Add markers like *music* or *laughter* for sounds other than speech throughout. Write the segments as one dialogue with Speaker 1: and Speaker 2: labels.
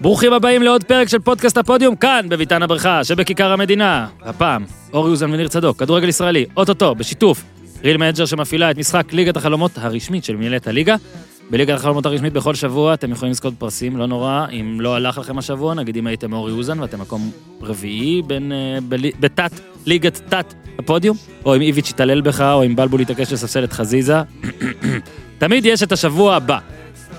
Speaker 1: ברוכים הבאים לעוד פרק של פודקאסט הפודיום, כאן, בביתן הברכה, שבכיכר המדינה. הפעם, אור יוזן וניר צדוק, כדורגל ישראלי, אוטוטו, בשיתוף, ריל מנג'ר שמפעילה את משחק ליגת החלומות הרשמית של מנהלת הליגה. בליגת החלומות הרשמית בכל שבוע אתם יכולים לזכות פרסים, לא נורא, אם לא הלך לכם השבוע, נגיד אם הייתם אורי אוזן ואתם מקום רביעי בין, אה, בלי- בתת, ליגת תת הפודיום, או אם איביץ' יתעלל בך, או אם בלבול יתעקש לספסל את חזיזה, *clears throat* תמיד יש את השבוע הבא.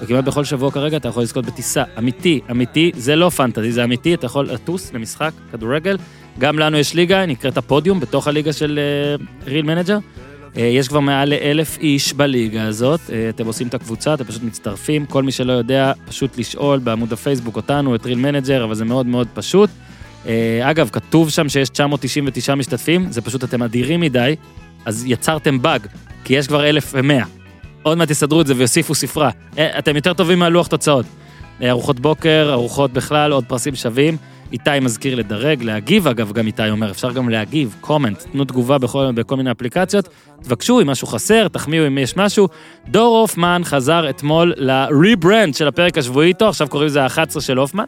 Speaker 1: וכמעט בכל שבוע כרגע אתה יכול לזכות בטיסה. אמיתי, אמיתי, זה לא פנטזי, זה אמיתי, אתה יכול לטוס למשחק כדורגל. גם לנו יש ליגה, היא נקראת הפודיום, בתוך הליגה של ריל uh, מנג'ר. Uh, יש כבר מעל לאלף איש בליגה הזאת. Uh, אתם עושים את הקבוצה, אתם פשוט מצטרפים. כל מי שלא יודע, פשוט לשאול בעמוד הפייסבוק אותנו, את ריל מנג'ר, אבל זה מאוד מאוד פשוט. Uh, אגב, כתוב שם שיש 999 משתתפים, זה פשוט אתם אדירים מדי, אז יצרתם באג, כי יש כבר 1,100. עוד מעט יסדרו את זה ויוסיפו ספרה. אה, אתם יותר טובים מהלוח תוצאות. אה, ארוחות בוקר, ארוחות בכלל, עוד פרסים שווים. איתי מזכיר לדרג, להגיב אגב, גם איתי אומר, אפשר גם להגיב, קומנט, תנו תגובה בכל, בכל מיני אפליקציות, תבקשו אם משהו חסר, תחמיאו אם יש משהו. דור הופמן חזר אתמול ל-rebrand של הפרק השבועי איתו, עכשיו קוראים לזה ה-11 של הופמן,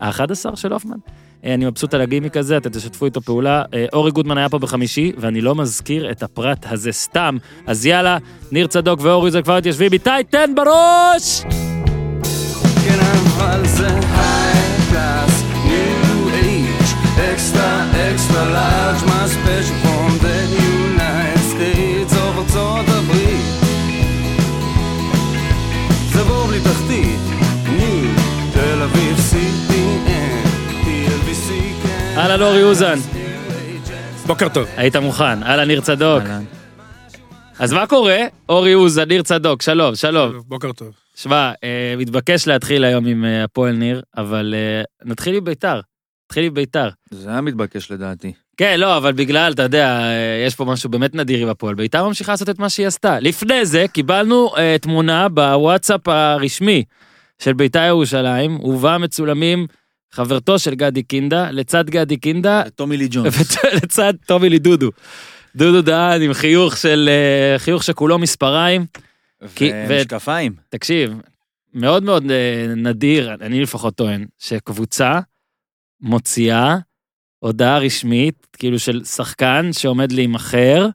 Speaker 1: ה-11 של הופמן. אה, אני מבסוט על הגימיק הזה, אתם תשתפו איתו פעולה. אה, אורי גודמן היה פה בחמישי, ואני לא מזכיר את הפרט הזה סתם. אז יאללה, ניר צדוק ואורי זה כבר התיישבים איתי, תן בראש!
Speaker 2: כן, אבל זה high class, new age, extra, extra large, my special from the United States of ארצות הברית. זה בור בלי תחתית, ניו, תל אביב, CTN, TLBC, כן.
Speaker 1: אהלן אורי אוזן,
Speaker 3: בוקר טוב.
Speaker 1: היית מוכן, אהלן ניר צדוק.
Speaker 4: אהלן.
Speaker 1: אז מה קורה? אורי אוזן, ניר צדוק, שלום, שלום.
Speaker 3: בוקר טוב.
Speaker 1: שמע, אה, מתבקש להתחיל היום עם אה, הפועל ניר, אבל אה, נתחיל עם ביתר. נתחיל עם ביתר.
Speaker 4: זה היה מתבקש לדעתי.
Speaker 1: כן, לא, אבל בגלל, אתה יודע, אה, יש פה משהו באמת נדיר עם הפועל. ביתר ממשיכה לעשות את מה שהיא עשתה. לפני זה קיבלנו אה, תמונה בוואטסאפ הרשמי של ביתר ירושלים, ובה מצולמים חברתו של גדי קינדה, לצד גדי קינדה,
Speaker 4: *laughs* אה, טומי לי ג'ונס.
Speaker 1: לצד טומי לידודו. דודו דהן עם חיוך של, אה, חיוך שכולו מספריים. כי- ו-
Speaker 4: ומשקפיים.
Speaker 1: תקשיב, מאוד מאוד אה, נדיר, אני לפחות טוען, שקבוצה מוציאה הודעה רשמית, כאילו של שחקן שעומד להימכר,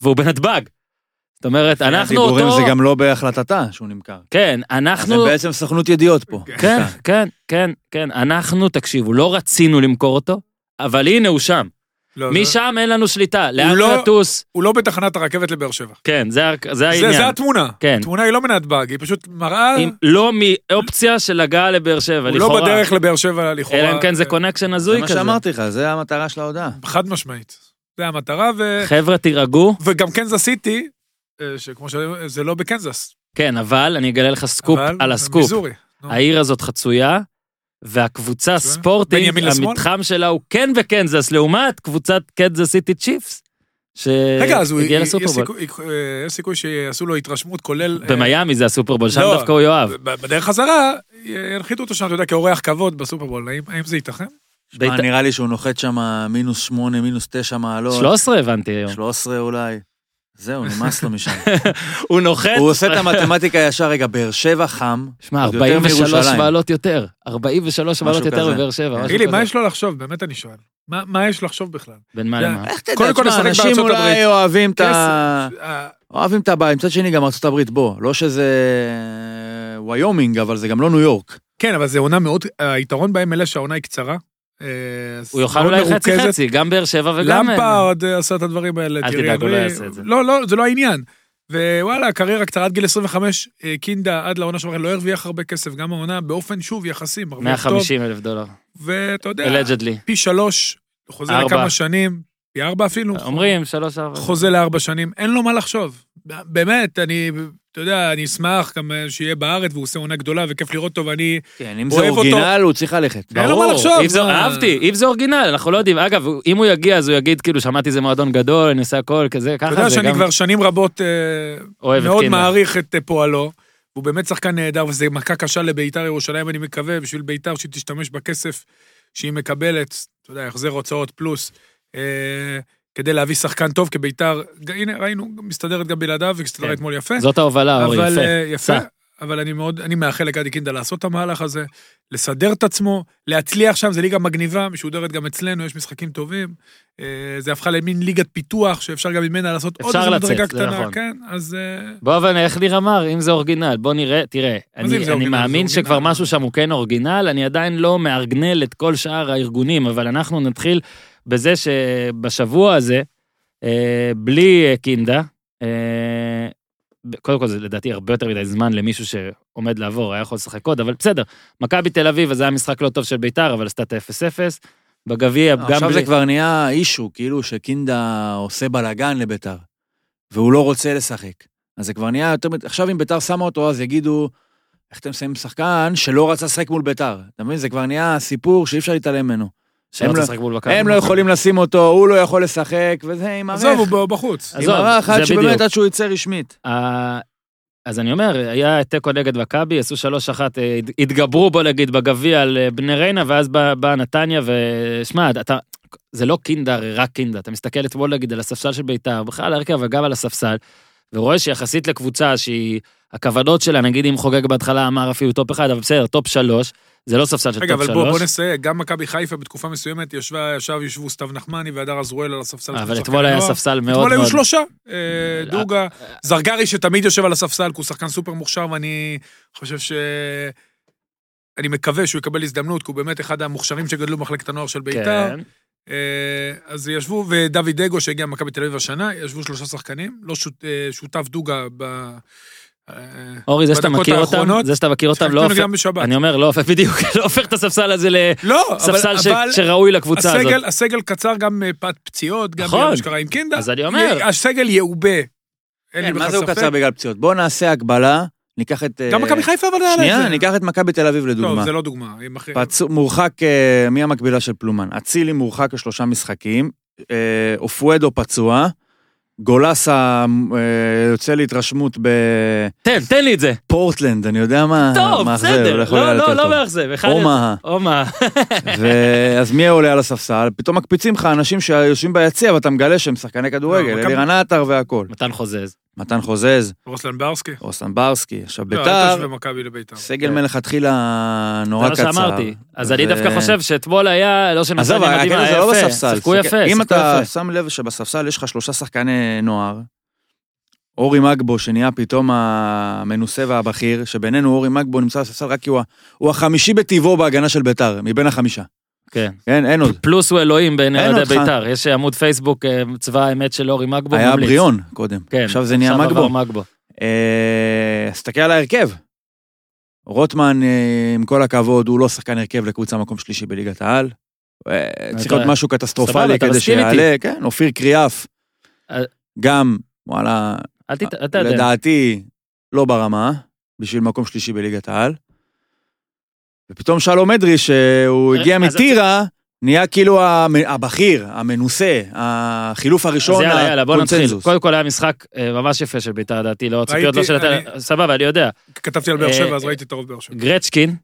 Speaker 1: והוא בנתבג. זאת
Speaker 3: כן,
Speaker 1: אומרת, אנחנו
Speaker 4: הדיבורים
Speaker 1: אותו...
Speaker 4: זה גם לא בהחלטתה שהוא נמכר.
Speaker 1: כן,
Speaker 4: אז הם
Speaker 1: אנחנו...
Speaker 4: בעצם סוכנות ידיעות פה.
Speaker 1: כן, כן, כן, כן. אנחנו, תקשיבו, לא רצינו למכור אותו, אבל הנה הוא שם.
Speaker 3: לא, זה-
Speaker 1: משם אין לנו שליטה. לאן
Speaker 3: לא-
Speaker 1: נטוס?
Speaker 3: הוא לא בתחנת הרכבת לבאר שבע.
Speaker 1: כן, זה ה- זה
Speaker 3: זה
Speaker 1: העניין.
Speaker 3: זה התמונה.
Speaker 1: כן.
Speaker 3: התמונה היא לא מנתב"ג, היא פשוט מראה,
Speaker 1: אם לא מאופציה של הגעה לבאר שבע,
Speaker 3: הוא לא
Speaker 1: לכאורה.
Speaker 3: בדרך לבאר שבע לכאורה. אה,
Speaker 1: אלא אם כן זה קונקשן
Speaker 4: זה
Speaker 1: הזוי
Speaker 4: מה
Speaker 1: כזה.
Speaker 4: שאמרתי לך, זה המטרה של ההודעה.
Speaker 3: חד משמעית. זה המטרה, ו...
Speaker 1: חבר'ה, תירגעו.
Speaker 3: וגם קנזס סיטי, אה, שכמו ש... זה לא בקנזס.
Speaker 1: כן, אבל אני אגלה לך סקופ
Speaker 3: אבל
Speaker 1: על הסקופ. אה,
Speaker 3: מיזורי. נו.
Speaker 1: העיר הזאת חצויה, והקבוצה
Speaker 3: חצויה?
Speaker 1: ספורטינג,
Speaker 3: בין ימין לשמאל?
Speaker 1: המתחם שלה הוא כן בקנזס, לעומת קבוצת קנזס סיטי צ'יפס,
Speaker 3: רגע, אז הוא...
Speaker 1: שהגיעה
Speaker 3: יש
Speaker 1: לסופרבול.
Speaker 3: סיכוי- אה, יש סיכוי שיעשו לו התרשמות, כולל... אה,
Speaker 1: במיאמי זה הסופרבול, שם
Speaker 3: לא.
Speaker 1: דווקא הוא יאהב.
Speaker 3: ב- בדרך חזרה, ינחיתו אותו שם, אתה יודע, כאורח כבוד בסופרבול. האם- האם זה ייתכן?
Speaker 4: מה,
Speaker 1: בית-
Speaker 4: נראה לי שהוא נוחת שם מינוס שמונה, מינוס תשע מעלות.
Speaker 1: 13 הבנתי היום.
Speaker 4: 13 אולי. זהו, נמאס לו
Speaker 3: *laughs*
Speaker 4: משם.
Speaker 1: הוא נוחת.
Speaker 3: כן,
Speaker 4: הוא עושה את המתמטיקה ישר, רגע, באר שבע חם.
Speaker 1: שמע,
Speaker 4: עוד יותר
Speaker 1: 43
Speaker 4: מירושלים.
Speaker 1: מעלות יותר. 43 מעלות
Speaker 4: משהו
Speaker 1: יותר
Speaker 4: כזה.
Speaker 1: בבאר שבע. משהו
Speaker 3: גילי, כן. מה
Speaker 1: כזה.
Speaker 3: יש אה, לו לחשוב? באמת אני שואל. מה- מה יש לחשוב בכלל?
Speaker 1: בין מה
Speaker 3: זה-
Speaker 1: למה?
Speaker 4: איך תדע,
Speaker 3: קודם כל
Speaker 4: תשמע,
Speaker 3: לשחק
Speaker 4: אנשים
Speaker 3: בארצות הברית.
Speaker 4: אולי אוהבים את ה...
Speaker 3: אה,
Speaker 4: אוהבים את הבית, מצד שני גם ארה"ב, בוא, לא שזה ויומינג, אבל זה גם לא ניו יורק.
Speaker 3: כן, אבל זו עונה מאוד, היתרון בהם אלה שהעונה היא קצרה. אה, אז
Speaker 1: הוא יאכל
Speaker 3: מאוד
Speaker 1: אולי
Speaker 3: מרוכזת.
Speaker 1: חצי חצי, גם באר שבע וגם...
Speaker 3: למפרד אה, עשה את הדברים האלה.
Speaker 1: אל
Speaker 3: תראי,
Speaker 1: תדאג, הוא לא
Speaker 3: אנרי-
Speaker 1: יעשה את זה.
Speaker 3: לא, לא, זה לא העניין. ווואלה, קריירה קצרה עד גיל 25, אה, קינדה עד לעונה שעברה לא הרוויח הרבה כסף, גם העונה באופן שוב יחסי, מרוויח טוב.
Speaker 1: 150 אלף דולר,
Speaker 3: ואתה יודע,
Speaker 1: אלג'דלי.
Speaker 3: פי שלוש, חוזה
Speaker 1: ארבע.
Speaker 3: לכמה שנים, פי ארבע אפילו.
Speaker 1: אומרים שלוש ארבע.
Speaker 3: חוזה לארבע שנים, אין לו מה לחשוב. באמת, אני, אתה יודע, אני אשמח גם אה, שיהיה בארץ והוא עושה עונה גדולה וכיף לראות אותו, ואני...
Speaker 4: כן, אם
Speaker 3: זה אוהב אותו. אורגינל,
Speaker 4: הוא צריך ללכת.
Speaker 3: אין לו מה
Speaker 1: ברור,
Speaker 3: לחשוב, אה.
Speaker 1: אם זה,
Speaker 3: מה-
Speaker 1: אהבתי, אם זה אורגינל, אנחנו לא יודעים. אגב, אם הוא יגיע אז הוא יגיד כאילו שמעתי זה מועדון גדול, אני עושה הכל, כזה,
Speaker 3: אתה
Speaker 1: ככה
Speaker 3: יודע
Speaker 1: זה
Speaker 3: שאני
Speaker 1: גם
Speaker 3: כבר שנים רבות אה,
Speaker 1: אוהב את
Speaker 3: מאוד
Speaker 1: קינדה.
Speaker 3: מעריך את אה, פועלו. הוא באמת שחקן נהדר, וזו מכה קשה לביתר ירושלים, אני מקווה, בשביל ביתר שהיא תשתמש בכסף שהיא מקבלת, אתה יודע, החזר הוצאות פלוס, אה, כדי להביא שחקן טוב, כי ביתר, ג- הנה, ראינו, מסתדרת גם בלעדיו, והסתדרה
Speaker 1: כן.
Speaker 3: אתמול יפה.
Speaker 1: זאת ההובלה, אורי,
Speaker 3: אבל
Speaker 1: יפה.
Speaker 3: אה, יפה.
Speaker 1: סע.
Speaker 3: אבל אני מאוד, אני מאחל לגדי קינדה לעשות את המהלך הזה, לסדר את עצמו, להצליח שם, זו ליגה מגניבה, משודרת גם אצלנו, יש משחקים טובים. אה, זה הפכה למין ליגת פיתוח, שאפשר גם ממנה לעשות עוד
Speaker 1: אפשר
Speaker 3: איזו
Speaker 1: לצאת,
Speaker 3: מדרגה
Speaker 1: זה
Speaker 3: קטנה.
Speaker 1: נכון.
Speaker 3: כן, אז... אה,
Speaker 1: בוא, אבל איך ניר אמר, אם זה אורגינל, בוא נראה, תראה,
Speaker 3: זה אם
Speaker 1: אני,
Speaker 3: זה
Speaker 1: אני
Speaker 3: אורגינל?
Speaker 1: מאמין
Speaker 3: זה אורגינל.
Speaker 1: שכבר משהו שם הוא כן אורגינל, אני עדיין לא מארגנל את כל שאר הארגונים, אבל אנחנו נתחיל בזה שבשבוע הזה, אה, בלי אה, קינדה, אה, ב- קודם כל זה לדעתי הרבה יותר מדי זמן למישהו שעומד לעבור, היה יכול לשחק עוד, אבל בסדר, מכבי תל אביב, אז זה היה משחק לא טוב של ביתר, אבל עשתה את ה-0-0, בגביע, גם בלי...
Speaker 4: עכשיו זה כבר נהיה אישו, כאילו שקינדה עושה בלאגן לביתר, והוא לא רוצה לשחק. אז זה כבר נהיה יותר... מת- עכשיו אם ביתר שמה אותו, אז יגידו, איך אתם שמים שחקן שלא רצה לשחק מול ביתר? אתה מבין? זה כבר נהיה סיפור שאי אפשר להתעלם ממנו.
Speaker 1: שהם
Speaker 4: הם
Speaker 1: לא
Speaker 4: לא-
Speaker 1: לשחק מול מכבי.
Speaker 4: הם לא יכולים לשים אותו, הוא לא יכול לשחק, וזה עם ערך.
Speaker 3: כן. עזוב, הוא בחוץ.
Speaker 1: עזוב,
Speaker 4: עם ערך
Speaker 1: זה
Speaker 4: עד שבאמת,
Speaker 1: בדיוק.
Speaker 4: עד שהוא יצא רשמית.
Speaker 1: ה- אה, אז אני אומר, היה תיקו נגד מכבי, עשו 3-1, אה, הת- התגברו בוא נגיד בגביע על אה, בני ריינה, ואז בא- באה נתניה, ושמע, אתה, זה לא קינדה, הרי רק קינדה, אתה מסתכל אתמול נגיד על הספסל של בית"ר, בכלל על ההרכב, אבל גם על הספסל, ורואה שיחסית לקבוצה שהיא, הכוונות שלה, נגיד אם חוגג בהתחלה אמר אפילו טופ אחד, אבל בסדר, טופ שלוש, זה לא ספסל של
Speaker 3: רגע,
Speaker 1: טופ
Speaker 3: אבל בוא, בוא
Speaker 1: שלוש.
Speaker 3: נסייג, גם מכבי חיפה בתקופה מסוימת ישבה, ישב, ישבו סתיו נחמני והדר אזרואל על הספסל. של
Speaker 1: אבל
Speaker 3: שחקני
Speaker 1: אתמול היה
Speaker 3: נוער.
Speaker 1: ספסל מאוד מאוד...
Speaker 3: לא- אתמול היו שלושה, אה,
Speaker 1: אה,
Speaker 3: דוגה, זרגרי שתמיד יושב על הספסל, כי הוא שחקן סופר מוכשר, ואני חושב ש... אני מקווה שהוא יקבל הזדמנות, כי הוא באמת אחד המוכשרים שגדלו במחלקת הנוער של בית"ר.
Speaker 1: כן.
Speaker 3: אה, אז ישבו, ודוד דגו שהגיע ממכבי תל אביב השנה, ישבו שלושה שחקנים, לא שות- אה, שותף דוגה ב... אה,
Speaker 1: אורי, זה שאתה
Speaker 3: בדקות
Speaker 1: מכיר אותם,
Speaker 3: האחרונות,
Speaker 1: זה שאתה מכיר אותם, לא
Speaker 3: שיחקנו
Speaker 1: הופך...
Speaker 3: גם בשבת.
Speaker 1: אני אומר, לא הופך, בדיוק, *laughs* לא הופך את הספסל הזה ל...
Speaker 3: לא, אבל-
Speaker 1: ספסל ש-
Speaker 3: אבל...
Speaker 1: שראוי לקבוצה הזאת.
Speaker 3: הסגל, הסגל קצר גם מפאת פציעות, גם אה,
Speaker 1: נכון.
Speaker 3: מה שקרה עם קינדה.
Speaker 1: אז אני אומר.
Speaker 3: יה- הסגל יעובה. אין
Speaker 4: כן,
Speaker 3: לי
Speaker 4: מה
Speaker 3: בכלל
Speaker 4: זה הוא קצר
Speaker 3: ספק.
Speaker 4: בגלל פציעות? בואו נעשה הגבלה, ניקח את... אה,
Speaker 3: גם מכבי חיפה אבל היה לה את זה.
Speaker 4: שנייה, ניקח את מכבי תל אביב לדוגמה.
Speaker 3: לא, זה לא דוגמה. הם אחרים.
Speaker 4: פצוע, מורחק, אה, מי המקבילה של פלומן? אצילי מורחק לשלושה משחקים, אה, אופואדו פצוע, גולסה אה, יוצא להתרשמות
Speaker 1: תן, תן לי את זה.
Speaker 4: אה, בפורטלנד, אני יודע מה,
Speaker 1: טוב,
Speaker 4: מה אכזב,
Speaker 1: בסדר.
Speaker 4: יכול
Speaker 1: לא,
Speaker 4: היה
Speaker 1: לא,
Speaker 4: יותר
Speaker 1: לא
Speaker 4: טוב.
Speaker 1: מאכזב. אחד-
Speaker 4: אומה.
Speaker 1: אומה.
Speaker 4: ו- אז מי עולה על הספסל? פתאום מקפיצים לך אנשים שיושבים ביציע ואתה מגלה שהם שחקני כדורגל,
Speaker 3: מכבי-
Speaker 4: אלירן עטר והכל.
Speaker 1: מתן חוזז.
Speaker 4: *laughs* מתן חוזז,
Speaker 3: רוסלן ברסקי.
Speaker 4: רוסן ברסקי, עכשיו
Speaker 3: לא, אל
Speaker 4: ביתר,
Speaker 3: תשווה מכבי לביתר.
Speaker 4: סגל
Speaker 1: כן.
Speaker 4: מלכתחילה נורא
Speaker 1: זה מה
Speaker 4: קצר.
Speaker 1: שאמרתי. אז אני
Speaker 4: ו-
Speaker 1: דווקא חושב שאתמול היה, לא שנתן
Speaker 4: עזוב,
Speaker 1: מדהים,
Speaker 4: הקטע
Speaker 1: היה
Speaker 4: זה לא
Speaker 1: יפה.
Speaker 4: בספסל.
Speaker 1: שיחקו
Speaker 4: זה-
Speaker 1: יפה,
Speaker 4: אם
Speaker 1: שיחקו
Speaker 4: אתה
Speaker 1: יפה.
Speaker 4: שם לב שבספסל יש לך שלושה שחקני נוער, אורי מגבו, שנהיה פתאום המנוסה והבכיר, שבינינו אורי מגבו נמצא בספסל רק כי הוא ה- הוא החמישי בטבעו בהגנה של ביתר, מבין החמישה.
Speaker 1: כן.
Speaker 4: כן, אין עוד.
Speaker 1: פלוס הוא אלוהים בעיני
Speaker 4: אין
Speaker 1: אוהדי
Speaker 4: אותך.
Speaker 1: בית"ר. יש עמוד פייסבוק, אה, צבא האמת של אורי מגבו.
Speaker 4: היה
Speaker 1: ממליץ.
Speaker 4: בריאון קודם,
Speaker 1: כן.
Speaker 4: עכשיו זה נהיה
Speaker 1: עכשיו עבר
Speaker 4: מגבו.
Speaker 1: מגבו.
Speaker 4: אה, אז תסתכל על ההרכב. רוטמן, אה, עם כל הכבוד, הוא לא שחקן הרכב לקבוצה מקום שלישי בליגת העל. אה, צריך
Speaker 1: אתה-
Speaker 4: להיות משהו
Speaker 1: סבבה,
Speaker 4: קטסטרופלי
Speaker 1: אתה
Speaker 4: כדי
Speaker 1: מסכים איתי.
Speaker 4: שיעלה, כן, אופיר קריאף.
Speaker 1: אה,
Speaker 4: גם, וואלה,
Speaker 1: אל תת... אתה יודע.
Speaker 4: לדעתי לא ברמה, בשביל מקום שלישי בליגת העל. ופתאום שלום אדרי, שהוא
Speaker 1: אה,
Speaker 4: הגיע
Speaker 1: אז-
Speaker 4: מטירה, נהיה כאילו המ- הבכיר, המנוסה, החילוף הראשון,
Speaker 1: אז יאללה, יאללה, בוא נתחיל.
Speaker 4: הקונצנזוס.
Speaker 1: קודם כל היה משחק אה, ממש יפה של בית"ר, לדעתי, לא ציפיות לא
Speaker 3: ראיתי,
Speaker 1: של... אתה- סבבה, אני יודע.
Speaker 3: כתבתי על באר
Speaker 1: אה,
Speaker 3: שבע, אז
Speaker 1: אה,
Speaker 3: ראיתי את הרוב באר שבע.
Speaker 1: גרצ'קין,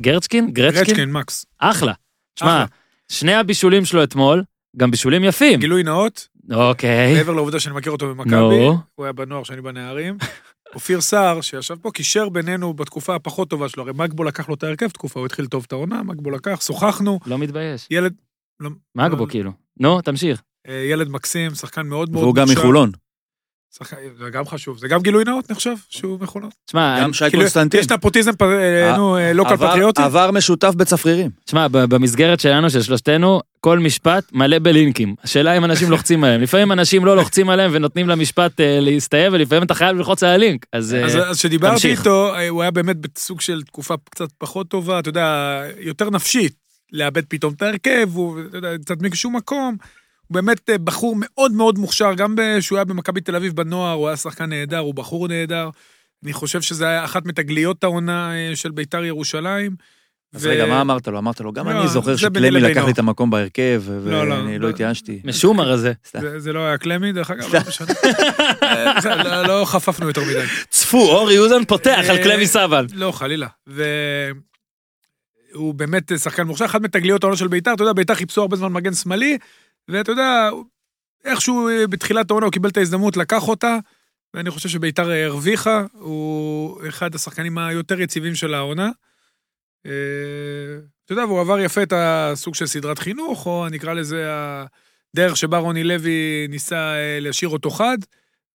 Speaker 1: גרצ'קין? גרצ'קין?
Speaker 3: רצ'קין, מקס.
Speaker 1: אחלה. שמע,
Speaker 3: אחלה.
Speaker 1: שני הבישולים שלו אתמול, גם בישולים יפים.
Speaker 4: כן.
Speaker 3: גילוי נאות,
Speaker 4: אה.
Speaker 1: אוקיי.
Speaker 3: מעבר לעובדה שאני מכיר אותו
Speaker 1: נו.
Speaker 3: במכבי, הוא היה בנוער שאני בנערים. *laughs* אופיר סער, שישב פה, קישר בינינו בתקופה הפחות טובה שלו, הרי מגבו לקח לו את ההרכב תקופה, הוא התחיל טוב את העונה, מגבו לקח, שוחחנו,
Speaker 1: לא מתבייש.
Speaker 3: ילד,
Speaker 1: מגבו כאילו. נו, תמשיך.
Speaker 3: אה, ילד מקסים, שחקן מאוד מאוד
Speaker 4: והוא גם
Speaker 3: מוכשר.
Speaker 4: מחולון.
Speaker 3: שחקן- זה גם חשוב, זה גם גילוי נאות נחשב, שהוא מחולון.
Speaker 1: שמע,
Speaker 4: גם
Speaker 1: אני-
Speaker 4: שי
Speaker 3: כאילו,
Speaker 4: קונסטנטין.
Speaker 3: יש נפוטיזם, פ- אה,
Speaker 4: ע-
Speaker 3: נו, אה, לוקל
Speaker 4: עבר-
Speaker 3: פטריוטי.
Speaker 4: עבר משותף בצפרירים.
Speaker 1: שמע, ב- במסגרת שלנו, של שלושתנו, כל משפט מלא בלינקים. השאלה אם אנשים לוחצים עליהם. לפעמים אנשים לא לוחצים עליהם ונותנים למשפט אה, להסתיים, ולפעמים אתה חייב ללחוץ על הלינק. אז... אה,
Speaker 3: אז אז כשדיברתי
Speaker 1: תמשיך.
Speaker 3: איתו, אה, הוא היה באמת בסוג של תקופה קצת פחות טובה, אתה יודע, יותר נפשית, לאבד פתאום את ההרכב, הוא, אתה יודע, קצת משום מקום. הוא באמת אה, בחור מאוד מאוד מוכשר, גם כשהוא היה במכבי תל אביב בנוער, הוא היה שחקן נהדר, הוא בחור נהדר. אני חושב שזה היה אחת מתגליות העונה אה, של בית"ר ירושלים.
Speaker 4: אז
Speaker 3: ו-
Speaker 4: רגע, מה אמרת לו? אמרת לו, גם
Speaker 3: לא,
Speaker 4: אני זוכר
Speaker 3: זה ביני
Speaker 4: שקלמי
Speaker 3: לבינו."
Speaker 4: לקח לי את המקום בהרכב,
Speaker 3: לא, לא,
Speaker 4: ואני
Speaker 3: לא.
Speaker 4: לא התייאשתי.
Speaker 1: משומר הזה.
Speaker 3: זה- זה לא היה קלמי,
Speaker 4: *laughs*
Speaker 3: דרך אגב, לא משנה. אה, זה- לא- לא חפפנו יותר מדי.
Speaker 1: צפו, אורי אוזן פותח
Speaker 3: על קלמי
Speaker 1: סבן.
Speaker 3: לא, חלילה. והוא באמת שחקן מוכשר, אחת מתגליות העונה של ביתר, אתה יודע, ביתר חיפשו הרבה זמן מגן שמאלי, ואתה יודע, איכשהו אה, בתחילת העונה הוא קיבל את ההזדמנות, לקח אותה, ואני חושב שביתר אה, הרוויחה, הוא אחד השחקנים היותר יציבים של העונה. אה, אתה יודע, והוא עבר יפה את הסוג של סדרת חינוך, או נקרא לזה הדרך שבה רוני לוי ניסה אה, להשאיר אותו חד,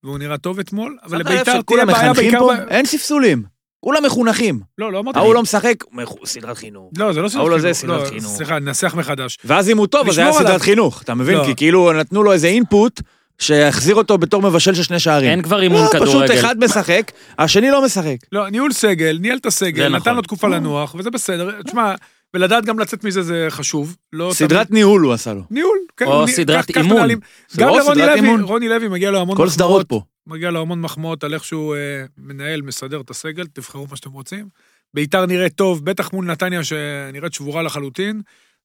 Speaker 3: והוא נראה טוב אתמול, אבל
Speaker 4: שמת לב
Speaker 3: לביתר תהיה
Speaker 4: שכולם
Speaker 3: בעיה
Speaker 4: מחנכים
Speaker 3: בעיקר...
Speaker 4: פה?
Speaker 3: ב-
Speaker 4: אין ספסולים. כולם מחונכים.
Speaker 3: לא, לא אמרתי...
Speaker 4: ההוא לא משחק, מח- סדרת חינוך.
Speaker 3: לא, זה לא סדרת
Speaker 4: ההוא לא
Speaker 3: חינוך.
Speaker 4: זה, סדרת
Speaker 3: לא,
Speaker 4: חינוך.
Speaker 3: סליחה, ננסח מחדש.
Speaker 4: ואז אם הוא טוב, אז זה היה
Speaker 3: לשמור עליו.
Speaker 4: סדרת חינוך, אתה מבין?
Speaker 3: לא.
Speaker 4: כי כאילו נתנו לו איזה אינפוט שהחזיר אותו בתור מבשל של שני שערים.
Speaker 1: אין כבר אימון
Speaker 4: לא, פשוט
Speaker 1: כדורגל.
Speaker 4: אחד משחק, השני לא משחק.
Speaker 3: לא, ניהול סגל, ניהל את
Speaker 1: זה
Speaker 3: הסגל, נתן
Speaker 1: נכון.
Speaker 3: לו תקופה לנוח, וזה בסדר. תשמע, ולדעת גם לצאת מזה זה חשוב. לא
Speaker 4: סדרת
Speaker 3: תמיד-
Speaker 4: ניהול הוא עשה לו.
Speaker 3: ניהול. כן,
Speaker 1: או
Speaker 3: הוא ני-
Speaker 1: סדרת
Speaker 3: כך- כך
Speaker 1: אימון.
Speaker 3: מנהלים.
Speaker 4: זה
Speaker 3: גם
Speaker 4: לא
Speaker 3: לרוני
Speaker 4: סדרת
Speaker 3: לוי,
Speaker 4: אימון.
Speaker 3: רוני לוי מגיע לו המון
Speaker 4: כל סדרות
Speaker 3: מחמאות.
Speaker 4: פה.
Speaker 3: מגיע לו המון מחמאות על איך שהוא אה, מנהל, מסדר את הסגל, תבחרו מה שאתם רוצים. ביתר נראית טוב, בטח מול נתניה שנראית שבורה לחלוטין.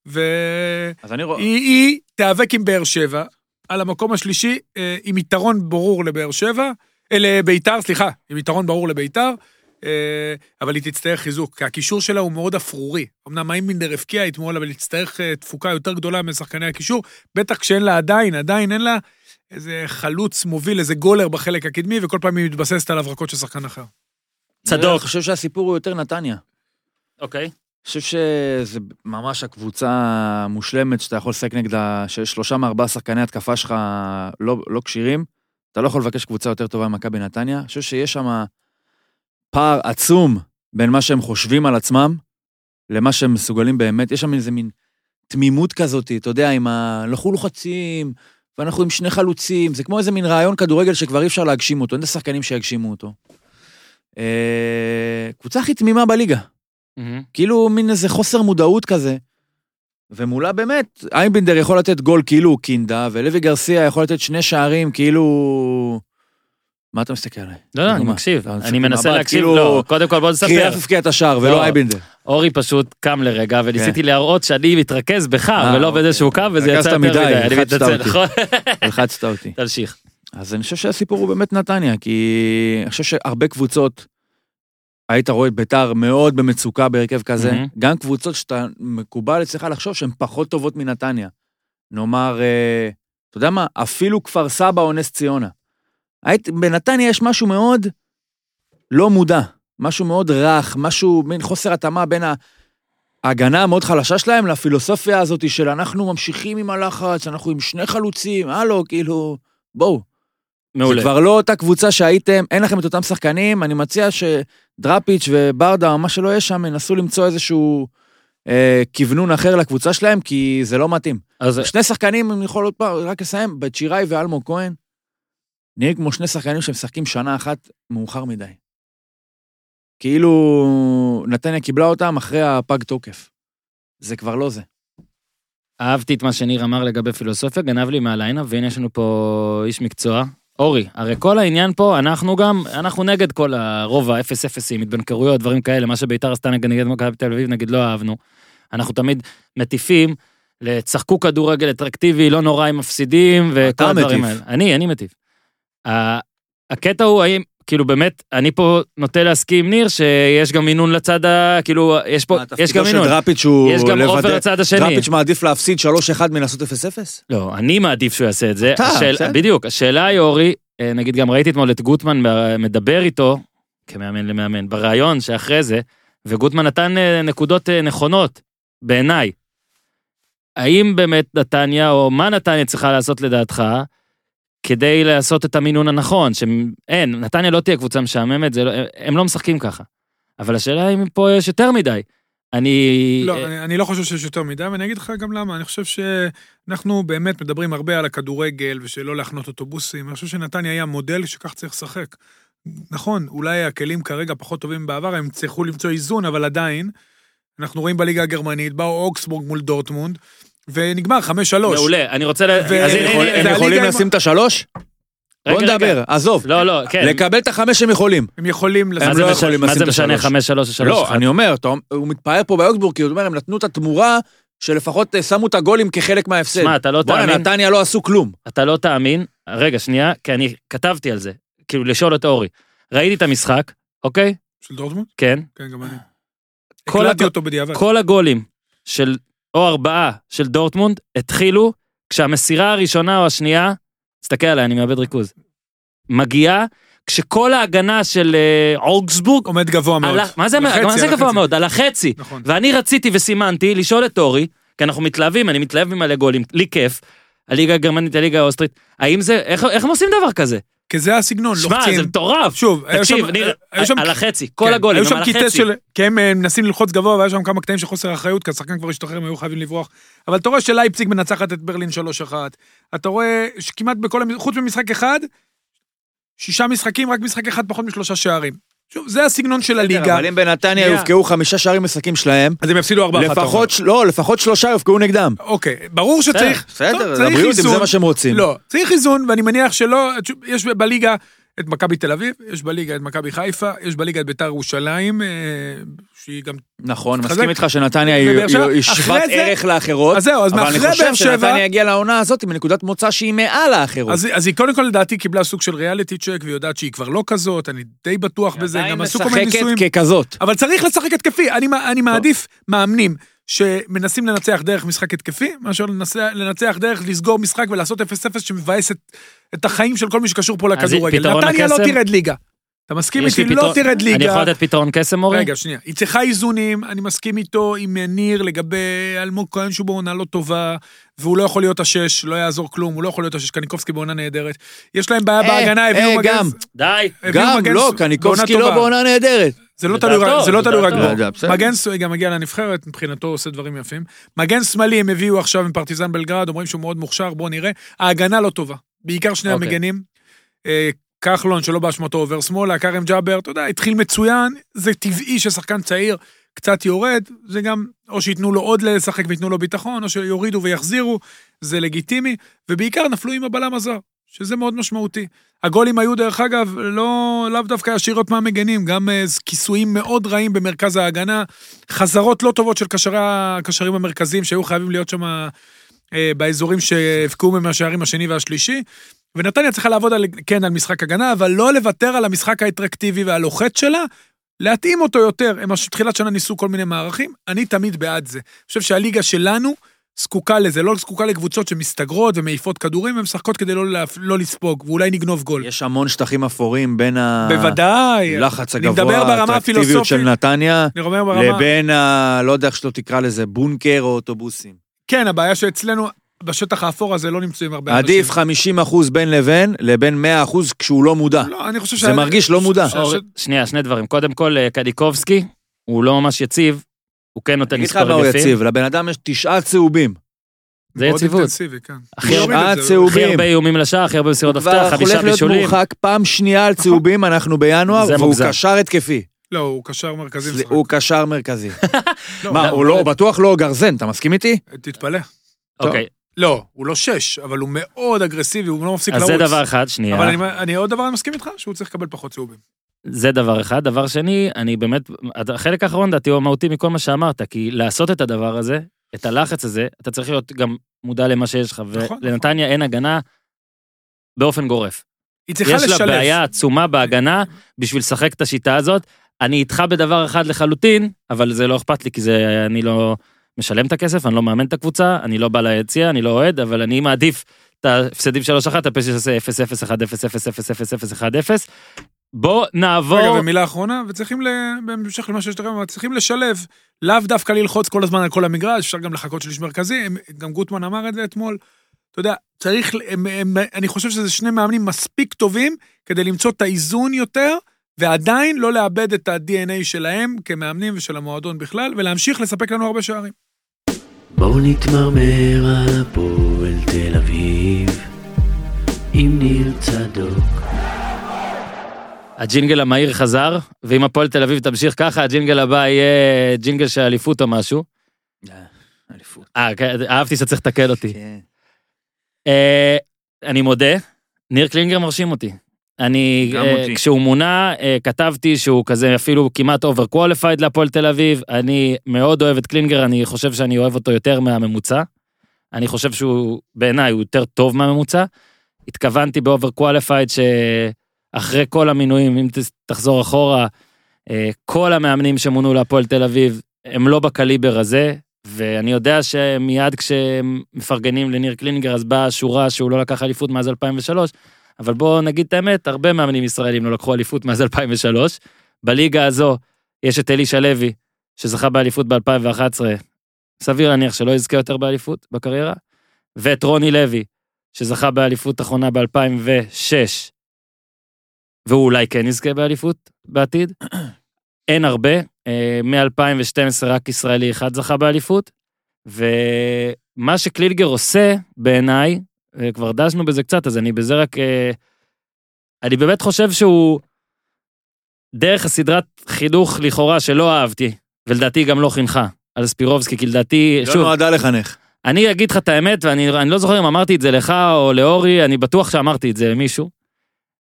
Speaker 3: והיא
Speaker 4: אז אני רואה...
Speaker 3: היא תיאבק עם באר שבע על המקום השלישי, אה, עם יתרון ברור לבאר שבע, אה, לביתר, סליחה, עם יתרון ברור לביתר. אה, אבל היא תצטרך חיזוק, כי הקישור שלה הוא מאוד אפרורי. אמנם איימבינדר הבקיע אתמול, אבל היא תצטרך אה, תפוקה יותר גדולה משחקני הקישור, בטח כשאין לה עדיין, עדיין אין לה איזה חלוץ מוביל, איזה גולר בחלק הקדמי, וכל פעם היא מתבססת על הברקות של שחקן אחר.
Speaker 4: אני
Speaker 1: צדוק.
Speaker 4: חושב שהסיפור הוא יותר נתניה.
Speaker 1: אוקיי.
Speaker 4: אני חושב שזה ממש הקבוצה המושלמת שאתה יכול לשחק נגדה, ששלושה מארבעה שחקני התקפה שלך לא, לא כשירים. אתה לא יכול לבקש קבוצה יותר טובה ממכבי נתניה. אני חושב שיש שם פער עצום בין מה שהם חושבים על עצמם למה שהם מסוגלים באמת. יש שם איזה מין תמימות כזאת, אתה יודע, עם ה... אנחנו לוחצים, ואנחנו עם שני חלוצים, זה כמו איזה מין רעיון כדורגל שכבר אי אפשר להגשים אותו, אין את השחקנים שיגשימו אותו. אה, קבוצה הכי תמימה בליגה.
Speaker 1: מהמם.
Speaker 4: כאילו מין איזה חוסר מודעות כזה. ומולה באמת, איינבינדר יכול לתת גול כאילו הוא קינדה, ולוי גרסיה יכול לתת שני שערים כאילו... מה אתה מסתכל עליי?
Speaker 1: לא, לא, אני
Speaker 4: מה?
Speaker 1: מקשיב.
Speaker 4: אתה
Speaker 1: אני
Speaker 4: מסתכל
Speaker 1: מנסה
Speaker 4: במבט,
Speaker 1: להקשיב
Speaker 4: כאילו-
Speaker 1: לו. קודם כל בוא נספר.
Speaker 4: קריאף הבקיע את השער, ולא
Speaker 1: לא.
Speaker 4: אייבינדר.
Speaker 1: אורי פשוט קם לרגע, וניסיתי להראות שאני מתרכז בך,
Speaker 4: כן. אה,
Speaker 1: ולא
Speaker 4: אוקיי.
Speaker 1: באיזשהו קו, וזה
Speaker 4: רכזת
Speaker 1: יצא יותר
Speaker 4: מדי,
Speaker 1: מדי. אני
Speaker 4: לחצת
Speaker 1: מתנצל,
Speaker 4: אותי.
Speaker 1: נכון?
Speaker 4: הלחצת אותי.
Speaker 1: תמשיך.
Speaker 4: אז אני חושב שהסיפור הוא באמת נתניה, כי אני חושב שהרבה קבוצות, היית רואה את ביתר מאוד במצוקה בהרכב כזה,
Speaker 1: מהמם.
Speaker 4: גם קבוצות שאתה מקובל אצלך לחשוב שהן פחות טובות מנתניה. נאמר, אה, אתה יודע מה, אפילו כפר סבא או נס ציונה. היית, בנתניה יש משהו מאוד לא מודע, משהו מאוד רך, משהו, מין חוסר התאמה בין ה... ההגנה המאוד חלשה שלהם לפילוסופיה הזאת של אנחנו ממשיכים עם הלחץ, אנחנו עם שני חלוצים, הלו, כאילו, בואו.
Speaker 1: מעולה.
Speaker 4: זה כבר לא אותה קבוצה שהייתם, אין לכם את אותם שחקנים, אני מציע שדראפיץ' וברדה, או מה שלא יהיה שם, ינסו למצוא איזשהו אה, כוונון אחר לקבוצה שלהם, כי זה לא מתאים.
Speaker 1: אז
Speaker 4: שני שחקנים, אם יכול עוד פעם, רק לסיים, בצ'יראי ואלמוג כהן, נראים כמו שני שחקנים שמשחקים שנה אחת מאוחר מדי. כאילו נתניה קיבלה אותם אחרי הפג תוקף. זה כבר לא זה.
Speaker 1: אהבתי את מה שניר אמר לגבי פילוסופיה, גנב לי מהליינה, והנה יש לנו פה איש מקצוע. אורי, הרי כל העניין פה, אנחנו גם, אנחנו נגד כל הרוב האפס אפסים, התבנקרויות, דברים כאלה, מה שביתר עשתה נגד נגד מכבי תל אביב, נגיד לא אהבנו. אנחנו תמיד מטיפים, לצחקו כדורגל אטרקטיבי, לא נורא אם מפסידים, וכל
Speaker 4: אתה
Speaker 1: הדברים האלה.
Speaker 4: מטיף.
Speaker 1: אני, אני מטיף. ה- הקטע הוא האם, כאילו באמת, אני פה נוטה להסכים עם ניר, שיש גם מינון לצד ה... כאילו, יש פה, יש גם מינון.
Speaker 4: דראפיץ' הוא
Speaker 1: יש גם אופר לצד השני.
Speaker 4: דראפיץ' מעדיף להפסיד 3-1 מלעשות 0-0?
Speaker 1: לא, אני מעדיף שהוא יעשה את זה.
Speaker 4: אתה,
Speaker 1: השאל-
Speaker 4: בסדר.
Speaker 1: בדיוק, השאלה היא, אורי, אה, נגיד גם ראיתי אתמול את גוטמן ב- מדבר איתו, כמאמן למאמן, בריאיון שאחרי זה, וגוטמן נתן אה, נקודות אה, נכונות, בעיניי. האם באמת נתניה, או מה נתניה צריכה לעשות לדעתך, כדי לעשות את המינון הנכון, שאין, נתניה לא תהיה קבוצה משעממת, זה לא, הם לא משחקים ככה. אבל השאלה אם פה יש יותר מדי. אני...
Speaker 3: לא,
Speaker 1: אה,
Speaker 3: אני- אני לא חושב שיש יותר מדי, ואני אגיד לך גם למה. אני חושב שאנחנו באמת מדברים הרבה על הכדורגל ושלא להחנות אוטובוסים. אני חושב שנתניה היה מודל שכך צריך לשחק. נכון, אולי הכלים כרגע פחות טובים בעבר, הם צריכו למצוא איזון, אבל עדיין, אנחנו רואים בליגה הגרמנית, באו אוגסבורג מול דורטמונד, ונגמר 5-3.
Speaker 1: מעולה, אני רוצה... ל...
Speaker 3: לא, ו-
Speaker 1: אז
Speaker 3: הם
Speaker 1: הנה,
Speaker 3: יכול-
Speaker 1: הנה,
Speaker 3: הם
Speaker 1: הנה,
Speaker 3: יכול- הליגה עם-
Speaker 4: את השלוש? בוא
Speaker 1: רגע, רגע.
Speaker 4: נדבר, עזוב.
Speaker 1: לא, לא, כן.
Speaker 4: לקבל את החמש הם יכולים.
Speaker 3: הם יכולים
Speaker 1: מה
Speaker 4: הם
Speaker 1: זה
Speaker 4: לא
Speaker 1: משנה-
Speaker 4: יכולים
Speaker 1: מה
Speaker 4: לשים
Speaker 1: זה
Speaker 4: את
Speaker 1: משנה
Speaker 4: השלוש.
Speaker 1: 5, 3, 3,
Speaker 4: לא, אני אומר, אתה- הוא מתפאר פה באוגסבורג, כי הוא אומר, הם נתנו את התמורה שלפחות אה, שמו את הגולים כחלק מההפסד.
Speaker 1: שמע, אתה לא
Speaker 4: בואנה,
Speaker 1: תאמין,
Speaker 4: נתניה לא עשו כלום.
Speaker 1: אתה לא תאמין, רגע, שנייה, כי אני כתבתי על זה, כאילו לשאול את אורי. ראיתי את המשחק, אוקיי?
Speaker 3: של דורטמונד?
Speaker 1: כן.
Speaker 3: כן, גם אני.
Speaker 1: כל
Speaker 3: הקלטתי
Speaker 1: הכ-
Speaker 3: אותו בדיעבד.
Speaker 1: כל הגולים של, או ארבעה של דורטמונד, התחילו כשהמסירה הראשונה או השנייה, תסתכל עליי, אני מאבד ריכוז, מגיעה כשכל ההגנה של אה, אוגסבורג,
Speaker 3: עומד גבוה מאוד.
Speaker 1: על ה- מה זה
Speaker 3: על החצי,
Speaker 1: מה זה
Speaker 3: על
Speaker 1: גבוה
Speaker 3: החצי.
Speaker 1: מאוד? על החצי.
Speaker 3: נכון.
Speaker 1: ואני רציתי וסימנתי לשאול את אורי, כי אנחנו מתלהבים, אני מתלהב ממלא גולים, לי כיף. הליגה הגרמנית, הליגה האוסטרית, האם זה, איך, איך הם עושים דבר כזה?
Speaker 3: כי זה הסגנון,
Speaker 1: שמע,
Speaker 3: לוחצים.
Speaker 1: זה מטורף.
Speaker 3: שוב, היו
Speaker 1: תקשיב,
Speaker 3: שם-
Speaker 1: ניר,
Speaker 3: היו שם-
Speaker 1: על החצי, כל
Speaker 3: כן,
Speaker 1: הגולים,
Speaker 3: היו
Speaker 1: הם
Speaker 3: שם
Speaker 1: על
Speaker 3: קטעי
Speaker 1: החצי.
Speaker 3: של... כי הם אה, מנסים ללחוץ גבוה, והיו שם כמה קטעים של חוסר אחריות, כי השחקן כבר השתחרר, הם היו חייבים לברוח. אבל אתה רואה שלייפציג מנצחת את ברלין 3-1. אתה רואה שכמעט בכל... המ- חוץ ממשחק אחד, שישה משחקים, רק משחק אחד פחות משלושה שערים. שוב, זה הסגנון של הליגה.
Speaker 4: אבל אם בנתניה
Speaker 3: שנייה.
Speaker 4: יובקעו חמישה שערים משחקים שלהם,
Speaker 3: אז הם יפסידו 4-1. אתה אומר.
Speaker 4: לפחות, ש- לא, לפחות שלושה יובקעו נגדם.
Speaker 3: אוקיי, ברור שצריך...
Speaker 4: בסדר,
Speaker 3: טוב,
Speaker 4: זה
Speaker 3: צריך
Speaker 4: הבריאות, אם זה
Speaker 3: איזון.
Speaker 4: מה שהם רוצים.
Speaker 3: לא, צריך איזון, ואני מניח שלא... יש בליגה את מכבי תל אביב, יש בליגה את מכבי חיפה, יש בליגה את ביתר ירושלים, אה, שהיא גם
Speaker 4: נכון,
Speaker 3: מתחזק.
Speaker 4: מסכים איתך שנתניה היא-
Speaker 3: ובאר שבע,
Speaker 4: היא היא
Speaker 3: אחרי
Speaker 4: שוות
Speaker 3: זה-
Speaker 4: ערך לאחרות,
Speaker 3: אז זהו, אז
Speaker 4: אבל אני
Speaker 3: מאחרי
Speaker 4: חושב
Speaker 3: באר שבע-
Speaker 4: שנתניה הגיעה לעונה הזאת מנקודת מוצא שהיא מעל האחרות.
Speaker 3: אז, אז היא קודם כל לדעתי קיבלה סוג של ריאליטי צ'ק, והיא יודעת שהיא כבר לא כזאת, אני די בטוח בזה,
Speaker 4: עדיין
Speaker 3: גם עשו כל מיני ניסויים.
Speaker 4: משחקת ככזאת.
Speaker 3: אבל צריך לשחק התקפי, אני, מע- אני מעדיף מאמנים שמנסים לנצח דרך משחק התקפי, מאשר לנסה- לנצח דרך לסגור משחק ולעשות 0-0 שמבאס את, את החיים של כל מי שקשור פה
Speaker 1: אז
Speaker 3: לכדורגל.
Speaker 1: פתרון
Speaker 3: נתניה לא
Speaker 1: הקסם?
Speaker 3: תרד ליגה. אתה מסכים
Speaker 1: יש לי
Speaker 3: איתי? לא
Speaker 1: פתרון-
Speaker 3: תרד ליגה.
Speaker 1: אני יכול לתת פתרון קסם, אורי?
Speaker 3: רגע, שנייה. היא צריכה איזונים, אני מסכים איתו עם ניר לגבי אלמוג כהן שהוא בעונה לא טובה, והוא לא יכול להיות השש, לא יעזור כלום, הוא לא יכול להיות השש, קניקובסקי בעונה נהדרת. יש להם בעיה
Speaker 4: אה,
Speaker 3: בהגנה, הביאו
Speaker 4: אה,
Speaker 3: מגן...
Speaker 4: גם.
Speaker 1: די.
Speaker 3: הביאו
Speaker 4: גם,
Speaker 3: מגן
Speaker 4: לא,
Speaker 3: ס-
Speaker 4: קניקובסקי
Speaker 3: בעונה
Speaker 4: לא
Speaker 3: טובה.
Speaker 4: בעונה נהדרת.
Speaker 3: זה לא
Speaker 1: לדעתו,
Speaker 3: תלוי רק, זה לא תלוי רק
Speaker 1: לדעתו.
Speaker 3: בו.
Speaker 4: לא יודע, בסדר.
Speaker 3: מגן סוי גם מגיע לנבחרת, מבחינתו הוא עושה דברים יפים. מגן שמאלי הם הביאו עכשיו עם פרטיזן בלגרד, אומרים שהוא מאוד מוכשר, בואו נראה. ההגנה לא טובה, בעיקר שני
Speaker 1: אוקיי.
Speaker 3: המגנים. אה, כחלון, שלא באשמתו עובר שמאלה, כרם ג'אבר, אתה יודע, התחיל מצוין, זה טבעי ששחקן צעיר קצת יורד, זה גם, או שייתנו לו עוד לשחק וייתנו לו ביטחון, או שיורידו ויחזירו, זה לגיטימי, ובעיקר נפלו עם הבלם הזר, שזה מאוד משמעותי. הגולים היו, דרך אגב, לא, לאו דווקא ישירות מהמגנים, גם אה, כיסויים מאוד רעים במרכז ההגנה, חזרות לא טובות של קשרי הקשרים המרכזיים שהיו חייבים להיות שם אה, באזורים שהבקעו מהם השערים השני והשלישי. ונתניה צריכה לעבוד על, כן על משחק הגנה, אבל לא לוותר על המשחק האטרקטיבי והלוחץ שלה, להתאים אותו יותר. הם הש- תחילת שנה ניסו כל מיני מערכים, אני תמיד בעד זה. אני חושב שהליגה שלנו זקוקה לזה, לא זקוקה לקבוצות שמסתגרות ומעיפות כדורים ומשחקות כדי לא, להפ- לא לספוג, ואולי נגנוב גול.
Speaker 4: יש המון שטחים אפורים בין ה...
Speaker 3: בוודאי.
Speaker 4: לחץ
Speaker 3: אני מדבר
Speaker 4: הגבוה,
Speaker 3: ברמה
Speaker 4: האטרקטיביות של
Speaker 3: הפילוסופית.
Speaker 4: נתניה,
Speaker 3: אני אומר ברמה...
Speaker 4: לבין ה... לא יודע איך שלא תקרא לזה, בונקר או אוטובוסים.
Speaker 3: כן, הבעיה שאצלנו, בשטח האפור הזה לא נמצאים הרבה
Speaker 4: עדיף 50% בין לבין, לבין 100% כשהוא לא מודע.
Speaker 3: לא, אני חושב ש...
Speaker 4: זה מרגיש לא מודע.
Speaker 3: ש-
Speaker 1: אורי, שנייה, שני דברים. קודם כל, אה, קדיקובסקי, הוא לא ממש יציב, הוא כן נותן
Speaker 4: אני אגיד לך
Speaker 1: מספר
Speaker 4: מה הוא
Speaker 1: יפים.
Speaker 4: יציב, לבן אדם יש תשעה צהובים.
Speaker 1: זה
Speaker 3: מאוד
Speaker 1: יציבות.
Speaker 3: אינטנסיבי, כן.
Speaker 1: הכי
Speaker 3: הוא
Speaker 1: הרבה-
Speaker 3: יוריד את
Speaker 4: אה,
Speaker 3: זה,
Speaker 4: צהוב.
Speaker 1: הכי
Speaker 4: צהובים.
Speaker 1: הרבה איומים לשער, הכי הרבה מסירות
Speaker 4: כבר
Speaker 1: הפתעה, חמישה
Speaker 4: הולך להיות
Speaker 1: בישולים.
Speaker 4: מורחק פעם שנייה
Speaker 3: *laughs*
Speaker 4: על צהובים, אנחנו בינואר,
Speaker 1: זה
Speaker 4: והוא
Speaker 1: מוגזם.
Speaker 4: קשר התקפי.
Speaker 3: לא, הוא קשר מרכזי. משחק.
Speaker 4: הוא קשר
Speaker 3: *laughs*
Speaker 4: מרכזי.
Speaker 3: לא,
Speaker 4: מה, הוא לא, הוא בטוח לא גרזן, אתה מסכים איתי?
Speaker 3: תתפלא.
Speaker 1: אוקיי,
Speaker 3: לא, הוא לא שש, אבל הוא מאוד אגרסיבי, הוא לא מפסיק
Speaker 1: אז
Speaker 3: לרוץ.
Speaker 1: זה דבר אה. אחד, שנייה.
Speaker 3: אבל אני, אני עוד דבר אני מסכים איתך, שהוא צריך לקבל פחות צהובים.
Speaker 1: זה דבר אחד. דבר שני, אני באמת, החלק האחרון דעתי הוא המהותי מכל מה שאמרת, כי לעשות את הדבר הזה, את הלחץ הזה, אתה צריך להיות גם מודע למה שיש לך,
Speaker 3: נכון.
Speaker 1: ולנתניה אין הגנה באופן גורף.
Speaker 3: היא צריכה
Speaker 1: יש
Speaker 3: לשלב.
Speaker 1: לה בעיה עצומה בהגנה בשביל לשחק את השיטה הזאת. אני איתך בדבר אחד לחלוטין, אבל זה לא אכפת לי, כי זה, אני לא משלם את הכסף, אני לא מאמן את הקבוצה, אני לא בא ליציע, אני לא אוהד, אבל אני מעדיף את ההפסדים 3-1, את הפשע שעושה 0-0, 1-0, 0-0, 0-0, 1-0. בוא
Speaker 3: רגע,
Speaker 1: נעבור...
Speaker 3: ומילה אחרונה, וצריכים, ל... בהמשך למה שיש לכם, צריכים לשלב, לאו דווקא ללחוץ כל הזמן על כל המגרש, אפשר גם לחכות שליש מרכזי, הם, גם גוטמן אמר את זה אתמול. אתה יודע, צריך, הם, הם, אני חושב שזה שני מאמנים מספיק טובים כדי למצוא את האיזון יותר, ועדיין לא לאבד את ה-DNA שלהם כמאמנים ושל המועדון בכלל, ולהמשיך לספק לנו הרבה שערים.
Speaker 5: בואו נתמרמר על הפועל תל אביב עם ניר צדוק
Speaker 1: הג'ינגל המהיר חזר, ואם הפועל תל אביב תמשיך ככה, הג'ינגל הבא יהיה ג'ינגל של אליפות או משהו.
Speaker 4: אליפות.
Speaker 1: אה, כן, אהבתי שאתה צריך לתקן אותי.
Speaker 4: כן.
Speaker 1: אה, אני מודה, ניר קלינגר מרשים אותי. אני,
Speaker 4: גם
Speaker 1: אה,
Speaker 4: אותי.
Speaker 1: כשהוא מונה, אה, כתבתי שהוא כזה אפילו כמעט אובר קואליפייד להפועל תל אביב. אני מאוד אוהב את קלינגר, אני חושב שאני אוהב אותו יותר מהממוצע. אני חושב שהוא, בעיניי, הוא יותר טוב מהממוצע. התכוונתי באובר קואליפייד שאחרי כל המינויים, אם ת- תחזור אחורה, אה, כל המאמנים שמונו להפועל תל אביב, הם לא בקליבר הזה, ואני יודע שמיד כשהם מפרגנים לניר קלינגר, אז באה השורה שהוא לא לקח אליפות מאז 2003, אבל בואו נגיד את האמת, הרבה מאמנים ישראלים לא לקחו אליפות מאז 2003. בליגה הזו יש את אלישע לוי, שזכה באליפות ב-2011, סביר להניח שלא יזכה יותר באליפות בקריירה, ואת רוני לוי, שזכה באליפות אחרונה ב-2006, והוא אולי כן יזכה באליפות בעתיד. *clears throat* אין הרבה, אה, מ-2012 רק ישראלי אחד זכה באליפות, ומה שקלילגר עושה, בעיניי, אה, כבר דשנו בזה קצת, אז אני בזה רק... אה, אני באמת חושב שהוא, דרך הסדרת חינוך לכאורה שלא אהבתי, ולדעתי גם לא חינכה, על ספירובסקי, כי לדעתי,
Speaker 4: לא
Speaker 1: שוב,
Speaker 4: נועדה לחנך.
Speaker 1: אני אגיד לך את האמת, ואני אני לא זוכר אם אמרתי את זה לך או לאורי, אני בטוח שאמרתי את זה למישהו.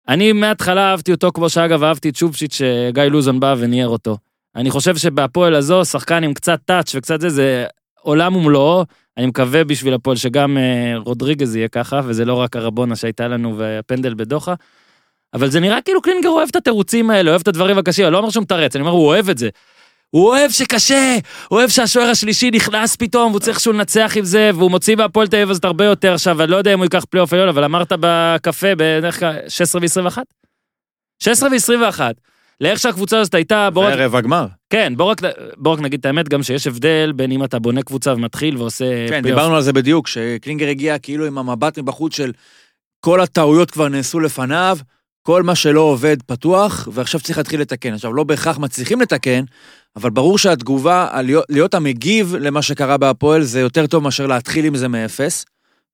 Speaker 1: אני מההתחלה אהבתי אותו, כמו שאגב אהבתי את שובשיץ' שגיא לוזון בא וניער אותו. אני חושב שבהפועל הזו, שחקן עם קצת טאץ' וקצת זה, זה עולם ומלואו. אני מקווה בשביל הפועל שגם אה, רודריגז יהיה ככה, וזה לא רק הרבונה שהייתה לנו והפנדל בדוחה. אבל זה נראה כאילו קלינגר אוהב את התירוצים האלה, אוהב את הדברים הקשים, אני לא אומר שהוא מתרץ, אני אומר, הוא אוהב את זה. הוא אוהב שקשה, הוא אוהב שהשוער השלישי נכנס פתאום, והוא צריך שהוא לנצח עם זה, והוא מוציא מהפועל תל אביב הזאת הרבה יותר עכשיו, אני לא יודע אם הוא ייקח פלייאוף עליון, אבל אמרת בקפה, בערך כ- 16 ו-21? 16 ו-21. לאיך שהקבוצה הזאת הייתה, בוא רק,
Speaker 4: ערב הגמר.
Speaker 1: כן, בוא רק, בוא רק נגיד את האמת, גם שיש הבדל בין אם אתה בונה קבוצה ומתחיל ועושה
Speaker 4: כן, דיברנו על זה בדיוק, שקלינגר הגיע כאילו עם המבט מבחוץ של כל הטעויות כבר נעשו לפניו, כל מה שלא עובד פתוח, ועכשיו צריך להתחיל לתקן. עכשיו, לא בהכרח מצליחים לתקן, אבל ברור שהתגובה, על להיות, להיות המגיב למה שקרה בהפועל, זה יותר טוב מאשר להתחיל עם זה מאפס,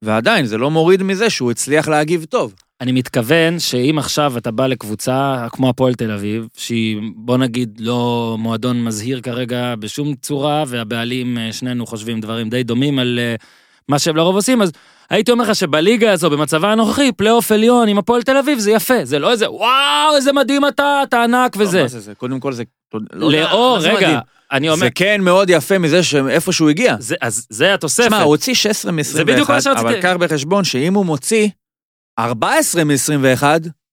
Speaker 4: ועדיין, זה לא מוריד מזה שהוא הצליח להגיב טוב.
Speaker 1: אני מתכוון שאם עכשיו אתה בא לקבוצה כמו הפועל תל אביב, שהיא בוא נגיד לא מועדון מזהיר כרגע בשום צורה, והבעלים, אה, שנינו חושבים דברים די דומים על אה, מה שהם לרוב עושים, אז הייתי אומר לך שבליגה הזו, במצבה הנוכחי, פלייאוף עליון עם הפועל תל אביב זה יפה, זה לא איזה וואו, איזה מדהים אתה, אתה ענק
Speaker 4: לא,
Speaker 1: וזה.
Speaker 4: מה זה, זה, קודם כל זה... לא יודע,
Speaker 1: לאור,
Speaker 4: מה זה מדהים?
Speaker 1: רגע, אני אומר,
Speaker 4: זה כן מאוד יפה מזה שאיפה שהוא הגיע.
Speaker 1: זה- אז זה התוספת.
Speaker 4: תשמע, הוא הוציא 16 מ-21,
Speaker 1: זה בדיוק מה שרציתי.
Speaker 4: אבל קח בחשבון שאם הוא מוציא 14 מ-21,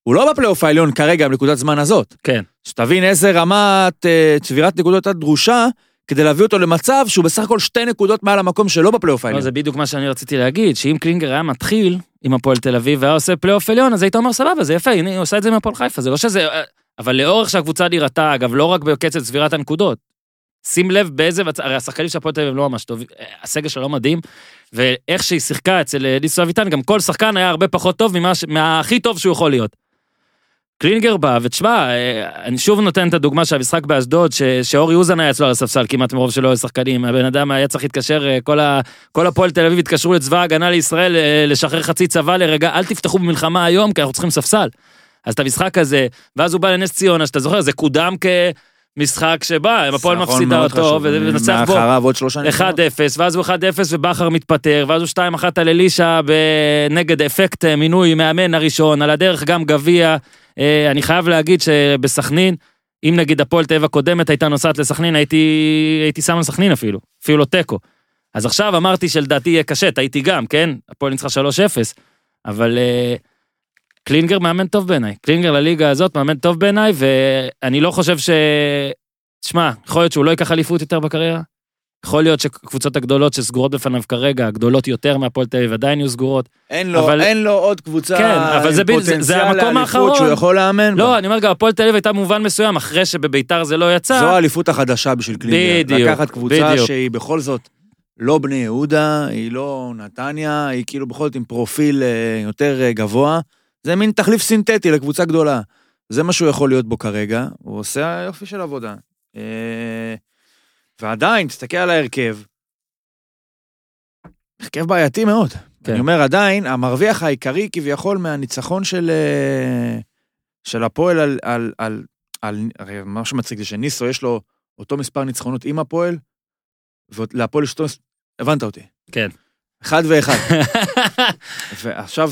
Speaker 4: הוא לא בפלייאוף העליון כרגע, בנקודת זמן הזאת.
Speaker 1: כן.
Speaker 4: שתבין איזה רמת אה, צבירת נקודות הייתה דרושה, כדי להביא אותו למצב שהוא בסך הכל שתי נקודות מעל המקום שלא בפלייאוף
Speaker 1: לא,
Speaker 4: העליון.
Speaker 1: זה בדיוק מה שאני רציתי להגיד, שאם קלינגר היה מתחיל עם הפועל תל אביב והיה עושה פלייאוף עליון, אז היית אומר סבבה, זה יפה, הנה, היא עושה את זה עם הפועל חיפה, זה לא שזה... אבל לאורך שהקבוצה נראתה, אגב, לא רק בקצב צבירת הנקודות, שים לב באיזה... מצ- הרי השחקנים של הפועל תל אביב לא ממש טוב, הסגל שלה לא מדהים, ואיך שהיא שיחקה אצל אה, ניסו אביטן, גם כל שחקן היה הרבה פחות טוב ממה, ש- מהכי טוב שהוא יכול להיות. קלינגר בא, ותשמע, אה, אני שוב נותן את הדוגמה של המשחק באשדוד, ש- שאורי אוזן היה אצלו על הספסל כמעט מרוב שלא היו שחקנים, הבן אדם היה צריך להתקשר, אה, כל, ה, כל הפועל תל אביב התקשרו לצבא ההגנה לישראל אה, לשחרר חצי צבא לרגע, אל תפתחו במלחמה היום, כי אנחנו צריכים ספסל. אז את המשחק הזה, ואז הוא בא לנס ציונה, שאתה זוכר, זה קודם כמשחק שבא, אם הפועל
Speaker 4: ניצחון
Speaker 1: מפסידה
Speaker 4: נכון, מאוד
Speaker 1: אותו,
Speaker 4: חשוב.
Speaker 1: ונצח בו.
Speaker 4: מאחריו עוד שלושה
Speaker 1: 1-0, ואז הוא 1-0 ובכר מתפטר, ואז הוא 2-1 על אלישע ב- נגד אפקט אה, מינוי מאמן הראשון, על הדרך גם גביע. אה, אני חייב להגיד שבסכנין, אם נגיד הפועל תל אביב הקודמת הייתה נוסעת לסכנין, הייתי, הייתי שם על סכנין אפילו, אפילו לא תיקו. אז עכשיו אמרתי שלדעתי יהיה קשה, טעיתי גם, כן? הפועל ניצחה 3-0, אבל אה, קלינגר מאמן טוב בעיניי. קלינגר לליגה הזאת מאמן טוב בעיניי, ואני לא חושב ש... תשמע, יכול להיות שהוא לא ייקח אליפות יותר בקריירה, יכול להיות שקבוצות הגדולות שסגורות בפניו כרגע, הגדולות יותר מהפועל תל אביב, עדיין יהיו סגורות.
Speaker 4: אין לו,
Speaker 1: אבל-
Speaker 4: אין לו עוד קבוצה
Speaker 1: כן, אבל זה
Speaker 4: עם
Speaker 1: ב- זה- זה
Speaker 4: פוטנציאל
Speaker 1: המקום
Speaker 4: לאליפות
Speaker 1: האחרון.
Speaker 4: שהוא יכול לאמן בה.
Speaker 1: לא, אני אומר גם, הפועל תל אביב הייתה במובן מסוים, אחרי שבביתר זה לא יצא.
Speaker 4: זו האליפות החדשה בשביל קלינגר.
Speaker 1: בדיוק,
Speaker 4: לקחת קבוצה
Speaker 1: בדיוק.
Speaker 4: שהיא בכל זאת לא בני יהודה, היא לא נתניה, היא כאילו בכל זאת עם פרופיל אה, יותר אה, גבוה. זה מין תחליף סינתטי לקבוצה גדולה. זה מה שהוא יכול להיות בו כרגע, הוא עושה יופי של עבודה. אה, ועדיין, תסתכל על ההרכב. הרכב בעייתי מאוד.
Speaker 1: כן.
Speaker 4: אני אומר, עדיין, המרוויח העיקרי כביכול מהניצחון של, אה, של הפועל על, על, על, על... הרי מה שמצחיק זה שניסו יש לו אותו מספר ניצחונות עם הפועל, ולהפועל יש אותו... הבנת אותי.
Speaker 1: כן.
Speaker 4: אחד ואחד. ועכשיו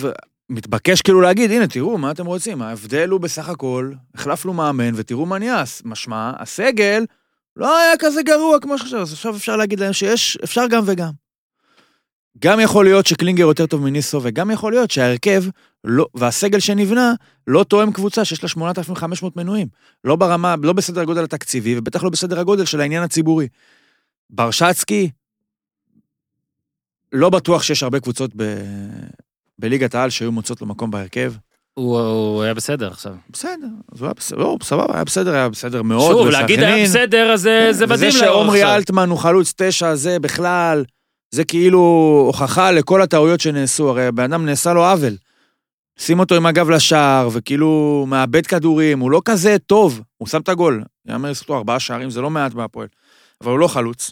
Speaker 4: מתבקש כאילו להגיד, הנה, תראו, מה אתם רוצים? ההבדל הוא בסך הכל, החלפנו מאמן ותראו מה נהיה. אז משמע, הסגל לא היה כזה גרוע כמו שחשב, אז עכשיו אפשר להגיד להם שיש, אפשר גם וגם. גם יכול להיות שקלינגר יותר טוב מניסו, וגם יכול להיות שההרכב לא, והסגל שנבנה לא תואם קבוצה שיש לה 8,500 מנויים. לא ברמה, לא בסדר הגודל התקציבי, ובטח לא בסדר הגודל של העניין הציבורי. ברשצקי, לא בטוח שיש הרבה קבוצות ב... בליגת העל שהיו מוצאות לו מקום בהרכב.
Speaker 1: *laughs* הוא- הוא היה בסדר עכשיו.
Speaker 4: בסדר, אז הוא היה בסדר, לא, סבבה, היה בסדר, היה בסדר מאוד.
Speaker 1: שוב, להגיד היה
Speaker 4: בסכנין.
Speaker 1: בסדר, אז זה- אה, זה מדהים.
Speaker 4: זה
Speaker 1: לאור
Speaker 4: שעומרי
Speaker 1: עכשיו.
Speaker 4: אלטמן הוא חלוץ תשע, זה בכלל, זה כאילו הוכחה לכל הטעויות שנעשו, הרי הבן אדם נעשה לו עוול. שים אותו עם הגב לשער, וכאילו מאבד כדורים, הוא לא כזה טוב, הוא שם את הגול. יאמר לזכותו ארבעה שערים, זה לא מעט בהפועל. אבל הוא לא חלוץ.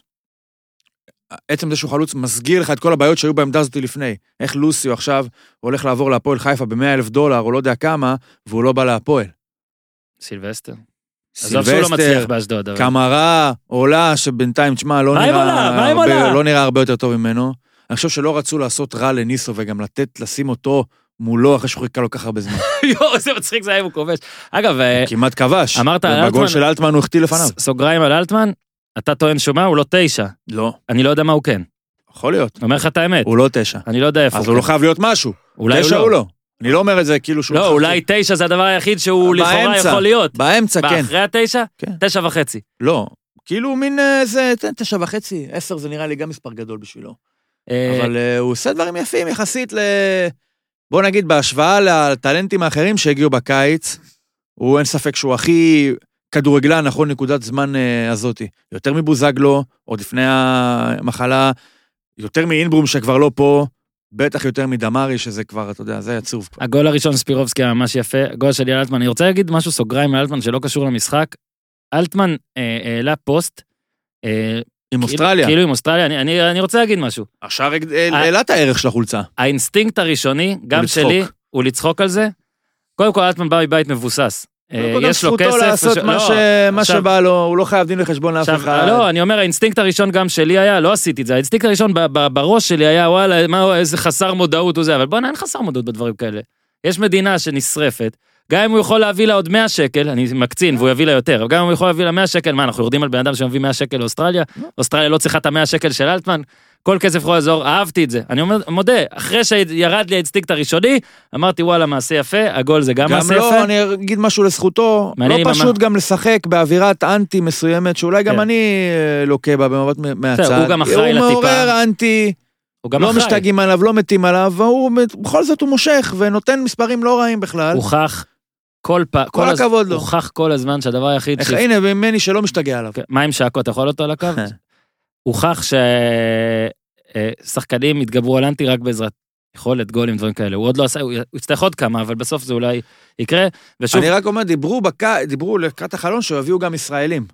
Speaker 4: עצם זה שהוא חלוץ מסגיר לך את כל הבעיות שהיו בעמדה הזאת לפני. איך לוסיו עכשיו הולך לעבור להפועל חיפה ב-100 אלף דולר, או לא יודע כמה, והוא לא בא להפועל.
Speaker 1: סילבסטר. עזוב שהוא לא מצליח באשדוד, אבל...
Speaker 4: קמרה עולה, שבינתיים, תשמע, לא,
Speaker 1: מה עם
Speaker 4: נראה
Speaker 1: עולה? מה עם
Speaker 4: הרבה-
Speaker 1: עולה?
Speaker 4: לא נראה הרבה יותר טוב ממנו. אני חושב שלא רצו לעשות רע לניסו וגם לתת, לשים אותו מולו אחרי שהוא חיכה לו כל כך הרבה זמן.
Speaker 1: *laughs* יואו, איזה מצחיק זה היה אם הוא כובש. אגב, אה,
Speaker 4: כמעט כבש.
Speaker 1: אמרת על אלטמן-
Speaker 4: בגול של אלטמן הוא החטיא לפניו.
Speaker 1: ס- סוגריים על אלטמן, אתה טוען שהוא מה? הוא לא תשע.
Speaker 4: לא,
Speaker 1: אני לא יודע מה הוא כן.
Speaker 4: יכול להיות.
Speaker 1: אומר לך את האמת.
Speaker 4: הוא לא תשע.
Speaker 1: אני לא יודע איפה.
Speaker 4: אז הוא לא חייב להיות משהו.
Speaker 1: אולי הוא
Speaker 4: תשע
Speaker 1: לא.
Speaker 4: הוא לא. אני לא אומר את זה כאילו שהוא...
Speaker 1: לא,
Speaker 4: חייב
Speaker 1: אולי
Speaker 4: להיות.
Speaker 1: תשע זה הדבר היחיד שהוא לכאורה
Speaker 4: באמצע.
Speaker 1: יכול להיות.
Speaker 4: באמצע, כן.
Speaker 1: אחרי התשע?
Speaker 4: כן.
Speaker 1: תשע וחצי.
Speaker 4: לא. כאילו מין איזה תשע וחצי, עשר זה נראה לי גם מספר גדול בשבילו.
Speaker 1: אה,
Speaker 4: אבל אה, הוא עושה דברים יפים יחסית ל... בוא נגיד, בהשוואה לטלנטים האחרים שהגיעו בקיץ, הוא אין ספק שהוא הכי כדורגלן נכון נקודת זמן אה, הזאתי. יותר מבוזגלו, עוד לפני המחלה, יותר מאינברום שכבר לא פה, בטח יותר מדמרי, שזה כבר, אתה יודע, זה עצוב כבר.
Speaker 1: הגול הראשון ספירובסקי היה ממש יפה, הגול של יאל אלטמן. אני רוצה להגיד משהו סוגריים על אלטמן שלא קשור למשחק. אלטמן אה, העלה פוסט. אה,
Speaker 4: עם
Speaker 1: כאילו-
Speaker 4: אוסטרליה,
Speaker 1: כאילו עם אוסטרליה. אני- אני אני רוצה להגיד משהו.
Speaker 4: השאר העלה את הערך של החולצה.
Speaker 1: האינסטינקט הראשוני, גם
Speaker 4: לצחוק.
Speaker 1: שלי, הוא לצחוק על זה. קודם כל, אלטמן בא מבית מבוסס. אה,
Speaker 4: קודם
Speaker 1: יש לו
Speaker 4: זכותו
Speaker 1: כסף.
Speaker 4: לעשות
Speaker 1: וש-
Speaker 4: מה
Speaker 1: לא,
Speaker 4: ש- מה
Speaker 1: עכשיו-
Speaker 4: שבא לו, הוא לא חייב דין וחשבון לאף
Speaker 1: עכשיו,
Speaker 4: אחד.
Speaker 1: לא, אני אומר, האינסטינקט הראשון גם שלי היה, לא עשיתי את זה, האינסטינקט הראשון ב- ב- בראש שלי היה, וואלה, מה, איזה חסר מודעות הוא זה, אבל בוא'נה, אין חסר מודעות בדברים כאלה. יש מדינה שנשרפת, גם אם הוא יכול להביא לה עוד 100 שקל, אני מקצין והוא יביא לה יותר, אבל גם אם הוא יכול להביא לה 100 שקל, מה, אנחנו יורדים על בן אדם שמביא 100 שקל לאוסטרליה? אוסטרליה לא צריכה את ה-100 שקל של אלטמן? כל כסף יכול לעזור, אהבתי את זה. אני אומר- מודה, אחרי שירד לי האינסטינקט הראשוני, אמרתי, וואלה, מעשה יפה, הגול זה גם
Speaker 4: גם
Speaker 1: מעשה יפה.
Speaker 4: לא, אני אגיד משהו לזכותו,
Speaker 1: מעניין אם
Speaker 4: לא
Speaker 1: אמר-
Speaker 4: פשוט גם לשחק באווירת אנטי מסוימת, שאולי
Speaker 1: כן.
Speaker 4: גם אני אה, לוקה בה במבט מ- מהצד.
Speaker 1: הוא גם אחראי לטיפה.
Speaker 4: הוא מעורר אנטי,
Speaker 1: הוא גם
Speaker 4: לא
Speaker 1: אחראי.
Speaker 4: משתגעים עליו, לא מתים עליו, והוא בכל זאת הוא מושך ונותן מספרים לא רעים בכלל.
Speaker 1: הוכח כל פעם,
Speaker 4: כל
Speaker 1: הז-
Speaker 4: הכבוד לו.
Speaker 1: הוכח כל הזמן שהדבר היחיד,
Speaker 4: איך-
Speaker 1: שהפ-
Speaker 4: הנה, ממני שלא
Speaker 1: *laughs*
Speaker 4: משתגע עליו.
Speaker 1: כן, מה עם שעקו, אתה יכול אותו על
Speaker 4: *laughs*
Speaker 1: הקו? הוכח ששחקנים התגברו על אנטי רק בעזרת יכולת גולים, דברים כאלה. הוא עוד לא עשה, הוא הוא יצטרך עוד כמה, אבל בסוף זה אולי יקרה. ושוב,
Speaker 4: אני רק אומר, דיברו בק- דיברו לקראת החלון שיביאו גם ישראלים.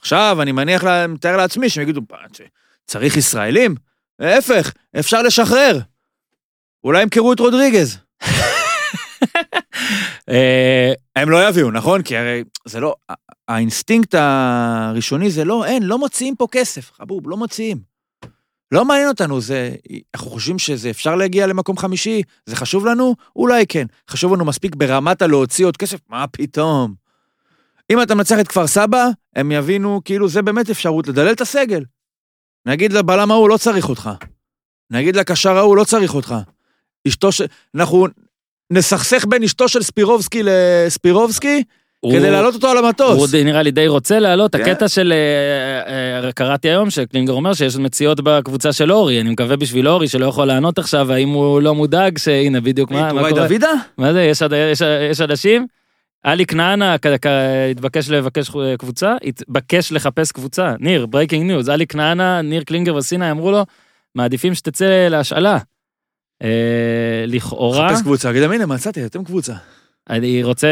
Speaker 4: עכשיו, אני מניח, לה- מתאר לעצמי שהם יגידו, "פ- צריך ישראלים? להפך, אפשר לשחרר. אולי ימכרו את רודריגז.
Speaker 1: אה,
Speaker 4: הם לא יביאו, נכון? כי הרי זה לא... הא- האינסטינקט הראשוני זה לא, אין, לא מוציאים פה כסף, חבוב, לא מוציאים. לא מעניין אותנו, זה... אנחנו חושבים שזה אפשר להגיע למקום חמישי? זה חשוב לנו? אולי כן. חשוב לנו מספיק ברמת הלהוציא עוד כסף? מה פתאום? אם אתה מנצח את כפר סבא, הם יבינו כאילו זה באמת אפשרות לדלל את הסגל. נגיד לבלם ההוא, לא צריך אותך. נגיד לקשר ההוא, לא צריך אותך. אשתו ש... אנחנו נסכסך בין אשתו של ספירובסקי לספירובסקי,
Speaker 1: הוא-
Speaker 4: כדי להעלות אותו על
Speaker 1: הוא
Speaker 4: המטוס.
Speaker 1: עוד נראה לי די רוצה לעלות,
Speaker 4: כן.
Speaker 1: הקטע של, אה, אה, קראתי היום שקלינגר אומר שיש עוד מציאות בקבוצה של אורי, אני מקווה בשביל אורי שלא יכול לענות עכשיו, האם הוא לא מודאג, שהנה בדיוק מה מה
Speaker 4: טוראי
Speaker 1: קורה.
Speaker 4: דוידה?
Speaker 1: מה זה, יש, עד- יש, יש אנשים? עלי כנענה כ- כ- התבקש לבקש חו- קבוצה, התבקש לחפש קבוצה. ניר, ברייקינג ניוז, עלי כנענה, ניר קלינגר וסינה אמרו לו, מעדיפים שתצא להשאלה. אה, לכאורה,
Speaker 4: חפש קבוצה, אגיד להם, הנה מצאתי, אתם קבוצה.
Speaker 1: אני רוצה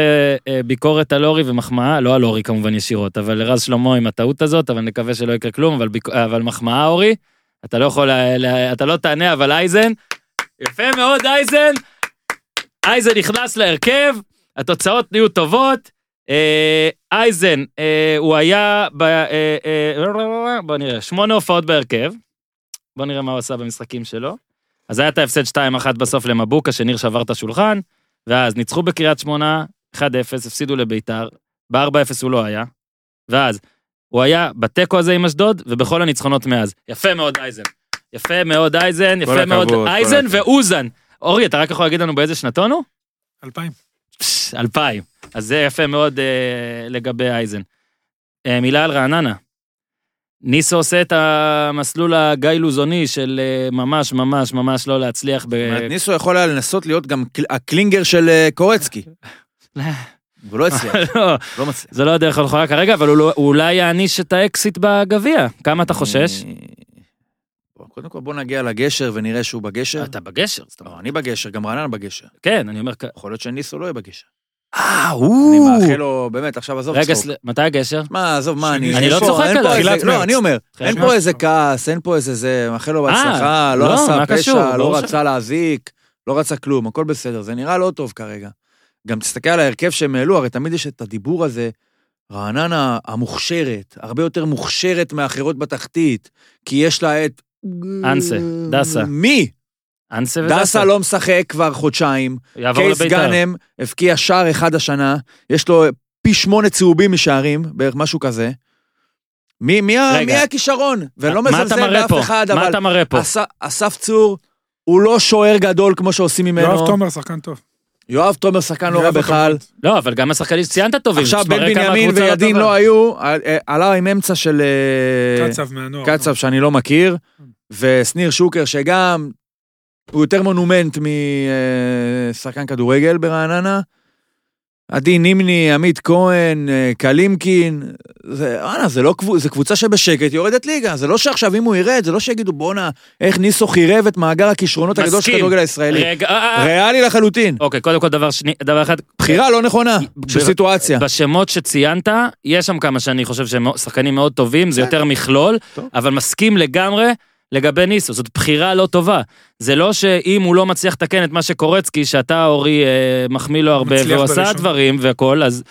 Speaker 1: אה, ביקורת על אורי ומחמאה, לא על אורי כמובן ישירות, אבל לרז שלמה עם הטעות הזאת, אבל נקווה שלא יקרה כלום, אבל, ביק... אבל מחמאה אורי, אתה לא יכול, לה- לה- אתה לא תענה, אבל אייזן, יפה מאוד אייזן, אייזן נכנס להרכב, התוצאות נהיו טובות, אה, אייזן, אה, הוא היה, ב... אה, אה, בוא נראה, שמונה הופעות בהרכב, בוא נראה מה הוא עשה במשחקים שלו. אז היה את ההפסד 2-1 בסוף למבוקה, שניר שבר את השולחן. ואז ניצחו בקריית שמונה 1-0, הפסידו לביתר, ב-4-0 הוא לא היה, ואז הוא היה בתיקו הזה עם אשדוד, ובכל הניצחונות מאז. יפה מאוד אייזן. יפה מאוד אייזן, יפה מאוד
Speaker 4: הכבוד, כל
Speaker 1: אייזן
Speaker 4: הכבוד.
Speaker 1: ואוזן. אורי, אתה רק יכול להגיד לנו באיזה שנתון הוא?
Speaker 3: אלפיים.
Speaker 1: פש, 2000. אז זה יפה מאוד אה, לגבי אייזן. אה, מילה על רעננה. ניסו עושה את המסלול הגיא לוזוני של אה, ממש ממש ממש לא להצליח ב...
Speaker 4: זאת אומרת, ניסו יכול היה לנסות להיות גם קל- הקלינגר של אה, קורצקי.
Speaker 1: אה.
Speaker 4: הוא
Speaker 1: *laughs*
Speaker 4: לא הצליח,
Speaker 1: *laughs* לא,
Speaker 4: לא מצליח.
Speaker 1: זה לא הדרך הנכונה כרגע, אבל הוא לא- הוא אולי יעניש את האקסיט בגביע. כמה אתה חושש?
Speaker 4: אה, בוא, קודם כל בוא נגיע לגשר ונראה שהוא בגשר.
Speaker 1: אתה בגשר, זאת אומרת.
Speaker 4: לא, אני בגשר, גם רעננה בגשר.
Speaker 1: כן, אני אומר... כ-
Speaker 4: יכול להיות שניסו לא יהיה בגשר.
Speaker 1: אה,
Speaker 4: אני
Speaker 1: הוא!
Speaker 4: מאחל לו, באמת, עכשיו עזוב
Speaker 1: רגע,
Speaker 4: צחוק.
Speaker 1: סל- מתי הגשר?
Speaker 4: מה, עזוב, מה, אני...
Speaker 3: אני
Speaker 4: אין
Speaker 1: לא
Speaker 4: פה-
Speaker 1: צוחק
Speaker 4: אין פה
Speaker 1: עליו.
Speaker 4: איזה-
Speaker 3: תחילת
Speaker 4: לא,
Speaker 3: מרץ.
Speaker 4: אני אומר,
Speaker 1: תחילת
Speaker 4: אין
Speaker 1: מרץ.
Speaker 4: פה איזה כעס, אין פה איזה זה, מאחל לו
Speaker 1: אה,
Speaker 4: בהצלחה, לא
Speaker 1: לא,
Speaker 4: עשה
Speaker 1: מה קשור?
Speaker 4: פשע,
Speaker 1: ברור
Speaker 4: לא
Speaker 1: ש-
Speaker 4: רצה להזיק, לא רצה כלום, הכל בסדר, זה נראה לא טוב כרגע. גם תסתכל על ההרכב שהם העלו, הרי תמיד יש את הדיבור הזה, רעננה המוכשרת, הרבה יותר מוכשרת מאחרות בתחתית, כי יש לה את...
Speaker 1: אנסה, דסה.
Speaker 4: מי?
Speaker 1: אנסה ודסה.
Speaker 4: דסה לא משחק כבר חודשיים,
Speaker 1: יעבור
Speaker 4: קייס
Speaker 1: לביתר.
Speaker 4: גאנם הבקיע שער אחד השנה, יש לו פי שמונה צהובים משערים, בערך משהו כזה. מי, מי, ה-
Speaker 1: רגע.
Speaker 4: מי הכישרון? ואני לא
Speaker 1: מה אתה
Speaker 4: מזלזל
Speaker 1: מראה
Speaker 4: באף
Speaker 1: פה?
Speaker 4: אחד,
Speaker 1: מה
Speaker 4: אבל
Speaker 1: אתה מראה פה?
Speaker 4: אס, אסף צור הוא לא שוער גדול כמו שעושים ממנו.
Speaker 3: יואב תומר, שחקן טוב.
Speaker 4: יואב תומר שחקן לא רע
Speaker 3: יואב אותו
Speaker 4: בכלל.
Speaker 1: לא, אבל גם השחקנים שציינת טובים.
Speaker 4: עכשיו
Speaker 1: זה
Speaker 4: בן
Speaker 1: מראה כמה
Speaker 4: בנימין
Speaker 1: הקבוצה
Speaker 4: וידין
Speaker 1: טובה.
Speaker 4: לא היו, ע- אה, עלה עם אמצע של אה,
Speaker 3: קצב מהנוער.
Speaker 4: קצב שאני לא מכיר, ושניר שוקר שגם הוא יותר מונומנט משחקן כדורגל ברעננה. עדי נימני, עמית כהן, אה, קלימקין, זה, וואלה, זה לא קבוצה, זה קבוצה שבשקט יורדת ליגה, זה לא שעכשיו אם הוא ירד, זה לא שיגידו בואנה, איך ניסו חירב את מאגר הכישרונות הגדול של
Speaker 1: מסכים.
Speaker 4: הכדורגל הישראלי.
Speaker 1: רגע, אה, אה, אה.
Speaker 4: ריאלי לחלוטין,
Speaker 1: אוקיי, קודם כל דבר שני, דבר אחד,
Speaker 4: בחירה לא נכונה של
Speaker 1: ב-
Speaker 3: כן.
Speaker 4: סיטואציה.
Speaker 1: בשמות שציינת, יש שם כמה שאני חושב שהם שחקנים מאוד טובים,
Speaker 3: כן.
Speaker 1: זה יותר מכלול,
Speaker 4: טוב.
Speaker 1: אבל מסכים לגמרי לגבי ניסו, זאת בחירה לא טובה. זה לא שאם הוא לא מצליח לתקן את מה שקורצקי, שאתה, אורי, אה, מחמיא לו הרבה,
Speaker 3: מצליח
Speaker 1: והוא עשה
Speaker 3: בראשון.
Speaker 1: דברים והכל, אז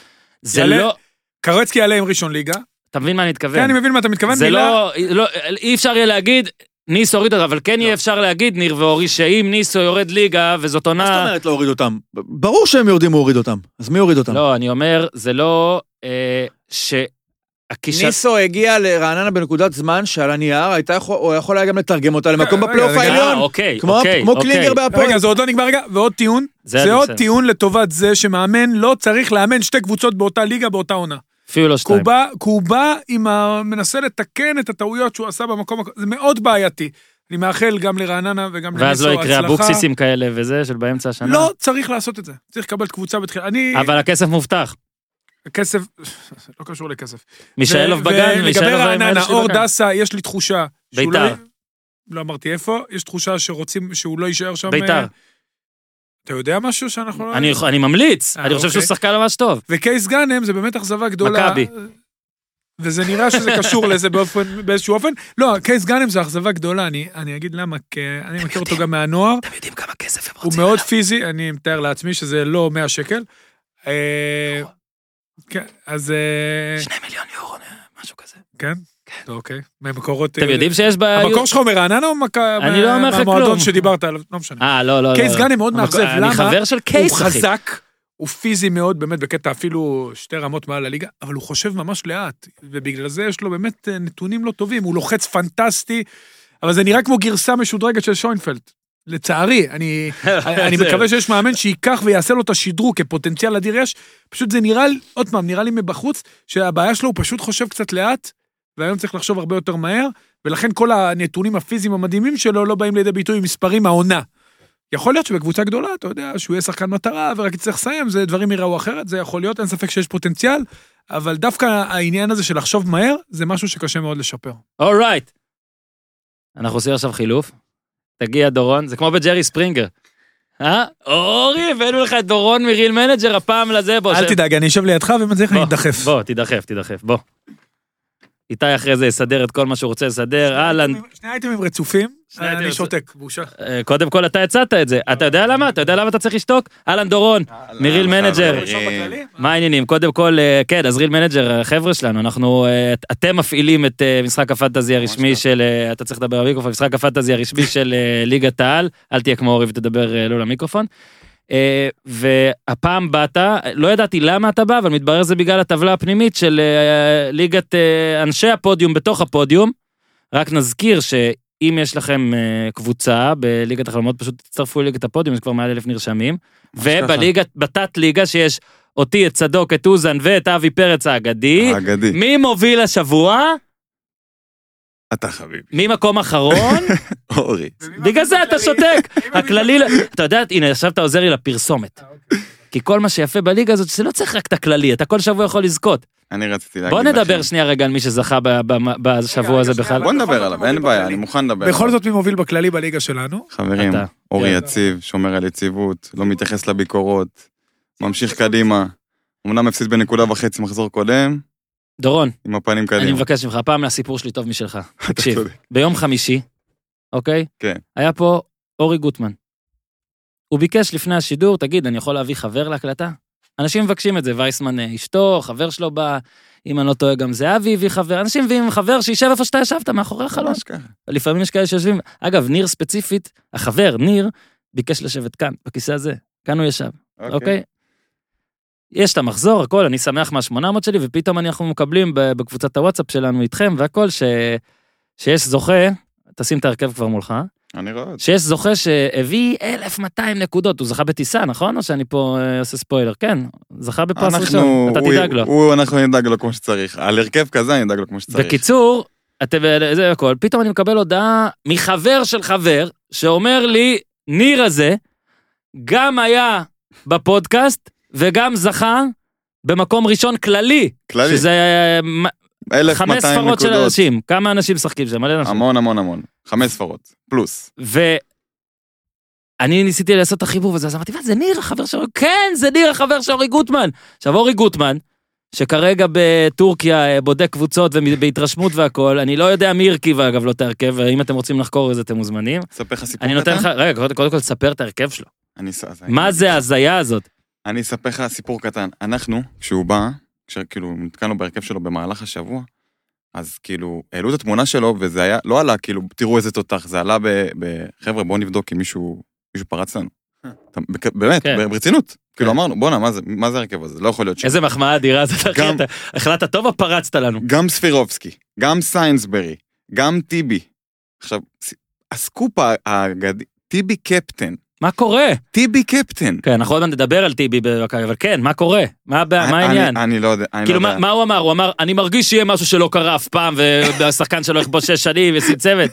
Speaker 1: זה
Speaker 3: יעלה.
Speaker 1: לא...
Speaker 3: קרצקי יעלה עם ראשון ליגה.
Speaker 1: אתה מבין מה אני מתכוון?
Speaker 3: כן, אני מבין מה אתה מתכוון.
Speaker 1: זה
Speaker 3: מילה-
Speaker 1: לא, לא, אי אפשר יהיה להגיד, ניס הוריד אותו, אבל
Speaker 3: לא.
Speaker 1: כן יהיה אפשר להגיד, ניר ואורי, שאם ניסו יורד ליגה, וזאת
Speaker 4: מה זאת
Speaker 1: עונה...
Speaker 4: אומרת להוריד אותם? ברור שהם יורדים הוא הוריד אותם, אז מי הוריד אותם?
Speaker 1: לא, אני אומר, זה לא אה, שהכישלון...
Speaker 4: ניסו הגיע לרעננה בנקודת זמן שעל הנייר, הייתה יכול- הוא יכול היה גם לתרגם אותה למקום
Speaker 3: רגע,
Speaker 4: בפלייאוף
Speaker 3: רגע,
Speaker 1: אה,
Speaker 4: העליון.
Speaker 1: אוקיי,
Speaker 4: כמו-
Speaker 1: אוקיי,
Speaker 4: כמו
Speaker 1: אוקיי.
Speaker 4: קלינגר בהפועל.
Speaker 3: רגע, זה עוד לא נגמר רגע, ועוד טיעון.
Speaker 1: זה אני
Speaker 3: זה עוד
Speaker 1: בסדר.
Speaker 3: טיעון לטובת זה שמאמן לא צריך לאמן שתי קבוצות באותה ליגה באותה עונה.
Speaker 1: אפילו לא שתיים.
Speaker 3: קובה, קובה עם ה... מנסה לתקן את הטעויות שהוא עשה במקום, הק- זה מאוד בעייתי. אני מאחל גם לרעננה וגם
Speaker 1: ואז
Speaker 3: לניסו
Speaker 1: לא יקרה
Speaker 3: הצלחה.
Speaker 1: אבוקסיסים כאלה וזה, של באמצע השנה.
Speaker 3: לא צריך לעשות את זה, צריך לקבל קבוצה בתחילה. אני,
Speaker 1: אבל הכסף מובטח.
Speaker 3: כסף, *laughs* לא קשור לכסף.
Speaker 1: מישאלוב
Speaker 3: ו-
Speaker 1: בגן,
Speaker 3: ולגבי
Speaker 1: מישאלוב עם
Speaker 3: רעננה,
Speaker 1: הילד שלי
Speaker 3: אור
Speaker 1: בגן.
Speaker 3: דסה, יש לי תחושה... שהוא
Speaker 1: בית"ר.
Speaker 3: לא- לא אמרתי איפה, יש תחושה שרוצים, שהוא לא יישאר שם.
Speaker 1: בית"ר.
Speaker 3: אה, אתה יודע משהו שאנחנו לא...
Speaker 1: אני- אני ממליץ,
Speaker 3: אה,
Speaker 1: אני חושב שהוא
Speaker 3: אוקיי.
Speaker 1: שחקן ממש טוב.
Speaker 3: וקייס גאנם זה באמת אכזבה גדולה.
Speaker 1: מכבי.
Speaker 3: וזה נראה שזה קשור לזה באופן, באיזשהו אופן. לא, קייס גאנם זה אכזבה גדולה, אני, אני אגיד למה, כי אני מכיר אותו גם מהנוער,
Speaker 1: אתם יודעים כמה כסף הם
Speaker 3: הוא
Speaker 1: רוצים.
Speaker 3: מאוד פיזי, אני מתאר לעצמי שזה לא 100 שקל. אה, כן, אז... אה,
Speaker 1: שני מיליון יורו, משהו כזה.
Speaker 3: כן? כן. אוקיי. ממקורות...
Speaker 1: אתם יודעים שיש ב...
Speaker 3: המקור שלך מהרעננה או מכה-
Speaker 1: אני לא אומר לך כלום.
Speaker 3: מהמועדון שדיברת עליו? לא משנה.
Speaker 1: אה, לא, לא, לא.
Speaker 3: קייס
Speaker 1: לא.
Speaker 3: גאנם מאוד
Speaker 1: המקור-
Speaker 3: מאכזב, למה?
Speaker 1: אני חבר של קייס,
Speaker 3: הוא
Speaker 1: אחי.
Speaker 3: חזק, הוא פיזי מאוד, באמת, בקטע אפילו שתי רמות מעל הליגה, אבל הוא חושב ממש לאט, ובגלל זה יש לו באמת אה, נתונים לא טובים, הוא לוחץ פנטסטי, אבל זה נראה כמו גרסה משודרגת של שוינפלד. לצערי, אני, אני
Speaker 1: זה-
Speaker 3: מקווה שיש מאמן שייקח ויעשה לו את השדרוג, כפוטנציאל אדיר יש, פשוט זה נראה, לי- עוד פעם, נראה לי מבחוץ, שהבעיה שלו הוא פשוט חושב קצת לאט, והיום צריך לחשוב הרבה יותר מהר, ולכן כל הנתונים הפיזיים המדהימים שלו לא באים לידי ביטוי במספרים העונה. יכול להיות שבקבוצה גדולה, אתה יודע, שהוא יהיה שחקן מטרה ורק יצטרך לסיים, זה דברים ייראו אחרת, זה יכול להיות, אין ספק שיש פוטנציאל, אבל דווקא העניין הזה של לחשוב מהר, זה משהו שקשה מאוד לשפר.
Speaker 1: אורייט. אנחנו עושים עכשיו חילוף. תגיע דורון, זה כמו בג'רי ספרינגר. אה? אורי, הבאנו לך את דורון מריל מנג'ר, הפעם לזה, בוא.
Speaker 3: אל
Speaker 1: ש-
Speaker 3: תדאג, אני אשב לידך ואם צריך אני
Speaker 1: לא, בוא,
Speaker 3: אדחף.
Speaker 1: בוא, תידחף, תידחף, בוא. איתי אחרי זה יסדר את כל מה שהוא רוצה לסדר, אהלן.
Speaker 3: שני אייטמים רצופים,
Speaker 1: שני אייטמים
Speaker 3: אני
Speaker 1: רצופים.
Speaker 3: שותק, בושה.
Speaker 1: אה, קודם כל אתה הצעת את זה. אתה יודע למה? אתה יודע למה אתה צריך לשתוק? אהלן דורון, מריל
Speaker 3: לא
Speaker 1: מנג'ר. אה, מה העניינים? קודם כל, אה, כן, אז ריל מנג'ר, החבר'ה שלנו, אנחנו, אה, את- אתם מפעילים את אה, משחק הפנטזי הרשמי של, אה, אתה צריך לדבר במיקרופון, משחק הפנטזי הרשמי של אה, ליגת העל, אל תהיה כמו אורי ותדבר אה, לא למיקרופון. אה, והפעם באת, לא ידעתי למה אתה בא, אבל מתברר זה בגלל הטבלה הפנימית של אה, ליגת אה, אנשי הפודיום בתוך הפודיום. רק נזכיר שאם יש לכם אה, קבוצה בליגת החלומות, פשוט תצטרפו לליגת הפודיום, יש כבר מעל אלף נרשמים. ובליגה, בתת ליגה שיש אותי, את צדוק, את אוזן ואת אבי פרץ האגדי,
Speaker 6: האגדי.
Speaker 1: מי מוביל השבוע?
Speaker 7: אתה חביבי,
Speaker 1: ממקום אחרון,
Speaker 7: אורי.
Speaker 1: בגלל זה אתה שותק. הכללי, לא- אתה יודע, הנה, עכשיו אתה עוזר לי לפרסומת. כי כל מה שיפה בליגה הזאת, שזה לא צריך רק את הכללי, אתה כל שבוע יכול לזכות.
Speaker 7: אני רציתי להגיד
Speaker 1: בוא
Speaker 7: לכם.
Speaker 1: נדבר שנייה רגע על מי שזכה ב- ב- בשבוע
Speaker 3: רגע,
Speaker 1: הזה
Speaker 3: שנייה,
Speaker 1: בכלל.
Speaker 7: בוא נדבר
Speaker 3: בכל
Speaker 7: עליו,
Speaker 3: זאת
Speaker 7: אין
Speaker 3: מי
Speaker 7: בעיה,
Speaker 3: בכללי?
Speaker 7: אני מוכן לדבר עליו.
Speaker 3: בכל זאת מי מוביל בכללי בליגה שלנו?
Speaker 7: חברים,
Speaker 1: אתה.
Speaker 7: אורי
Speaker 1: כן.
Speaker 7: יציב, שומר על יציבות, לא מתייחס לביקורות, ממשיך קדימה. אמנם הפסיד בנקודה וחצי מחזור קודם,
Speaker 1: דורון,
Speaker 7: עם הפנים
Speaker 1: אני
Speaker 7: קדימה.
Speaker 1: מבקש ממך, הפעם הסיפור שלי טוב משלך. תקשיב,
Speaker 7: צודק.
Speaker 1: ביום חמישי, אוקיי?
Speaker 7: כן.
Speaker 1: היה פה אורי גוטמן. הוא ביקש לפני השידור, תגיד, אני יכול להביא חבר להקלטה? אנשים מבקשים את זה, וייסמן אה, אשתו, חבר שלו בא, אם אני לא טועה גם זהבי הביא חבר, אנשים מביאים חבר שישב איפה שאתה ישבת, מאחורי החלון.
Speaker 7: ממש ככה.
Speaker 1: לפעמים יש כאלה שיושבים, אגב, ניר ספציפית, החבר, ניר, ביקש לשבת כאן, בכיסא הזה, כאן הוא ישב. אוקיי? יש את המחזור, הכל, אני שמח מה-800 שלי, ופתאום אנחנו מקבלים ב- בקבוצת הוואטסאפ שלנו איתכם והכל, ש... שיש זוכה, תשים את ההרכב כבר מולך,
Speaker 7: אני רואה את זה.
Speaker 1: שיש זוכה שהביא 1,200 נקודות, הוא זכה בטיסה, נכון? או שאני פה אה, עושה ספוילר? כן, זכה בפרס ראשון,
Speaker 7: אנחנו,
Speaker 1: אתה
Speaker 7: הוא-
Speaker 1: תדאג לו.
Speaker 7: הוא, אנחנו נדאג לו כמו שצריך. על הרכב כזה אני נדאג לו כמו שצריך.
Speaker 1: בקיצור, אתם, זה הכל. פתאום אני מקבל הודעה מחבר של חבר, שאומר לי, ניר הזה, גם היה בפודקאסט, וגם זכה במקום ראשון כללי,
Speaker 7: כללי,
Speaker 1: שזה אה, מ-
Speaker 7: 1,200
Speaker 1: חמש ספרות של
Speaker 7: נקודות.
Speaker 1: אנשים. כמה אנשים משחקים שם? מלא אנשים.
Speaker 7: המון המון המון. חמש ספרות, פלוס.
Speaker 1: ואני ניסיתי לעשות את החיבור הזה, אז אמרתי, מה, זה ניר החבר של אורי, כן, זה ניר החבר של אורי גוטמן. עכשיו, אורי גוטמן, שכרגע בטורקיה אה, בודק קבוצות ובהתרשמות והכול, אני לא יודע מי הרכיב אגב לא את ההרכב, ואם אתם רוצים לחקור את זה אתם מוזמנים.
Speaker 7: אספר לך סיפור
Speaker 1: אני
Speaker 7: קטן?
Speaker 1: נותן לך, רגע, קודם- קודם כל תספר את ההרכב שלו.
Speaker 7: אני ס- אז
Speaker 1: מה
Speaker 7: אני-
Speaker 1: זה ההזיה הזאת?
Speaker 7: אני אספר לך סיפור קטן. אנחנו, כשהוא בא, כשכאילו נתקענו בהרכב שלו במהלך השבוע, אז כאילו, העלו את התמונה שלו, וזה היה, לא עלה, כאילו, תראו איזה תותח, זה עלה ב... ב חבר'ה, בואו נבדוק אם מישהו, מישהו פרץ לנו. אתה- בכ- באמת,
Speaker 1: כן.
Speaker 7: ב- ברצינות. כאילו אמרנו, בואנה, מה זה- מה זה הרכב הזה? לא יכול להיות ש...
Speaker 1: איזה מחמאה אדירה זאת, אחי,
Speaker 7: גם-
Speaker 1: אתה החלטת טוב או פרצת לנו?
Speaker 7: גם ספירובסקי, גם סיינסברי, גם טיבי. עכשיו, ס- הסקופ האגדי, טיבי קפטן.
Speaker 1: מה קורה?
Speaker 7: טיבי קפטן.
Speaker 1: כן, אנחנו עוד מעט נדבר על טיבי, בבקשה, אבל כן, מה קורה? מה הבעיה? מה
Speaker 7: אני-
Speaker 1: העניין?
Speaker 7: אני לא יודע, אני לא
Speaker 1: כאילו מה,
Speaker 7: יודע.
Speaker 1: מה הוא אמר? הוא אמר, אני מרגיש שיהיה משהו שלא קרה אף פעם, והשחקן שלו יכבוש שש שנים, ישים צוות.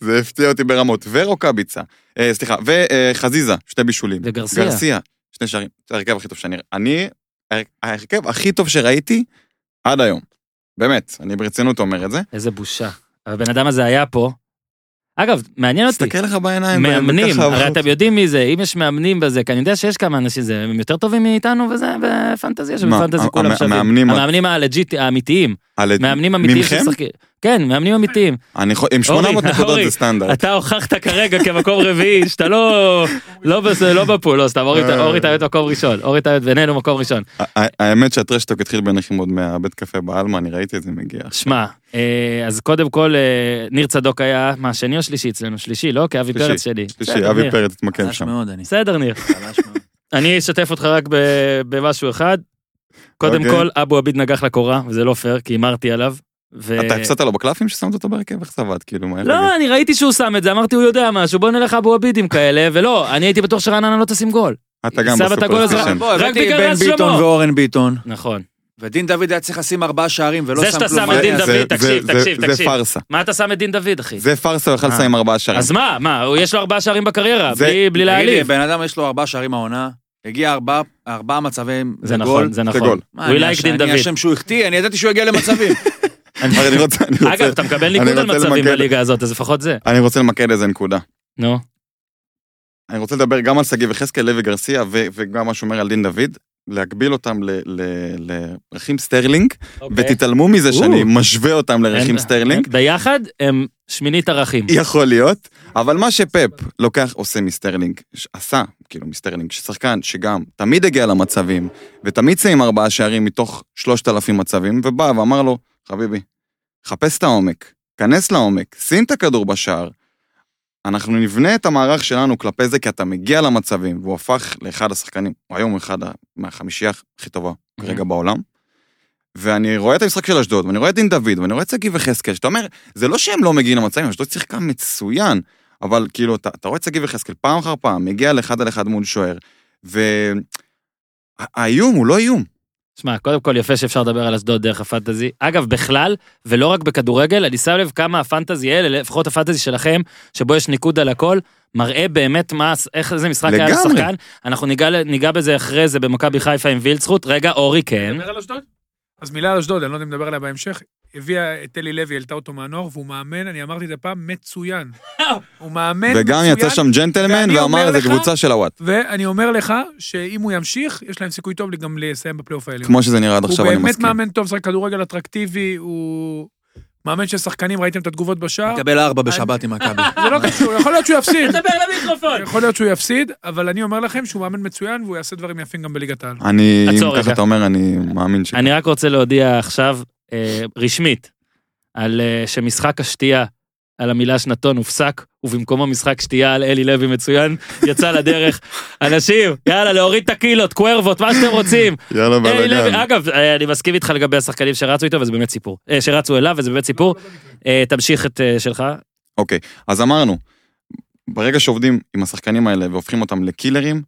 Speaker 7: זה הפתיע אותי ברמות. ורוקאביצה, אה, סליחה, וחזיזה, שני בישולים.
Speaker 1: וגרסיה.
Speaker 7: גרסיה, שני שערים. זה ההרכב הכי טוב שאני... אני, הר- ההרכב הכי טוב שראיתי עד היום. באמת, אני ברצינות אומר את זה.
Speaker 1: איזה בושה. הבן אדם הזה היה פה. אגב, מעניין אותי,
Speaker 7: תסתכל לך בעיניים.
Speaker 1: מאמנים,
Speaker 7: וככה
Speaker 1: הרי
Speaker 7: עברו.
Speaker 1: אתם יודעים מי זה, אם יש מאמנים בזה, כי אני יודע שיש כמה אנשים, זה, הם יותר טובים מאיתנו וזה, בפנטזיה שבפנטזיה
Speaker 7: מה,
Speaker 1: כולם
Speaker 7: המ-
Speaker 1: שווים.
Speaker 7: המאמנים-
Speaker 1: המאמנים הלג'יט, האמיתיים,
Speaker 7: על-
Speaker 1: מאמנים אמיתיים
Speaker 7: ממכם?
Speaker 1: ששחקים. כן, מאמנים אמיתיים.
Speaker 7: אני חו- עם 800 נקודות
Speaker 1: אורי,
Speaker 7: זה סטנדרט.
Speaker 1: אתה הוכחת כרגע כמקום רביעי, שאתה לא, לא בס- לא בפול, לא סתם, אורי-
Speaker 7: אה.
Speaker 1: אורי טעויות מקום ראשון, אורי טעויות בינינו מקום ראשון.
Speaker 7: ה- ה- האמת שהטרשטוק התחיל ביניכם עוד מהבית קפה בעלמה, אני ראיתי את זה מגיע.
Speaker 1: שמע, אה, אז קודם כל, אה, ניר צדוק היה, מה, שני או שלישי אצלנו? שלישי, לא? כי אבי
Speaker 7: שלישי,
Speaker 1: פרץ שלי.
Speaker 7: שלישי,
Speaker 1: בסדר,
Speaker 7: אבי
Speaker 1: ניר.
Speaker 7: פרץ
Speaker 1: כן,
Speaker 7: התמקם
Speaker 4: חלש
Speaker 7: שם.
Speaker 4: מאוד, אני.
Speaker 1: בסדר,
Speaker 7: *laughs*
Speaker 1: ניר.
Speaker 4: חלש
Speaker 1: *laughs*
Speaker 4: מאוד.
Speaker 1: אני אשתף אותך רק ב- במשהו אחד. קודם
Speaker 7: אוקיי.
Speaker 1: כל, אבו עביד נגח לקורה, וזה לא פייר, כי הימרתי עליו. ו-
Speaker 7: אתה הפסדת לו בקלפים ששמת אותו בהרכב? איך זה עבד? כאילו, מה יכול
Speaker 1: אה, לא, אני ראיתי שהוא שם את זה, אמרתי, הוא יודע משהו, בוא נלך אבו עבידים כאלה, ולא, אני הייתי בטוח שרעננה לא תשים גול.
Speaker 7: אתה גם
Speaker 1: שמת את הגול הזה
Speaker 7: בסופרסטיישן.
Speaker 4: בוא, הבאתי
Speaker 1: בגלל
Speaker 4: בן
Speaker 1: רז
Speaker 4: ביטון
Speaker 1: שלמה.
Speaker 4: ואורן ביטון,
Speaker 1: נכון.
Speaker 4: ודין דוד היה צריך לשים ארבעה שערים ולא
Speaker 1: זה
Speaker 4: שם
Speaker 1: שאתה
Speaker 4: כלום.
Speaker 1: שם את דין
Speaker 7: זה-
Speaker 1: דוד,
Speaker 7: זה-
Speaker 1: תקשיב,
Speaker 7: זה-
Speaker 1: תקשיב,
Speaker 7: זה
Speaker 1: תקשיב.
Speaker 7: פארסה.
Speaker 1: מה אתה שם את דין דוד, אחי?
Speaker 7: זה פארסה, הוא יכל לסיים עם ארבעה שערים.
Speaker 1: אז מה, מה, הוא- יש לו ארבעה שערים בקריירה,
Speaker 7: זה-
Speaker 1: בלי- בלי
Speaker 4: תגיד לי,
Speaker 1: להעליב.
Speaker 4: בן אדם יש לו ארבעה שערים העונה, הגיע ארבעה- ארבעה מצבים
Speaker 1: זה
Speaker 4: לגול.
Speaker 1: נכון, זה
Speaker 7: זה גול.
Speaker 1: נכון.
Speaker 4: מה,
Speaker 1: We
Speaker 4: אני
Speaker 1: like
Speaker 4: אשם-
Speaker 1: דין
Speaker 4: אני
Speaker 1: דוד.
Speaker 4: אשם שהוא החטיא, אני ידעתי שהוא יגיע
Speaker 1: *laughs*
Speaker 4: למצבים.
Speaker 7: אבל אני רוצה, אני
Speaker 1: אגב,
Speaker 7: רוצה,
Speaker 1: אתה מקבל
Speaker 7: אני
Speaker 1: ניקוד על
Speaker 7: רוצה
Speaker 1: מצבים
Speaker 7: למקד.
Speaker 1: בליגה הזאת, אז לפחות זה.
Speaker 7: אני רוצה למקד איזה נקודה.
Speaker 1: נו.
Speaker 7: אני רוצה לדבר גם על שגיב יחזקאל, לוי גרסיה, ו- וגם מה שאומר על דין דוד, להגביל אותם ל- ל- לרכים סטרלינג,
Speaker 1: אוקיי.
Speaker 7: ותתעלמו מזה שאני
Speaker 1: או.
Speaker 7: משווה אותם
Speaker 1: אין-
Speaker 7: לרכים סטרלינג.
Speaker 1: ביחד הם שמינית ערכים.
Speaker 7: *laughs* יכול להיות, אבל מה שפפ לוקח, עושה מסטרלינג, ש- עשה, כאילו מסטרלינג, ששחקן שגם תמיד הגיע למצבים, ותמיד סיים ארבעה שערים מתוך שלושת אלפים מצבים, ובא ואמר לו, חביבי, חפש את העומק, כנס לעומק, שים את הכדור בשער. אנחנו נבנה את המערך שלנו כלפי זה, כי אתה מגיע למצבים, והוא הפך לאחד השחקנים, הוא היום אחד ה- מהחמישייה הכי טובה כרגע בעולם. ואני רואה את המשחק של אשדוד, ואני רואה את דין דוד, ואני רואה את שגיב יחזקאל, שאתה אומר, זה לא שהם לא מגיעים למצבים, אשדוד שיחקה מצוין, אבל כאילו, אתה, אתה רואה את שגיב יחזקאל פעם אחר פעם, מגיע לאחד על אחד מול שוער, והאיום הוא לא איום.
Speaker 1: שמע, קודם כל יפה שאפשר לדבר על אשדוד דרך הפנטזי. אגב, בכלל, ולא רק בכדורגל, אני שם לב כמה הפנטזי האלה, לפחות הפנטזי שלכם, שבו יש ניקוד על הכל, מראה באמת מה, איך איזה משחק היה
Speaker 7: לגמרי.
Speaker 1: לשחקן. אנחנו ניגע, ל- ניגע בזה אחרי זה במכבי חיפה עם וילצחוט. רגע, אורי, כן.
Speaker 3: מדבר על אשדוד? אז מילה על אשדוד, אני לא יודע אם נדבר עליה בהמשך. הביאה את אלי לוי, העלתה אותו מהנוער, והוא מאמן, אני אמרתי את זה פעם, *laughs* מצוין. הוא מאמן מצוין.
Speaker 7: וגם יצא שם ג'נטלמן
Speaker 3: ואני
Speaker 7: ואמר,
Speaker 3: אומר
Speaker 7: זה
Speaker 3: לך-
Speaker 7: קבוצה של הוואט.
Speaker 3: ואני אומר לך, שאם הוא ימשיך, יש להם סיכוי טוב גם לסיים בפלייאוף העליון.
Speaker 7: כמו שזה נראה עד עכשיו, אני
Speaker 3: הוא באמת
Speaker 7: מסכים.
Speaker 3: מאמן טוב, שחק כדורגל אטרקטיבי, הוא מאמן של שחקנים, ראיתם את התגובות
Speaker 1: כן,
Speaker 3: בשער?
Speaker 4: תקבל ארבע בשבת עם מכבי.
Speaker 3: זה לא קשור, יכול להיות שהוא יפסיד.
Speaker 1: דבר למיקרופון.
Speaker 3: יכול להיות שהוא יפסיד, אבל אני אומר לכם שהוא מאמן מצוין והוא יעשה דברים יפים גם בליגת העל.
Speaker 7: אני, אם
Speaker 1: עצור רגע.
Speaker 7: ככה אתה אומר, אני מאמין ש...
Speaker 1: אני רק רוצה להודיע עכשיו, אה, רשמית, על אה, שמשחק השתייה, על המילה שנתון הופסק, ובמקומו משחק שתייה על אלי לוי מצוין, יצא לדרך. אנשים, יאללה, להוריד את הקהילות, קוורבות, מה שאתם רוצים.
Speaker 7: יאללה,
Speaker 1: אלי
Speaker 7: בלאגן.
Speaker 1: לוי, אגב, אה, אני מסכים איתך לגבי השחקנים שרצו איתו, וזה באמת סיפור. אה, שרצו אליו, וזה באמת סיפור. אה, תמשיך את אה, שלך.
Speaker 7: אוקיי, אז אמרנו, ברגע שעובדים עם השחקנים האלה והופכים אותם לקילרים,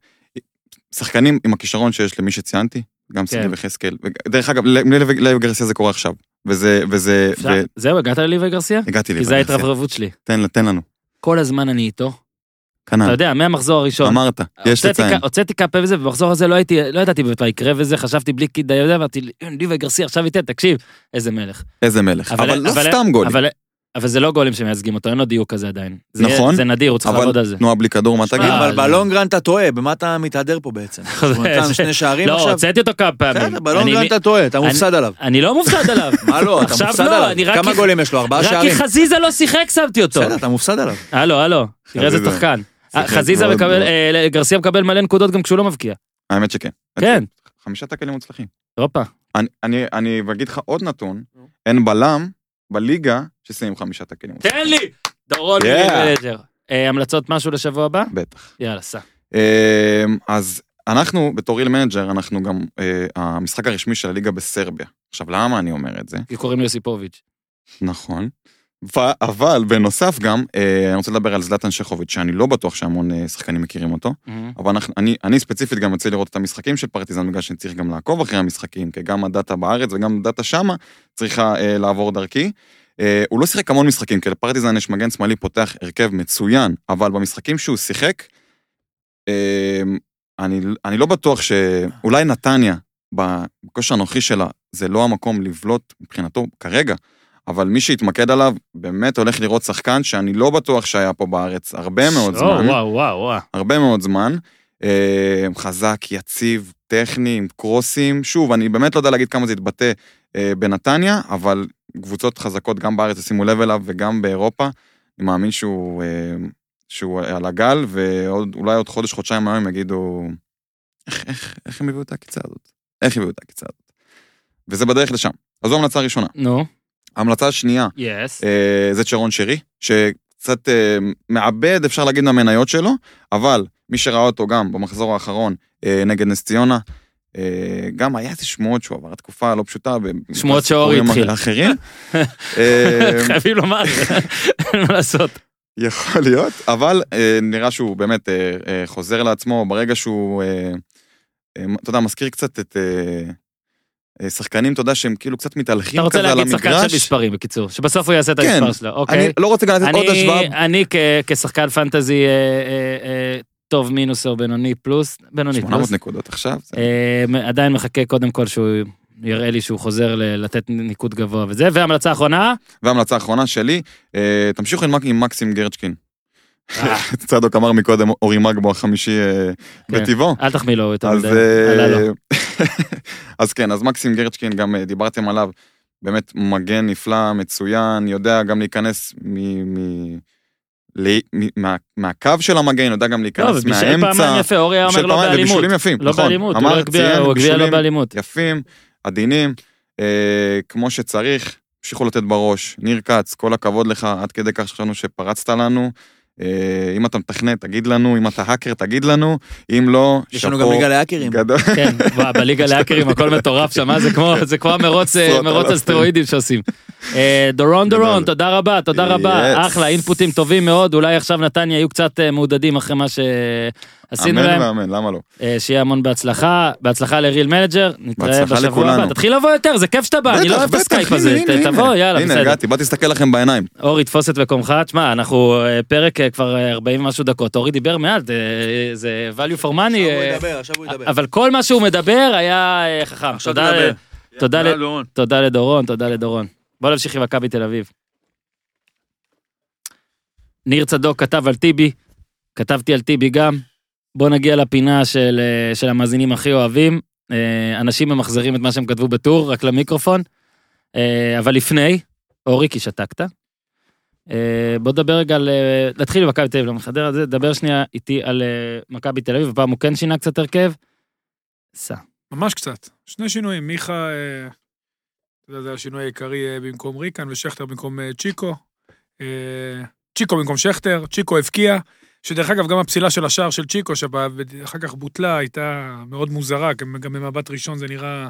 Speaker 7: שחקנים עם הכישרון שיש למי שציינתי, גם שגיא
Speaker 1: כן.
Speaker 7: וחזקאל, ו- דרך אגב, ללב גרסיה זה קורה עכשיו, וזה, וזה,
Speaker 1: אפשר?
Speaker 7: ו-
Speaker 1: זהו, הגעת לליבי גרסיה?
Speaker 7: הגעתי לי,
Speaker 1: כי זו
Speaker 7: בגרסיה.
Speaker 1: ההתרברבות שלי.
Speaker 7: תן לה- תן לנו,
Speaker 1: כל הזמן אני איתו. אתה
Speaker 7: כנ"ל,
Speaker 1: יודע, מהמחזור הראשון.
Speaker 7: אמרת, יש
Speaker 1: הוצאתי
Speaker 7: לציין,
Speaker 1: כ- הוצאתי קפה וזה, ובמחזור הזה לא הייתי, לא ידעתי באמת מה יקרה וזה, חשבתי בלי כדאי, וזה, אמרתי, ליבה גרסיה עכשיו ייתן, תקשיב, איזה מלך.
Speaker 7: איזה מלך, אבל לא סתם גול,
Speaker 1: אבל- אבל זה לא גולים שמייצגים אותו, אין לו דיוק כזה עדיין. זה-
Speaker 7: נכון.
Speaker 1: זה נדיר, הוא צריך
Speaker 7: אבל
Speaker 1: לעבוד על זה.
Speaker 7: תנועה בלי כדור, מה תגיד?
Speaker 1: אה,
Speaker 4: אבל
Speaker 1: זה-
Speaker 4: בלונגרנד אתה טועה, במה אתה מתהדר פה
Speaker 1: *laughs*
Speaker 4: בעצם? הוא נתן שני שערים
Speaker 1: לא,
Speaker 4: עכשיו?
Speaker 1: הוצאתי אותו כמה
Speaker 4: בסדר,
Speaker 1: פעמים. אני-
Speaker 4: בלונגרנד אתה טועה, אתה
Speaker 1: אני-
Speaker 4: מופסד עליו.
Speaker 1: אני לא מופסד
Speaker 7: *laughs*
Speaker 1: עליו.
Speaker 4: מה לא, אתה
Speaker 1: עכשיו
Speaker 4: מופסד
Speaker 1: לא,
Speaker 4: עליו.
Speaker 1: אני רק
Speaker 4: כמה
Speaker 1: כי-
Speaker 4: גולים יש לו? ארבעה
Speaker 1: רק כי
Speaker 4: שערים.
Speaker 1: חזיזה לא שיחק, שמתי אותו.
Speaker 4: בסדר, אתה מופסד עליו.
Speaker 1: הלו, הלו, תראה איזה
Speaker 7: חזיזה.
Speaker 1: שחקן.
Speaker 7: שיחק
Speaker 1: חזיזה
Speaker 7: מאוד
Speaker 1: מקבל,
Speaker 7: מאוד.
Speaker 1: אה, גרסיה מקבל מלא נקודות גם כשהוא לא מבקיע.
Speaker 7: האמת שכן.
Speaker 1: כן,
Speaker 7: חמישה תקלים מוצלחים.
Speaker 1: הופה.
Speaker 7: אני- אני- אני אגיד לך עוד נתון, אין בלם בליגה ששמים חמישה תקלים מוצלחים.
Speaker 1: תן לי! דורון
Speaker 7: Yeah.
Speaker 1: מילג'ר. המלצות משהו לשבוע הבא?
Speaker 7: בטח.
Speaker 1: יאללה, סע.
Speaker 7: אמ, אז אנחנו בתור איל מנג'ר אנחנו גם אה, המשחק הרשמי של הליגה בסרביה. עכשיו למה אני אומר את זה?
Speaker 1: כי קוראים לי יוסיפוביץ'.
Speaker 7: נכון. ו- אבל בנוסף גם אה, אני רוצה לדבר על זלטן שכוביץ' שאני לא בטוח שהמון אה, שחקנים מכירים אותו. Mm-hmm. אבל אנחנו, אני, אני ספציפית גם יוצא לראות את המשחקים של פרטיזן בגלל שאני צריך גם לעקוב אחרי המשחקים כי גם הדאטה בארץ וגם הדאטה שמה צריכה אה, לעבור דרכי. אה, הוא לא שיחק המון משחקים כי לפרטיזן יש מגן שמאלי פותח הרכב מצוין אבל במשחקים שהוא שיחק. אה, אני, אני לא בטוח שאולי נתניה בכושר הנוכחי שלה זה לא המקום לבלוט מבחינתו כרגע. אבל מי שיתמקד עליו באמת הולך לראות שחקן שאני לא בטוח שהיה פה בארץ הרבה מאוד זמן.
Speaker 1: וואו, וואו, וואו.
Speaker 7: הרבה מאוד זמן. אה, חזק, יציב, טכני, עם קרוסים. שוב, אני באמת לא יודע להגיד כמה זה התבטא אה, בנתניה, אבל קבוצות חזקות גם בארץ ישימו לב אליו וגם באירופה. אני מאמין שהוא, אה, שהוא על הגל, ואולי עוד חודש, חודשיים היום יגידו, איך, איך, איך הם הביאו את העקיצה הזאת? איך הביאו את העקיצה הזאת? וזה בדרך לשם. אז זו המלצה הראשונה.
Speaker 1: נו,
Speaker 7: ההמלצה השנייה,
Speaker 1: יס.
Speaker 7: אה, זה צ'רון שרי, שקצת אה, מאבד, אפשר להגיד, מהמניות שלו, אבל מי שראה אותו גם במחזור האחרון אה, נגד נס ציונה, אה, גם היה איזה שמועות שהוא עבר תקופה לא פשוטה. ב-
Speaker 1: שמועות שאורי
Speaker 7: בסיפורים
Speaker 1: התחיל. *laughs*
Speaker 7: אחרים. אה,
Speaker 1: חייבים לומר, אין *laughs* מה לעשות.
Speaker 7: יכול להיות, אבל אה, נראה שהוא באמת אה, אה, חוזר לעצמו ברגע שהוא, אה, אה, אתה יודע, מזכיר קצת את אה, אה, שחקנים, אתה יודע, שהם כאילו קצת מתהלכים
Speaker 1: אתה רוצה
Speaker 7: כזה על
Speaker 1: להגיד
Speaker 7: המגרש.
Speaker 1: שחקן של מספרים, בקיצור. שבסוף הוא יעשה את
Speaker 7: כן.
Speaker 1: המספר שלו,
Speaker 7: אני
Speaker 1: אוקיי.
Speaker 7: לא רוצה גם לתת עוד
Speaker 1: אני-
Speaker 7: השוואה
Speaker 1: אני כ- כשחקן פנטזי אה, אה, אה, טוב מינוס או בינוני פלוס, בינוני
Speaker 7: 800
Speaker 1: פלוס,
Speaker 7: נקודות עכשיו. זה-
Speaker 1: אה, עדיין מחכה קודם כל שהוא יראה לי שהוא חוזר ל- לתת ניקוד גבוה וזה. והמלצה אחרונה,
Speaker 7: וההמלצה האחרונה שלי, אה, תמשיכו עם, מק- עם מקסים גרצ'קין.
Speaker 1: אה.
Speaker 7: *laughs* צדוק אמר מקודם, אורי מגבו החמישי אה,
Speaker 1: כן.
Speaker 7: בטבעו.
Speaker 1: אל תחמיא לו יותר
Speaker 7: אז,
Speaker 1: מדי,
Speaker 7: אה,
Speaker 1: עלה לו.
Speaker 7: *laughs* אז כן, אז מקסים גרצ'קין, גם אה, דיברתם עליו, באמת מגן נפלא, מצוין, יודע גם להיכנס מ... מ... ל- מ- מה- מהקו של המגן, יודע גם
Speaker 1: לא,
Speaker 7: להיכנס
Speaker 1: ובישל פעמיים
Speaker 7: מהאמצע.
Speaker 1: יפה, אורי היה אומר
Speaker 7: בישל
Speaker 1: לא
Speaker 7: פעמיים,
Speaker 1: באלימות.
Speaker 7: ובישולים יפים,
Speaker 1: לא
Speaker 7: נכון.
Speaker 1: באלימות, הוא
Speaker 7: אמר,
Speaker 1: לא הגביע,
Speaker 7: ציין,
Speaker 1: הוא הגביע לא
Speaker 7: בישולים
Speaker 1: באלימות.
Speaker 7: יפים, עדינים, אה, כמו שצריך, המשיכו לתת בראש. ניר כץ, כל הכבוד לך, עד כדי כך שחשבנו שפרצת לנו. אה, אם אתה מתכנת, תגיד לנו, אם אתה האקר, תגיד לנו, אם לא,
Speaker 4: יש לנו גם ליגה להאקרים.
Speaker 7: גדול.
Speaker 1: כן, וואו, בליגה להאקרים הכל מטורף שם, מה זה כמו, זה כמו המרוץ אה,
Speaker 7: עשרות
Speaker 1: מרוץ על
Speaker 7: אלפים.
Speaker 1: סטרואידים שעושים. אה, דורון דורון,
Speaker 7: גדול.
Speaker 1: תודה רבה, תודה
Speaker 7: Yes.
Speaker 1: רבה, אחלה, אינפוטים טובים מאוד, אולי עכשיו נתניה יהיו קצת אה, מעודדים אחרי מה ש... עשינו
Speaker 7: אמן
Speaker 1: להם.
Speaker 7: ואמן, למה לא?
Speaker 1: אה, שיהיה המון בהצלחה, בהצלחה לריל מנג'ר, נתראה
Speaker 7: בהצלחה
Speaker 1: בשבוע
Speaker 7: לכולנו.
Speaker 1: הבא. תתחיל לבוא יותר, זה כיף שאתה בא, אני לא
Speaker 7: בטח,
Speaker 1: אוהב את
Speaker 7: בטח,
Speaker 1: הסקייפ
Speaker 7: הנה,
Speaker 1: הזה,
Speaker 7: הנה,
Speaker 1: ת-
Speaker 7: הנה.
Speaker 1: תבוא, יאללה,
Speaker 7: הנה,
Speaker 1: בסדר.
Speaker 7: הגעתי, באתי להסתכל לכם בעיניים.
Speaker 1: אורי, תפוס את מקומך, תשמע, אנחנו אה, פרק אה, כבר אה, 40 ומשהו דקות, אורי דיבר מעט, אה, זה value for money,
Speaker 4: עכשיו הוא
Speaker 1: אה,
Speaker 4: ידבר, עכשיו הוא ידבר.
Speaker 1: אבל כל מה שהוא מדבר היה אה, חכם.
Speaker 4: עכשיו
Speaker 1: תודה
Speaker 4: תדבר.
Speaker 1: ל- תודה ל-
Speaker 4: יאללה, דורון.
Speaker 1: תודה לדורון, תודה לדורון. בוא נמשיך עם מכבי תל אביב. ניר צדוק כתב על טיבי, כתבתי על טיבי גם. בוא נגיע לפינה של, אה, של המאזינים הכי אוהבים. אה, אנשים ממחזרים את מה שהם כתבו בטור, רק למיקרופון. אה, אבל לפני, אורי, כי שתקת. אה, בוא נדבר רגע על... אה, נתחיל עם מכבי תל אביב, לא מחדר על זה, דבר שנייה איתי על אה, מכבי תל אביב, הפעם הוא כן שינה קצת הרכב. סע.
Speaker 3: ממש קצת. שני שינויים, מיכה, אה, אתה יודע, זה השינוי העיקרי אה, במקום ריקן ושכטר במקום אה, צ'יקו. אה, צ'יקו במקום שכטר, צ'יקו הבקיע, שדרך אגב, גם הפסילה של השער של צ'יקו, שאחר כך בוטלה, הייתה מאוד מוזרה, גם גם במבט ראשון זה נראה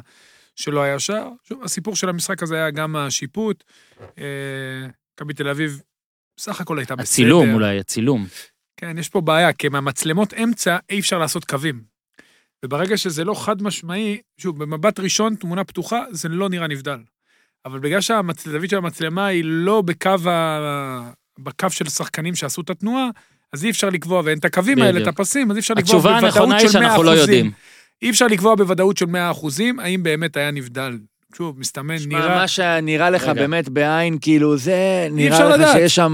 Speaker 3: שלא היה שער. שוב, הסיפור של המשחק הזה היה גם השיפוט. אה, מכבי תל אביב, בסך הכל הייתה בסדר.
Speaker 1: הצילום אולי, הצילום.
Speaker 3: כן, יש פה בעיה, כי מהמצלמות אמצע אי אפשר לעשות קווים. וברגע שזה לא חד משמעי, שוב, במבט ראשון, תמונה פתוחה, זה לא נראה נבדל. אבל בגלל שהזווית של המצלמה היא לא בקו, ה... בקו של שחקנים שעשו את התנועה, אז אי אפשר לקבוע, ואין את הקווים האלה, את
Speaker 1: בדיוק.
Speaker 3: הפסים, אז אי אפשר לקבוע
Speaker 1: התשובה
Speaker 3: בוודאות של 100%.
Speaker 1: הנכונה היא שאנחנו לא יודעים.
Speaker 3: אי אפשר לקבוע בוודאות של 100% האם באמת היה נבדל. שוב, מסתמן,
Speaker 4: נראה...
Speaker 3: נראה
Speaker 4: מה שנראה לך
Speaker 1: רגע.
Speaker 4: באמת בעין, כאילו, זה
Speaker 3: אפשר
Speaker 4: נראה לך
Speaker 3: לדעת.
Speaker 4: שיש שם...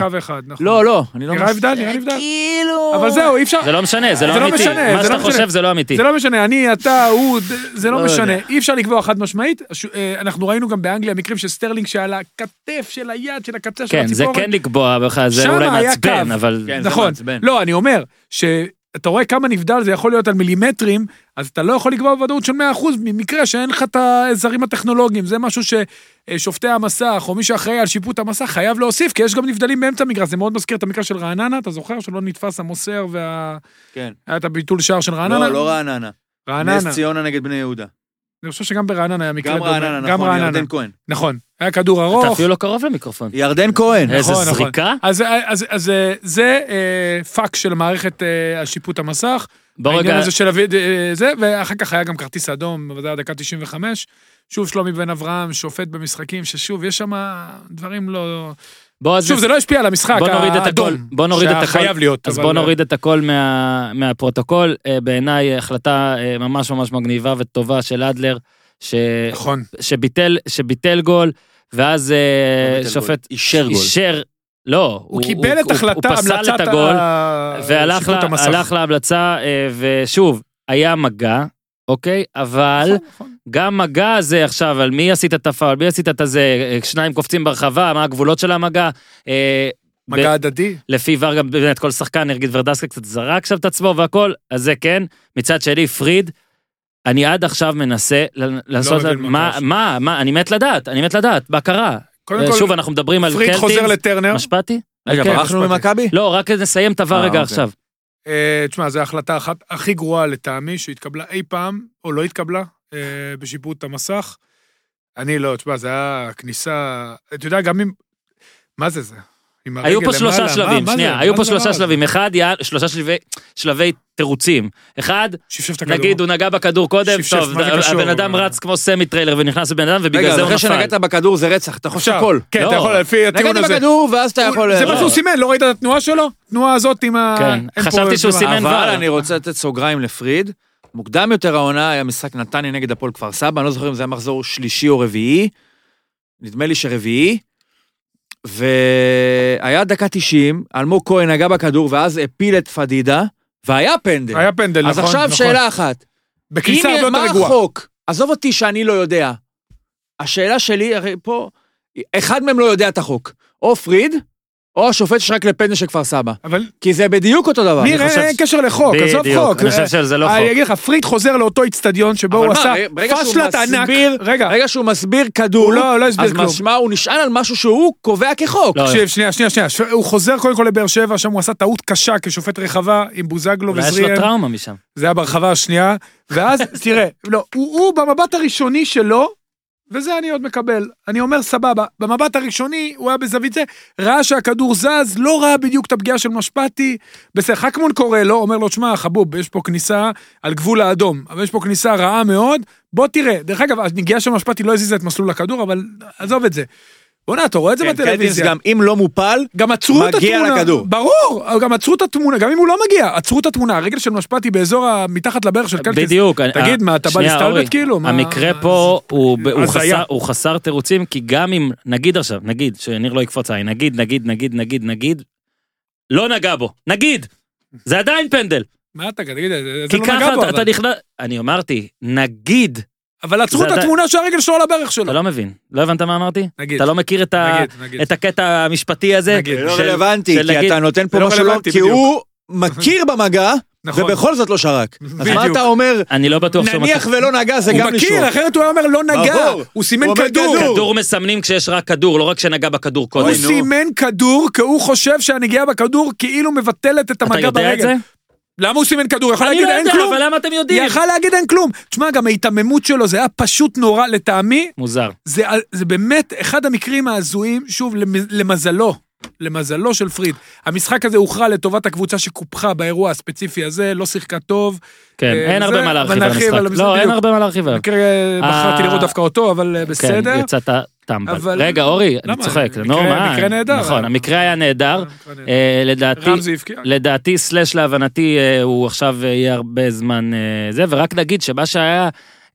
Speaker 3: קו אחד, נכון.
Speaker 4: לא, לא, אני לא...
Speaker 3: נראה
Speaker 4: מס-
Speaker 3: הבדל, נראה הבדל.
Speaker 4: כאילו...
Speaker 3: אבל זהו, אי אפשר...
Speaker 1: זה לא משנה, זה לא
Speaker 3: זה לא
Speaker 1: אמיתי.
Speaker 3: משנה,
Speaker 1: מה
Speaker 3: זה
Speaker 1: שאתה
Speaker 3: לא משנה.
Speaker 1: חושב זה לא אמיתי.
Speaker 3: זה לא משנה, אני, אתה, הוא, ד- זה
Speaker 1: לא
Speaker 3: לא משנה.
Speaker 1: יודע.
Speaker 3: אי אפשר לקבוע חד משמעית. הש- אה, אנחנו ראינו גם באנגליה מקרים של סטרלינג שעל הכתף של היד, של הקצה של
Speaker 1: כן, זה
Speaker 3: הציפורן.
Speaker 1: כן לקבוע בך, זה
Speaker 3: שם
Speaker 1: אולי
Speaker 3: היה
Speaker 1: מעצבן,
Speaker 3: קו.
Speaker 1: אבל...
Speaker 4: כן, זה
Speaker 3: נכון.
Speaker 4: מעצבן.
Speaker 3: לא, אני אומר, שאתה רואה כמה נבדל זה יכול להיות על מילימטרים, אז אתה לא יכול לקבוע בוודאות של 100% ממקרה שאין לך את הזרים הטכנולוגיים. זה משהו ששופטי המסך, או מי שאחראי על שיפוט המסך, חייב להוסיף, כי יש גם נבדלים באמצע המגרש. זה מאוד מזכיר את המקרה של רעננה, אתה זוכר? שלא נתפס המוסר וה...
Speaker 4: כן.
Speaker 3: היה את הביטול שער של רעננה.
Speaker 4: לא, לא רעננה.
Speaker 3: רעננה.
Speaker 4: נס ציונה נגד בני יהודה.
Speaker 3: אני חושב שגם ברעננה היה מקרה
Speaker 4: גם
Speaker 3: דומה.
Speaker 4: רעננה, נכון, ירדן כהן.
Speaker 3: נכון, היה כדור
Speaker 1: אתה
Speaker 3: ארוך.
Speaker 1: אפילו לא קרוב למיקרופון.
Speaker 4: ירדן כהן.
Speaker 1: איזה
Speaker 3: *laughs* נכון, נכון.
Speaker 1: זריקה.
Speaker 3: אז, אז, אז אה, זה אה, פאק של מערכת אה, השיפוט המסך.
Speaker 1: בוא
Speaker 3: העניין
Speaker 1: רגע,
Speaker 3: הזה של הויד- אה, זה, ואחר כך היה גם כרטיס אדום, בוודאי עד דקה 95. שוב שלומי בן אברהם, שופט במשחקים, ששוב, יש שם דברים לא...
Speaker 1: בוא אז-
Speaker 3: שוב, זה לא השפיע על המשחק,
Speaker 1: בוא נוריד את
Speaker 3: האדום,
Speaker 1: הכל. בוא נוריד את הכל.
Speaker 3: שחייב להיות.
Speaker 1: אז
Speaker 3: אבל-
Speaker 1: בוא נוריד את הכל מה- מהפרוטוקול. אה, בעיניי החלטה אה, ממש ממש מגניבה וטובה של אדלר, ש-
Speaker 3: נכון,
Speaker 1: שביטל- שביטל גול, ואז אה,
Speaker 4: לא ביטל
Speaker 1: שופט
Speaker 4: אישר גול.
Speaker 1: אישר, לא,
Speaker 3: הוא קיבל את
Speaker 1: הוא-
Speaker 3: החלטה,
Speaker 1: הוא פסל
Speaker 3: המלצת
Speaker 1: את הגול,
Speaker 3: ה-
Speaker 1: והלך
Speaker 3: שיפוט
Speaker 1: לה,
Speaker 3: המסך.
Speaker 1: הלך להמלצה, אה, ושוב, היה מגע, אוקיי? אבל
Speaker 3: נכון, נכון.
Speaker 1: גם מגע הזה עכשיו, על מי עשית את הפאול, מי עשית את הזה, אה, שניים קופצים ברחבה, מה הגבולות של המגע. אה,
Speaker 3: מגע הדדי.
Speaker 1: לפי ור גם באמת כל שחקן, נגיד ורדסקה קצת זרק שם את עצמו והכל, אז זה כן. מצד שני, פריד, אני עד עכשיו מנסה ל- לעשות,
Speaker 3: מבין מה
Speaker 1: מה,
Speaker 3: קרה שם.
Speaker 1: מה, מה, אני מת לדעת, אני מת לדעת, מה קרה?
Speaker 3: קודם
Speaker 1: אה,
Speaker 3: כל,
Speaker 1: שוב, אנחנו מדברים על
Speaker 3: פריד
Speaker 1: קלטינס.
Speaker 3: חוזר לטרנר.
Speaker 1: משפטי?
Speaker 4: רגע,
Speaker 1: כן.
Speaker 4: ברחנו
Speaker 3: משפטי.
Speaker 4: ממכבי?
Speaker 1: לא, רק נסיים את הוואר
Speaker 4: אה,
Speaker 1: רגע
Speaker 4: אוקיי.
Speaker 1: עכשיו.
Speaker 3: אה, תשמע, זו ההחלטה אחת הכי גרועה לטעמי שהתקבלה אי פעם, או לא התקבלה, אה, בשיפוט המסך. אני לא, תשמע, זה היה כניסה... אתה יודע, גם אם... מה זה זה? עם
Speaker 1: היו
Speaker 3: הרגל
Speaker 1: פה שלושה
Speaker 3: למעלה? מה-
Speaker 1: שלבים,
Speaker 3: מה זה?
Speaker 1: שנייה,
Speaker 3: מה
Speaker 1: היו
Speaker 3: זה
Speaker 1: פה
Speaker 3: הדבר
Speaker 1: שלושה
Speaker 3: הזה?
Speaker 1: שלבים. אחד, יעל- שלושה שלבי- שלבי תירוצים. אחד,
Speaker 3: שפשף את הכדור.
Speaker 1: נגיד הוא נגע בכדור קודם,
Speaker 3: שפשף,
Speaker 1: טוב,
Speaker 3: מה זה קשור?
Speaker 1: הבן אדם רץ כמו סמי טריילר ונכנס לבן אדם ובגלל
Speaker 4: רגע,
Speaker 1: זה
Speaker 4: אז
Speaker 1: הוא
Speaker 4: אחרי
Speaker 1: נפל.
Speaker 4: שנגעת בכדור זה רצח, אתה חושב
Speaker 3: עכשיו,
Speaker 4: הכל.
Speaker 3: כן, אתה
Speaker 1: לא.
Speaker 3: יכול, לפי הטיעון
Speaker 4: נגעתי
Speaker 3: הזה.
Speaker 4: בכדור ואז אתה
Speaker 3: הוא-
Speaker 4: יכול...
Speaker 3: זה
Speaker 4: לא.
Speaker 3: מה שהוא סימן, לא ראית את התנועה שלו? התנועה הזאת עם ה...
Speaker 1: כן,
Speaker 3: אין פה-
Speaker 1: חשבתי שהוא סימן. אין
Speaker 4: אבל
Speaker 1: ור.
Speaker 4: אני רוצה לתת סוגריים לפריד. מוקדם יותר העונה היה משחק נתניה נגד הפועל כפר סבא, אני לא זוכר אם זה היה מחזור שלישי או רביעי, נדמה לי שרביעי, והיה דקה 90, אלמוג כהן נגע בכדור ואז הפיל את פדידה, והיה פנדל.
Speaker 3: היה פנדל, נכון.
Speaker 4: אז עכשיו
Speaker 3: נכון.
Speaker 4: שאלה אחת,
Speaker 3: בכניסה
Speaker 4: אם-
Speaker 3: הרבה
Speaker 4: מה
Speaker 3: יותר רגועה.
Speaker 4: החוק? עזוב אותי שאני לא יודע. השאלה שלי, הרי פה, אחד מהם לא יודע את החוק, או פריד, או השופט שרק לפנדל של כפר סבא,
Speaker 3: אבל
Speaker 4: כי זה בדיוק אותו דבר.
Speaker 3: ניר,
Speaker 1: לא, חושב
Speaker 3: אין אין
Speaker 1: ש-
Speaker 3: קשר לחוק, עזוב חוק. אה,
Speaker 1: בדיוק, אני חושב שזה לא
Speaker 3: אני
Speaker 1: חוק.
Speaker 3: אגיד לך, פריד חוזר לאותו איצטדיון שבו
Speaker 4: אבל
Speaker 3: הוא
Speaker 4: מה,
Speaker 3: עשה
Speaker 4: ברגע שהוא
Speaker 3: פשלת ענק.
Speaker 4: מסביר-
Speaker 3: רגע,
Speaker 4: ברגע שהוא מסביר כדור,
Speaker 3: הוא לא הוא לא הסביר
Speaker 4: אז
Speaker 3: כלום.
Speaker 4: משמע הוא נשען על משהו שהוא קובע כחוק.
Speaker 1: לא,
Speaker 3: תקשיב, שנייה, שנייה, שנייה. ש- הוא חוזר קודם כל לבאר שבע, שם הוא עשה טעות קשה כשופט רחבה עם בוזגלו
Speaker 1: אולי יש לו
Speaker 3: וזריאן.
Speaker 1: טראומה משם.
Speaker 8: *laughs*
Speaker 3: זה היה ברחבה השנייה. ואז, תראה, לא, הוא הוא במבט הראשוני שלו, וזה אני עוד מקבל. אני אומר סבבה, במבט הראשוני הוא היה בזווית זה, ראה שהכדור זז, לא ראה בדיוק את הפגיעה של משפטי, בסדר, חכמון קורא לו, אומר לו, שמע, חבוב, יש פה כניסה על גבול האדום, אבל יש פה כניסה רעה מאוד, בוא תראה. דרך אגב, הנגיעה של משפטי לא הזיזה את מסלול הכדור, אבל עזוב את זה. בוא'נה, אתה רואה את זה
Speaker 8: כן, קלטינס
Speaker 3: בטלוויזיה.
Speaker 8: גם, אם לא מופל,
Speaker 3: גם עצרו את
Speaker 8: מגיע
Speaker 3: התמונה.
Speaker 8: לכדור.
Speaker 3: ברור, גם עצרו את התמונה, גם אם הוא לא מגיע, עצרו את התמונה, הרגל של משפטי באזור ה... מתחת לברך של קלקס.
Speaker 1: בדיוק. אני-
Speaker 3: תגיד,
Speaker 1: ה-
Speaker 3: מה, אתה בא
Speaker 1: שנייה,
Speaker 3: להסתלבט
Speaker 1: אורי,
Speaker 3: כאילו? מה-
Speaker 1: המקרה פה הוא ב- הוא
Speaker 3: הזיה.
Speaker 1: חסר- הוא חסר תירוצים, כי גם אם, נגיד עכשיו, נגיד, שניר לא יקפוץ עין, נגיד, נגיד, נגיד, נגיד, נגיד, לא נגע בו, נגיד, זה עדיין פנדל.
Speaker 3: מה אתה, תגיד, זה
Speaker 1: כי
Speaker 3: לא נגע
Speaker 1: ככה
Speaker 3: בו,
Speaker 1: אתה-
Speaker 3: אבל.
Speaker 1: אתה נכנס, אני אמרתי, נגיד,
Speaker 3: אבל עצרו
Speaker 1: זה
Speaker 3: את
Speaker 1: עדיין-
Speaker 3: התמונה שהרגל שלו על הברך
Speaker 1: אתה
Speaker 3: שלו.
Speaker 1: לא מבין, לא הבנת מה אמרתי?
Speaker 3: נגיד.
Speaker 1: אתה לא מכיר את ה-
Speaker 3: נגיד, נגיד.
Speaker 1: את הקטע המשפטי הזה?
Speaker 3: נגיד.
Speaker 8: זה לא
Speaker 1: של-
Speaker 8: רלוונטי,
Speaker 1: של
Speaker 8: כי
Speaker 1: להגיד-
Speaker 8: אתה נותן פה
Speaker 3: זה לא
Speaker 8: משהו לא...
Speaker 3: רלוונטי,
Speaker 8: כי
Speaker 3: בדיוק.
Speaker 8: הוא מכיר במגע,
Speaker 3: נכון.
Speaker 8: ובכל זאת לא שרק. אז מה
Speaker 3: בדיוק.
Speaker 8: אתה אומר,
Speaker 1: אני לא בטוח שהוא
Speaker 8: נניח ולא נגע זה
Speaker 3: הוא
Speaker 8: גם לשאול.
Speaker 3: מכיר, אחרת הוא היה אומר לא נגע,
Speaker 8: ברור.
Speaker 3: הוא סימן
Speaker 8: הוא אומר
Speaker 3: כדור.
Speaker 8: כדור.
Speaker 1: כדור מסמנים כשיש רק כדור, לא רק שנגע בכדור
Speaker 3: הוא
Speaker 1: קודם.
Speaker 3: סימן כדור, כי הוא חושב שהנגיעה בכדור כאילו מבטלת את
Speaker 1: אתה
Speaker 3: המגע
Speaker 1: יודע את
Speaker 3: ברגל.
Speaker 1: זה?
Speaker 3: למה הוא סימן כדור? הוא יכול
Speaker 1: אני
Speaker 3: להגיד
Speaker 1: לא
Speaker 3: אין
Speaker 1: יודע,
Speaker 3: כלום.
Speaker 1: אבל למה אתם יודעים?
Speaker 3: יכל להגיד אין כלום. תשמע, גם ההיתממות שלו, זה היה פשוט נורא, לטעמי,
Speaker 1: מוזר.
Speaker 3: זה, זה באמת אחד המקרים ההזויים, שוב, למ- למזלו, למזלו של פריד. המשחק הזה הוכרע לטובת הקבוצה שקופחה באירוע הספציפי הזה, לא שיחקה טוב.
Speaker 1: כן,
Speaker 3: אה,
Speaker 1: אין הרבה
Speaker 3: זה,
Speaker 1: מה להרחיב
Speaker 3: אבל
Speaker 1: על
Speaker 3: נרחיב
Speaker 1: המשחק.
Speaker 3: על המשחק,
Speaker 1: לא, אין
Speaker 3: בדיוק.
Speaker 1: הרבה מה להרחיב עליו.
Speaker 3: במקרה אה, בחרתי
Speaker 1: אה,
Speaker 3: לראות דווקא אותו, אבל אה,
Speaker 1: כן,
Speaker 3: בסדר.
Speaker 1: יצאת טמבל.
Speaker 3: אבל-
Speaker 1: רגע, אורי, אני
Speaker 3: למה?
Speaker 1: צוחק,
Speaker 3: מקרה-
Speaker 1: נו, מה?
Speaker 3: מקרה נהדר.
Speaker 1: נכון, המקרה היה נהדר. אה, לדעתי,
Speaker 3: רמזי הבקיע.
Speaker 1: לדעתי, סלש להבנתי, אה, הוא עכשיו אה, יהיה הרבה זמן אה, זה, ורק נגיד שמה שהיה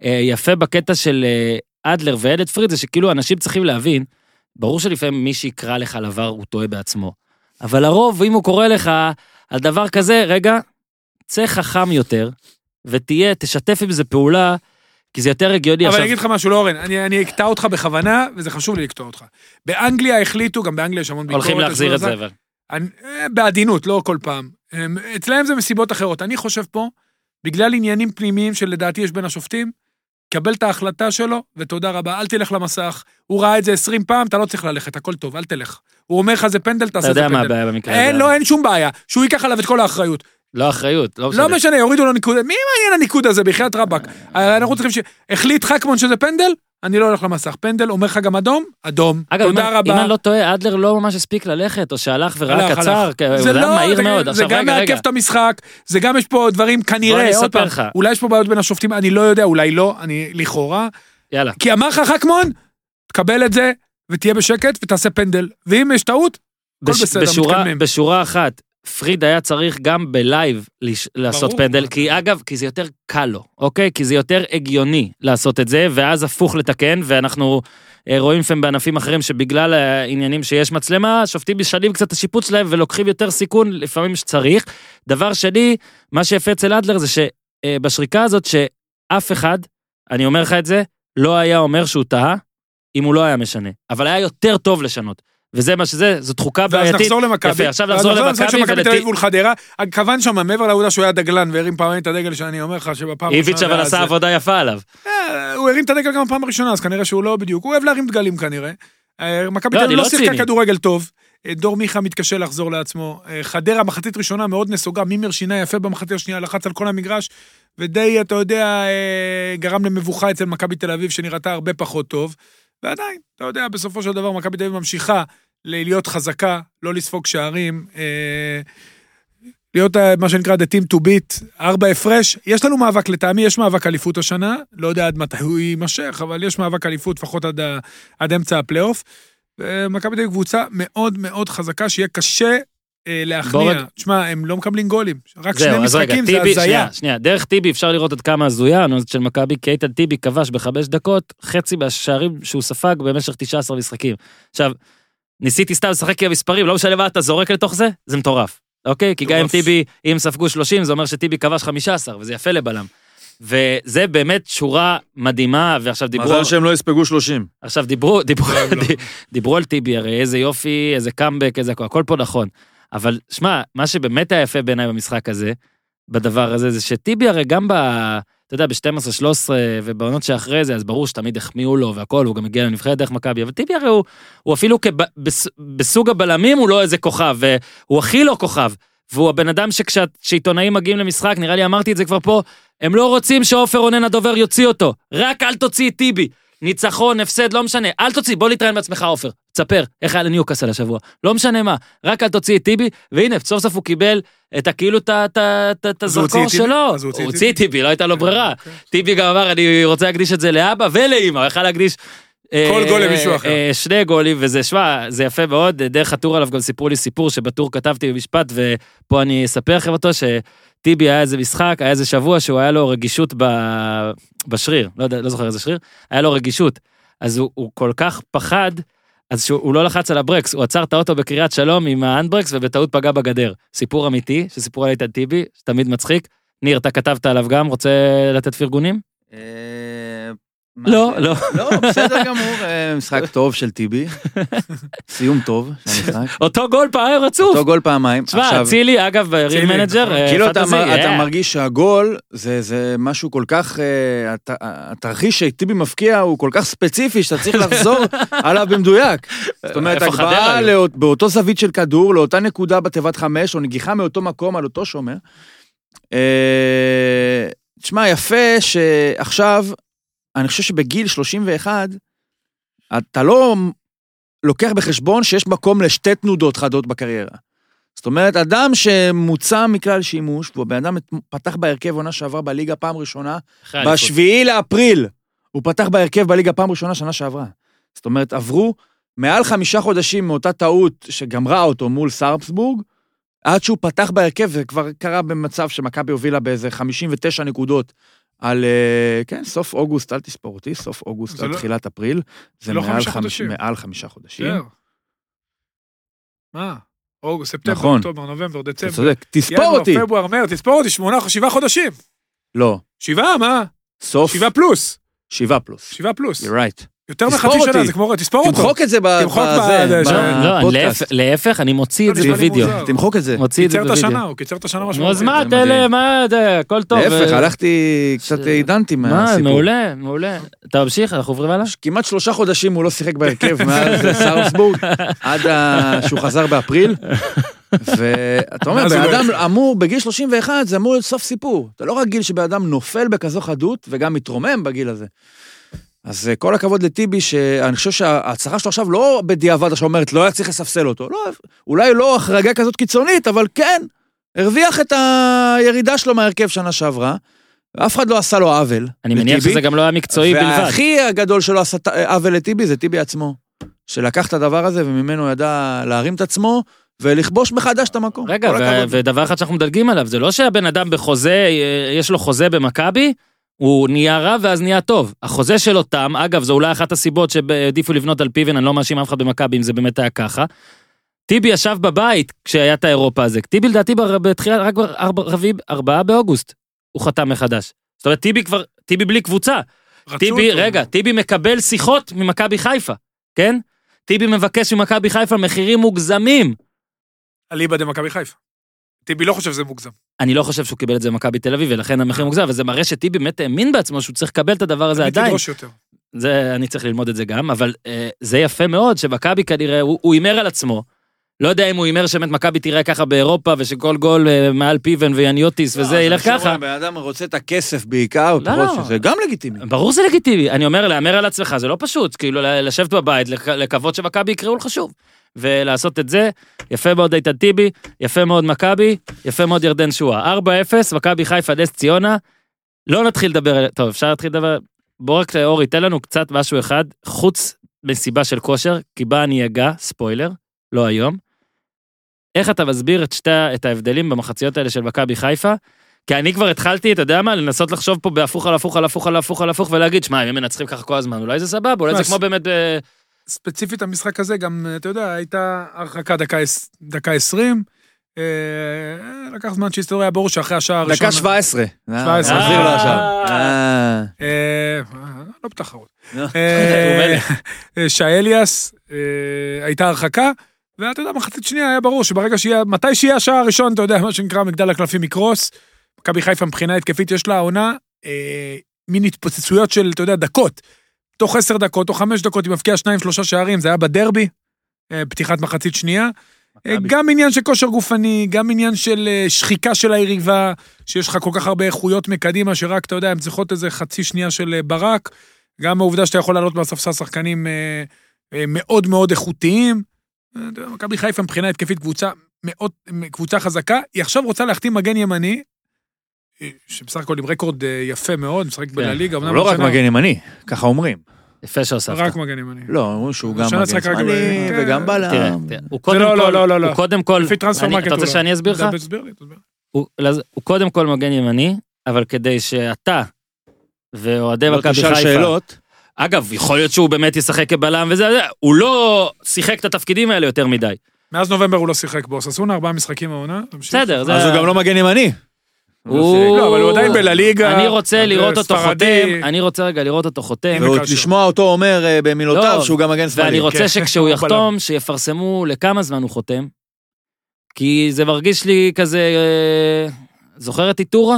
Speaker 1: אה, יפה בקטע של אה, אדלר ועדד פריד, זה שכאילו אנשים צריכים להבין, ברור שלפעמים מי שיקרא לך על עבר הוא טועה בעצמו, אבל לרוב, אם הוא קורא לך על דבר כזה, רגע, צא חכם יותר, ותהיה, תשתף עם זה פעולה, כי זה יותר הגיוני
Speaker 3: אבל
Speaker 1: עכשיו.
Speaker 3: אני אגיד לך משהו, לא אורן, אני אני אקטע אותך בכוונה, וזה חשוב לי לקטוע אותך. באנגליה החליטו, גם באנגליה יש המון ביקורת.
Speaker 1: הולכים להחזיר את
Speaker 3: אז-
Speaker 1: זבר.
Speaker 3: אני, אה, בעדינות, לא כל פעם. הם- אצלהם זה מסיבות אחרות. אני חושב פה, בגלל עניינים פנימיים שלדעתי יש בין השופטים, קבל את ההחלטה שלו, ותודה רבה, אל תלך למסך. הוא ראה את זה 20 פעם, אתה לא צריך ללכת, הכל טוב, אל תלך. הוא אומר לך, זה פנדל,
Speaker 1: אתה
Speaker 3: תעשה את זה
Speaker 1: יודע מה
Speaker 3: פנדל.
Speaker 1: הבעיה במקרה הזה.
Speaker 3: אין, לא, אין שום בעיה. שהוא ייקח עליו את כל האחריות.
Speaker 1: לא אחריות, לא משנה.
Speaker 3: לא משנה, יורידו לו ניקוד. מי מעניין הניקוד הזה, בחייאת רבאק? אה, אנחנו צריכים ש... החליט חכמון שזה פנדל, אני לא הולך למסך. פנדל, אומר לך גם אדום, אדום.
Speaker 1: אגב, אם,
Speaker 3: תודה
Speaker 1: אם
Speaker 3: רבה.
Speaker 1: אני לא טועה, אדלר לא ממש הספיק ללכת, או שהלך וראה
Speaker 3: הלך,
Speaker 1: קצר,
Speaker 3: הלך.
Speaker 1: כי הוא
Speaker 3: זה
Speaker 1: היה
Speaker 3: לא,
Speaker 1: מהיר
Speaker 3: זה-
Speaker 1: מאוד.
Speaker 3: זה
Speaker 1: עכשיו,
Speaker 3: גם
Speaker 1: רגע,
Speaker 3: מעכב
Speaker 1: רגע.
Speaker 3: את המשחק, זה גם יש פה דברים,
Speaker 1: בוא אני
Speaker 3: כנראה, עוד
Speaker 1: אספר
Speaker 3: פעם,
Speaker 1: לך.
Speaker 3: אולי יש פה בעיות בין השופטים, אני לא יודע, אולי לא, אני לכאורה,
Speaker 1: יאללה.
Speaker 3: כי אמר לך חכמון, תקבל את זה, ותהיה בשקט, ותעשה פנדל. ואם יש טעות, הכל
Speaker 1: בש,
Speaker 3: בסדר,
Speaker 1: בשורה,
Speaker 3: מתקדמים.
Speaker 1: בשורה אחת, פריד היה צריך גם בלייב לש, לעשות
Speaker 3: ברור.
Speaker 1: פנדל, כי אגב, כי זה יותר קל לו, אוקיי? כי זה יותר הגיוני לעשות את זה, ואז הפוך לתקן, ואנחנו אה, רואים לפעמים בענפים אחרים שבגלל העניינים שיש מצלמה, שופטים משנים קצת את השיפוט שלהם ולוקחים יותר סיכון לפעמים שצריך. דבר שני, מה שיפה אצל אדלר זה שבשריקה הזאת, שאף אחד, אני אומר לך את זה, לא היה אומר שהוא טעה, אם הוא לא היה משנה. אבל היה יותר טוב לשנות. וזה מה שזה, זאת חוקה
Speaker 3: ואז
Speaker 1: בעייתית.
Speaker 3: נחזור למכבי.
Speaker 1: יפה, עכשיו
Speaker 3: ואז
Speaker 1: נחזור
Speaker 3: למשחק
Speaker 1: למכבי
Speaker 3: של מכבי תל
Speaker 1: ולתי-
Speaker 3: אביב מול חדרה. כוון שם, מעבר לעובדה שהוא היה דגלן והרים פעמיים את הדגל, שאני אומר לך שבפעם
Speaker 1: איביץ' אבל
Speaker 3: היה
Speaker 1: עשה
Speaker 3: זה.
Speaker 1: עבודה יפה עליו.
Speaker 3: אה, הוא הרים את הדגל גם בפעם הראשונה, אז כנראה שהוא לא בדיוק, הוא אוהב להרים דגלים כנראה. אה, מכבי
Speaker 1: לא, אני
Speaker 3: תל אביב לא
Speaker 1: לא
Speaker 3: שיחקה
Speaker 1: ציני.
Speaker 3: כדורגל טוב, אה, דור מיכה מתקשה לחזור לעצמו, אה, חדרה מחצית ראשונה מאוד נסוגה, מימר שינה יפה במחצית השנייה, לחץ על כל המגרש, ודי, אתה יודע, אה, גרם למבוכה אצל מכבי תל אביב שנראתה הרבה פחות טוב, ועדיין, אתה יודע, בסופו של דבר מכבי תל אביב ממשיכה ל- להיות חזקה, לא לספוג שערים. אה, להיות אה, מה שנקרא the team to beat, ארבע הפרש. יש לנו מאבק, לטעמי יש מאבק אליפות השנה, לא יודע עד מתי הוא יימשך, אבל יש מאבק אליפות לפחות עד, ה- עד אמצע הפלייאוף. אה, מכבי תל אביב קבוצה מאוד מאוד חזקה, שיהיה קשה אה,
Speaker 1: בוא
Speaker 3: להכניע.
Speaker 1: רק-
Speaker 3: תשמע, הם לא מקבלים גולים, רק שני
Speaker 1: זהו, אז רגע,
Speaker 3: משחקים זה
Speaker 1: טיבי,
Speaker 3: הזיה.
Speaker 1: שנייה, שנייה, דרך טיבי אפשר לראות עד כמה הזויה הנוזת של מכבי, כי איתן טיבי כבש בחמש דקות חצי מהשערים שהוא ספג במשך 19 משחקים. עכשיו, ניסיתי סתם לשחק עם המספרים, לא משנה מה אתה זורק לתוך זה, זה מטורף. אוקיי? כי גם אם טיבי, אם ספגו 30, זה אומר שטיבי כבש 15, וזה יפה לבלם. וזה באמת שורה מדהימה, ועכשיו דיברו...
Speaker 8: מזל שהם לא יספגו 30.
Speaker 1: עכשיו דיברו, דיברו, דיברו על טיבי, הרי איזה יופי, איזה קאמבק, איזה הכל, הכל פה נכון. אבל שמע, מה שבאמת היה יפה בעיניי במשחק הזה, בדבר הזה, זה שטיבי הרי גם ב... אתה יודע, ב-12, 13 ובעונות שאחרי זה, אז ברור שתמיד החמיאו לו והכל, הוא גם הגיע לנבחרת דרך מכבי, אבל טיבי הרי הוא, הוא אפילו כב, בס, בסוג הבלמים הוא לא איזה כוכב, והוא הכי לא כוכב, והוא הבן אדם שכשה- כשעיתונאים מגיעים למשחק, נראה לי אמרתי את זה כבר פה, הם לא רוצים שעופר רונן הדובר יוציא אותו, רק אל תוציא את טיבי. ניצחון, הפסד, לא משנה. אל תוציא, בוא נתראיין בעצמך, עופר. תספר איך היה לניוקאסל השבוע. לא משנה מה, רק אל תוציא את טיבי, והנה, סוף סוף הוא קיבל את הכאילו את ה- את ה- את ה- את
Speaker 3: אז הוא
Speaker 1: הזרקור
Speaker 3: הוציא את טיבי?
Speaker 1: שלו.
Speaker 3: אז הוא הוציא
Speaker 1: הוא
Speaker 3: את
Speaker 1: הוציא את
Speaker 3: טיבי?
Speaker 1: טיבי, לא הייתה לו ברירה.
Speaker 3: אוקיי.
Speaker 1: טיבי גם אמר, אני רוצה להקדיש את זה לאבא ולאמא, הוא יכל להקדיש...
Speaker 3: כל
Speaker 1: אה,
Speaker 3: גול למישהו
Speaker 1: אה,
Speaker 3: אחר.
Speaker 1: אה, שני גולים, וזה, שמע, זה יפה מאוד. דרך הטור עליו גם סיפרו לי סיפור שבטור כתבתי במשפט, ופה אני אספר לכם אותו, שטיבי היה איזה משחק, היה איזה שבוע שהוא היה לו רגישות ב- בשריר, לא יודע, לא זוכר איזה שריר, היה לו רגישות. אז הוא, הוא כל כך פחד, אז שהוא הוא לא לחץ על הברקס, הוא עצר את האוטו בקריית שלום עם ההנדברקס ובטעות פגע בגדר. סיפור אמיתי, שסיפור על איתן טיבי, שתמיד מצחיק. ניר, אתה כתבת עליו גם, רוצה לתת פרגונים?
Speaker 4: אה, מה
Speaker 1: לא,
Speaker 4: זה?
Speaker 1: לא.
Speaker 4: לא, בסדר גמור. אה, משחק טוב של
Speaker 1: *laughs*
Speaker 4: טיבי. סיום טוב של המשחק.
Speaker 1: אותו גול פעם רצוף.
Speaker 4: אותו גול פעמיים.
Speaker 1: תשמע,
Speaker 4: עכשיו,
Speaker 1: אצילי, אגב, ריר
Speaker 3: אצילי,
Speaker 1: מנג'ר,
Speaker 3: נכון.
Speaker 1: אה,
Speaker 4: כאילו אתה,
Speaker 1: פנטזי,
Speaker 4: מר,
Speaker 1: אה.
Speaker 4: אתה מרגיש שהגול זה, זה משהו כל כך, אה, הת, התרחיש שטיבי מפקיע הוא כל כך ספציפי שאתה צריך לחזור עליו
Speaker 1: *laughs*
Speaker 4: במדויק. זאת אומרת,
Speaker 1: איפה חדרה
Speaker 4: הגבהה
Speaker 1: היו?
Speaker 4: לא, באותו זווית של כדור, לאותה נקודה בתיבת חמש, או נגיחה מאותו מקום על אותו שומר. אה, תשמע, יפה שעכשיו, אני חושב שבגיל 31, אתה לא לוקח בחשבון שיש מקום לשתי תנודות חדות בקריירה. זאת אומרת, אדם שמוצא מכלל שימוש, והבן אדם פתח בהרכב עונה שעברה בליגה פעם ראשונה,
Speaker 1: אחרי האליפות.
Speaker 4: בשביעי לאפריל, הוא פתח בהרכב בליגה פעם ראשונה שנה שעברה. זאת אומרת, עברו מעל חמישה חודשים מאותה טעות שגמרה אותו מול סרפסבורג, עד שהוא פתח בהרכב, זה כבר קרה במצב שמכבי הובילה באיזה 59 נקודות על, אה, כן, סוף אוגוסט, אל תספור אותי, סוף אוגוסט
Speaker 3: זה
Speaker 4: עד
Speaker 3: לא-
Speaker 4: תחילת אפריל. זה
Speaker 3: לא
Speaker 4: מעל
Speaker 3: חמישה
Speaker 4: חמש-
Speaker 3: חודשים. כן,
Speaker 4: מעל חמישה חודשים.
Speaker 3: בסדר. מה? אוגוסט, ספטמבר,
Speaker 4: נכון.
Speaker 3: אוקטובר, נובמבר,
Speaker 4: אתה
Speaker 3: דצמבר.
Speaker 4: צודק, תספור אותי.
Speaker 3: ינואר, פברואר, מרץ, תספור אותי, שמונה, שבעה חודשים.
Speaker 4: לא,
Speaker 3: שבעה, מה?
Speaker 4: סוף
Speaker 3: שבעה פלוס.
Speaker 4: שבעה פלוס.
Speaker 3: שבעה פלוס.
Speaker 4: You're right.
Speaker 3: יותר
Speaker 4: תספור
Speaker 3: מחצי שנה,
Speaker 4: אותי.
Speaker 3: זה כמו... תספור אותו.
Speaker 4: תמחוק את זה ב-
Speaker 3: תמחוק
Speaker 4: בזה,
Speaker 3: ב- זה-
Speaker 1: לא, לא,
Speaker 4: בפודקאסט.
Speaker 1: להפ- להפך, אני מוציא את
Speaker 3: לא,
Speaker 1: זה
Speaker 3: נשמע לי
Speaker 1: בווידאו.
Speaker 3: מוזר.
Speaker 4: תמחוק את זה.
Speaker 1: מוציא את זה
Speaker 3: קיצר את
Speaker 1: בווידאו.
Speaker 3: השנה, הוא קיצר את השנה
Speaker 1: נו,
Speaker 3: משמעותית.
Speaker 1: אז מה,
Speaker 4: זה
Speaker 1: תן,
Speaker 4: מדהים.
Speaker 1: מה, זה, הכל טוב.
Speaker 4: להפך,
Speaker 1: אה,
Speaker 4: הלכתי, קצת
Speaker 1: ש-
Speaker 4: עידנתי
Speaker 1: מה,
Speaker 4: מהסיפור.
Speaker 1: מעולה, מעולה. אתה ממשיך, אנחנו עוברים הלאה?
Speaker 4: כמעט שלושה חודשים הוא לא שיחק בהרכב מאז סארסבורג, עד ה- שהוא חזר באפריל. ואתה אומר,
Speaker 3: מאז הוא
Speaker 4: בן
Speaker 3: לא
Speaker 4: אדם
Speaker 3: התחיל.
Speaker 4: אמור, בגיל 31 זה אמור להיות סוף סיפור. אתה לא רגיל שבן אדם נופל בכזו חדות וגם מתרומם בגיל הזה. אז אה, כל הכבוד לטיבי, שאני חושב שההצלחה שלו עכשיו לא בדיעבד עכשיו אומרת, לא היה צריך לספסל אותו. לא, אולי לא החרגה כזאת קיצונית, אבל כן, הרוויח את הירידה שלו מההרכב שנה שעברה. אף אחד לא עשה לו עוול.
Speaker 1: אני מניח
Speaker 4: לטיבי.
Speaker 1: שזה גם לא היה מקצועי בלבד.
Speaker 4: והכי הגדול שלו עשה ת- עוול לטיבי זה טיבי עצמו. שלקח את הדבר הזה וממנו ידע להרים את עצמו ולכבוש מחדש את המקום.
Speaker 1: רגע,
Speaker 4: כל
Speaker 1: ו-
Speaker 4: הכבוד.
Speaker 1: ודבר אחד שאנחנו מדלגים עליו, זה לא שהבן אדם בחוזה, אה, יש לו חוזה במכבי, הוא נהיה רע ואז נהיה טוב. החוזה שלו תם, אגב, זו אולי אחת הסיבות שהעדיפו לבנות על פיו, אני לא מאשים אף אחד במכבי אם זה באמת היה ככה. טיבי ישב בבית כשהיה את האירופה הזה. טיבי לדעתי בר- בתחילת, רק ב-4 באוגוסט, הוא חתם מחדש. זאת אומרת, טיבי כבר, טיבי בלי קבוצה.
Speaker 3: רצו
Speaker 1: טיבי,
Speaker 3: אותו.
Speaker 1: רגע, טיבי מקבל שיחות ממכבי חיפה, כן? טיבי מבקש ממכבי חיפה מחירים מוגזמים.
Speaker 3: אליבא דמכבי חיפה. טיבי לא חושב שזה מוגזם.
Speaker 1: אני לא חושב שהוא קיבל את זה במכבי תל אביב, ולכן המחיר מוגזם, אבל זה מראה שטיבי באמת האמין בעצמו שהוא צריך לקבל את הדבר הזה
Speaker 3: אני
Speaker 1: עדיין.
Speaker 3: תדרוש יותר.
Speaker 1: זה, אני צריך ללמוד את זה גם, אבל אה, זה יפה מאוד שמכבי כנראה, הוא הוא הימר על עצמו. לא יודע אם הוא הימר שבאמת מכבי תראה ככה באירופה, ושכל גול אה, מעל פיבן ויאניוטיס
Speaker 4: לא, אה,
Speaker 1: וזה ילך ככה.
Speaker 4: בן אדם רוצה את הכסף בעיקר,
Speaker 1: לא,
Speaker 4: פחות
Speaker 1: לא.
Speaker 4: שזה גם לגיטימי.
Speaker 1: ברור זה לגיטימי, אני אומר, להמר על עצמך זה לא פשוט, כאילו ל- לשבת בבית, לק- לקוות שמכבי יקראו לך שוב. ולעשות את זה, יפה מאוד איתן טיבי, יפה מאוד מכבי, יפה מאוד ירדן שואה. 4-0, מכבי חיפה נס ציונה, לא נתחיל לדבר, על- טוב, אפשר להתחיל לדבר, בוא רק אורי, תן לנו קצת משהו אחד, חוץ מסיבה של כושר, כי בה אני אגע, ספוילר, לא היום. איך אתה מסביר את שתי, ה- את ההבדלים במחציות האלה של מכבי חיפה? כי אני כבר התחלתי, אתה יודע מה, לנסות לחשוב פה בהפוך על הפוך על הפוך על הפוך על הפוך ולהגיד, שמע, אם הם מנצחים ככה כל הזמן, אולי זה סבבה, אולי זה
Speaker 3: מה,
Speaker 1: כמו
Speaker 3: ס-
Speaker 1: באמת... אה,
Speaker 3: ספציפית המשחק הזה, גם, אתה יודע, הייתה הרחקה דקה עש- דקה 20. אה, לקח זמן שהיסטוריה היה ברור שאחרי השער הראשון...
Speaker 4: דקה 17.
Speaker 3: 17.
Speaker 4: נחזיר לו עכשיו. אה.
Speaker 3: אה, אה, לא בתחרות.
Speaker 4: לא.
Speaker 3: אה,
Speaker 1: הוא
Speaker 3: אה, שאליאס, אה, הייתה הרחקה, ואתה יודע, מחצית שנייה היה ברור שברגע שיהיה, מתי שיהיה השער הראשון, אתה יודע, מה שנקרא מגדל הקלפים יקרוס. מכבי חיפה מבחינה התקפית יש לה העונה אה, מין התפוצצויות של, אתה יודע, דקות. תוך עשר דקות או חמש דקות היא מבקיעה שניים, שלושה שערים, זה היה בדרבי, אה, פתיחת מחצית שנייה. אה, גם עניין של כושר גופני, גם עניין של אה, שחיקה של היריבה, שיש לך כל כך הרבה איכויות מקדימה, שרק, אתה יודע, הן צריכות איזה חצי שנייה של אה, ברק. גם העובדה שאתה יכול לעלות מהספסל שחקנים אה, אה, מאוד מאוד איכותיים. אה, אתה יודע, מכבי חיפה מבחינה התקפית קבוצה מאוד, קבוצה חזקה, היא עכשיו רוצה להחתים מגן ימני, אה, שבסך הכל עם רקורד אה, יפה מאוד,
Speaker 1: כן,
Speaker 3: משחק בלליגה.
Speaker 4: הוא
Speaker 3: אמנם
Speaker 4: לא רק
Speaker 3: השנה-
Speaker 4: מגן ימני, ככה אומרים.
Speaker 1: יפה שהוספת.
Speaker 3: רק מגן ימני.
Speaker 4: לא, אומרים שהוא גם
Speaker 3: השנה
Speaker 4: מגן
Speaker 3: שיחק רק
Speaker 4: שמאלי
Speaker 3: ב-
Speaker 4: וגם
Speaker 1: כן. תראה,
Speaker 4: בלם.
Speaker 1: תראה, הוא קודם
Speaker 3: לא,
Speaker 1: כל,
Speaker 3: לא, לא, לא, לא.
Speaker 1: הוא קודם כל,
Speaker 3: לפי טרנספר
Speaker 1: אני-
Speaker 3: מרקט
Speaker 1: אתה רוצה
Speaker 3: הוא לא.
Speaker 1: שאני אסביר לך?
Speaker 3: דבר, תסביר לי, תסביר.
Speaker 1: הוא לא, הוא קודם כל מגן ימני, אבל כדי שאתה ואוהדי
Speaker 4: לא
Speaker 1: מכבי
Speaker 4: תשאל
Speaker 1: חיפה,
Speaker 4: שאלות.
Speaker 1: אגב, יכול להיות שהוא באמת ישחק כבלם וזה, זה, הוא לא שיחק את התפקידים האלה יותר מדי.
Speaker 3: מאז נובמבר הוא לא שיחק באוססונה, ארבעה משחקים העונה. תמשיך.
Speaker 1: בסדר, זה...
Speaker 4: אז הוא גם לא מגן ימני.
Speaker 3: לא, אבל הוא עדיין בלליגה.
Speaker 1: אני רוצה
Speaker 3: אתה
Speaker 1: לראות אותו
Speaker 3: ספרדי. כן,
Speaker 1: חותם, אני רוצה רגע לראות אותו חותם.
Speaker 4: ועוד
Speaker 3: קשר.
Speaker 4: לשמוע אותו אומר אה, במילותיו
Speaker 1: לא,
Speaker 4: שהוא גם מגן
Speaker 1: ואני
Speaker 4: שמאלי.
Speaker 1: רוצה
Speaker 3: כן.
Speaker 1: שכשהוא
Speaker 3: הוא
Speaker 1: יחתום, שיפרסמו לכמה זמן הוא חותם. כי זה מרגיש לי כזה... אה, זוכר את איטורה?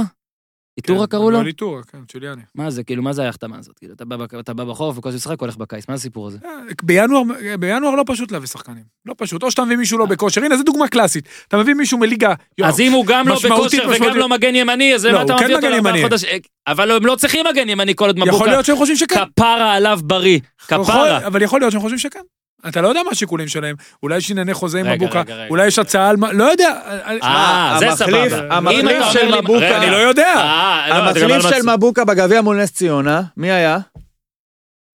Speaker 1: איטורה
Speaker 3: כן,
Speaker 1: קראו לו?
Speaker 3: לא ליטורה, כן, צ'יליאני.
Speaker 1: מה זה, כאילו, מה זה ההחתמה הזאת? כאילו, אתה בא בק- אתה בא בחורף וכל משחק הולך בקיץ, מה הסיפור הזה?
Speaker 3: אה, בינואר, בינואר לא פשוט להביא שחקנים. לא פשוט. או שאתה מביא מישהו לא בכושר, הנה, זו דוגמה קלאסית. אתה מביא מישהו מליגה...
Speaker 1: אה. אז אם הוא גם לא
Speaker 3: משמעותית,
Speaker 1: בכושר וגם
Speaker 3: משמעותית.
Speaker 1: לא מגן ימני, אז
Speaker 3: לא,
Speaker 1: למה אתה
Speaker 3: הוא כן
Speaker 1: מביא אותו
Speaker 3: מגן
Speaker 1: לארבעה
Speaker 3: ימני.
Speaker 1: חודשים? אה, אבל הם לא צריכים מגן ימני כל עוד
Speaker 3: יכול
Speaker 1: מבוקה.
Speaker 3: להיות שהם חושבים שכן.
Speaker 1: כפרה עליו בריא.
Speaker 3: יכול-
Speaker 1: כפרה.
Speaker 3: אבל יכול להיות שהם חושבים שכן. אתה לא יודע מה השיקולים שלהם. אולי יש ענייני חוזה עם
Speaker 1: רגע,
Speaker 3: מבוקה,
Speaker 1: רגע, רגע.
Speaker 3: אולי יש הצעה על... מה- לא יודע.
Speaker 1: אה, זה
Speaker 4: המחליף-
Speaker 1: סבבה.
Speaker 4: המחליף
Speaker 1: אם אתה אומר
Speaker 4: של
Speaker 1: לי-
Speaker 4: מבוקה-
Speaker 1: רגע,
Speaker 3: אני לא יודע.
Speaker 1: אה, לא, אתה גם
Speaker 4: המחליף
Speaker 1: על
Speaker 4: של
Speaker 1: מצ- אה.
Speaker 4: מבוקה בגביע מול נס ציונה, מי היה?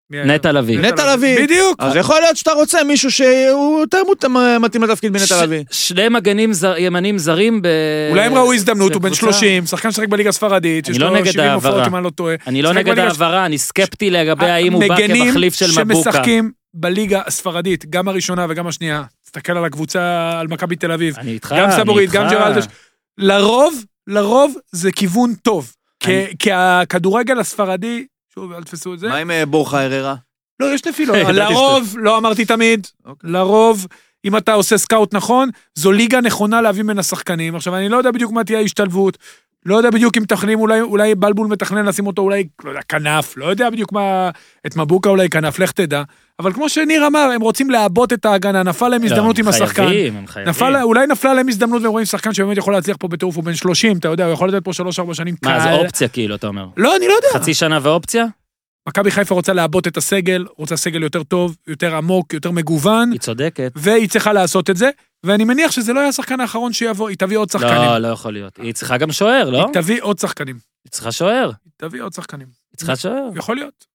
Speaker 3: מי היה?
Speaker 1: נטע לביא.
Speaker 4: נטע לביא.
Speaker 3: בדיוק.
Speaker 4: אז יכול להיות שאתה רוצה מישהו שהוא יותר מות- אה, מתאים לתפקיד מנטע לביא.
Speaker 1: ש- שני מגנים זר- ימנים זרים ב...
Speaker 3: אולי הם ראו הזדמנות, הוא בן
Speaker 1: בקבוצה.
Speaker 3: 30, שחקן ששחק בליגה הספרדית,
Speaker 1: אני
Speaker 3: יש
Speaker 1: לא
Speaker 3: לו
Speaker 1: נגד
Speaker 3: 70 הופעות,
Speaker 1: ההעברה.
Speaker 3: אם אני לא טועה.
Speaker 1: אני לא
Speaker 3: משחק
Speaker 1: נגד
Speaker 3: בליגה
Speaker 1: ההעברה, אני סקפטי לגבי האם הוא בא
Speaker 3: המגנים
Speaker 1: כמחליף של מבוקה.
Speaker 3: שמשחקים בליגה הספרדית, גם הראשונה וגם השנייה. תסתכל על הקבוצה, על מכבי תל אביב.
Speaker 1: אני איתך,
Speaker 3: גם
Speaker 1: אה, אני
Speaker 3: סבורית,
Speaker 1: איתך.
Speaker 3: גם ג'רלדש. לרוב, לרוב זה כיוון טוב. כי- כי הכדורגל הספרדי, שוב, אל תפסו את זה.
Speaker 4: מה עם אה, בורחה הררה?
Speaker 3: לא, יש *laughs* נפילות.
Speaker 1: ידעתי
Speaker 3: לרוב, לא אמרתי תמיד, לרוב, אם אתה עושה סקאוט נכון, זו ליגה נכונה להביא ממנה שחקנים. עכשיו, אני לא יודע בדיוק מה תהיה ההשתלבות, לא יודע בדיוק אם מתכננים, אולי, אולי בלבול מתכנן לשים אותו, אולי, לא יודע, כנף, לא יודע בדיוק מה... את מבוקה אולי כנף, לך תדע. אבל כמו שניר אמר, הם רוצים לעבות את ההגנה, נפל להם
Speaker 1: לא,
Speaker 3: הזדמנות
Speaker 1: הם
Speaker 3: עם השחקן.
Speaker 1: חייבים, הם חייבים.
Speaker 3: נפל, אולי נפלה להם הזדמנות והם רואים שחקן שבאמת יכול להצליח פה בטירוף, הוא בן 30, אתה יודע, הוא יכול לתת פה 3-4 שנים
Speaker 1: מה, זה
Speaker 3: קל.
Speaker 1: אופציה כאילו, אתה אומר.
Speaker 3: לא, אני לא יודע.
Speaker 1: חצי שנה ואופציה?
Speaker 3: מכבי חיפה רוצה לעבות את הסגל, רוצה סגל יותר טוב, יותר עמוק, יותר מגוון,
Speaker 1: היא צודקת.
Speaker 3: והיא צריכה לעשות את זה, ואני מניח שזה לא יהיה השחקן האחרון שיבוא, היא תביא עוד שחקנים.
Speaker 1: לא, לא יכול להיות. היא צריכה גם שוער, לא?
Speaker 3: היא תביא עוד שחקנים.
Speaker 1: היא צריכה שוער.
Speaker 3: היא תביא עוד שחקנים.
Speaker 1: היא צריכה שוער.
Speaker 3: יכול להיות.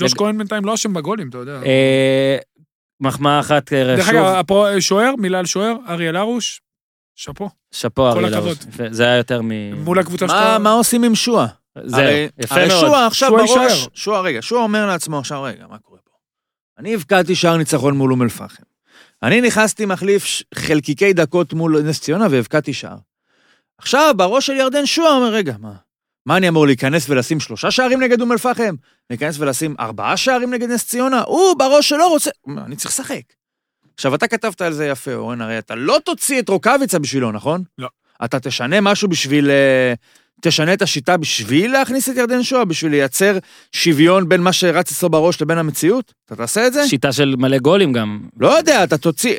Speaker 3: ג'וש
Speaker 1: לב-
Speaker 3: כהן בינתיים לא אשם בגולים, אתה יודע.
Speaker 1: אה, מחמאה אחת, אה,
Speaker 3: דרך
Speaker 1: שוב,
Speaker 3: אגב, הפרו- שוער, מילה על שוער, אריאל הרוש, שאפו.
Speaker 1: שאפו
Speaker 3: כל
Speaker 1: אריאל
Speaker 3: הכבוד.
Speaker 1: הרוש. יפה, זה היה יותר מ...
Speaker 3: מול הקבוצה
Speaker 4: מה-
Speaker 3: שאתה...
Speaker 4: מה עושים עם שועה?
Speaker 1: זהו,
Speaker 4: הרי-
Speaker 1: יפה
Speaker 4: הרי
Speaker 1: מאוד.
Speaker 4: שועה עכשיו
Speaker 3: שועה
Speaker 4: בראש,
Speaker 3: יישאר.
Speaker 4: שועה רגע, שועה אומר לעצמו עכשיו רגע, מה קורה פה? אני הבקעתי שער ניצחון מול אום אל-פחם. אני נכנסתי מחליף ש- חלקיקי דקות מול נס ציונה והבקעתי שער. עכשיו בראש של ירדן שועה אומר, רגע, מה? מה אני אמור להיכנס ולשים שלושה שערים נגד אום אל-פחם? להיכנס ולשים ארבעה שערים נגד נס ציונה? הוא בראש שלו רוצה... הוא אומר, אני צריך לשחק. עכשיו, אתה כתבת על זה יפה, אורן, הרי אתה לא תוציא את רוקאביצה בשבילו, נכון?
Speaker 3: לא.
Speaker 4: אתה תשנה משהו בשביל... אה, תשנה את השיטה בשביל להכניס את ירדן שואה, בשביל לייצר שוויון בין מה שרץ אצלו בראש לבין המציאות? אתה תעשה את זה?
Speaker 1: שיטה של מלא גולים גם.
Speaker 4: לא יודע, אתה תוציא...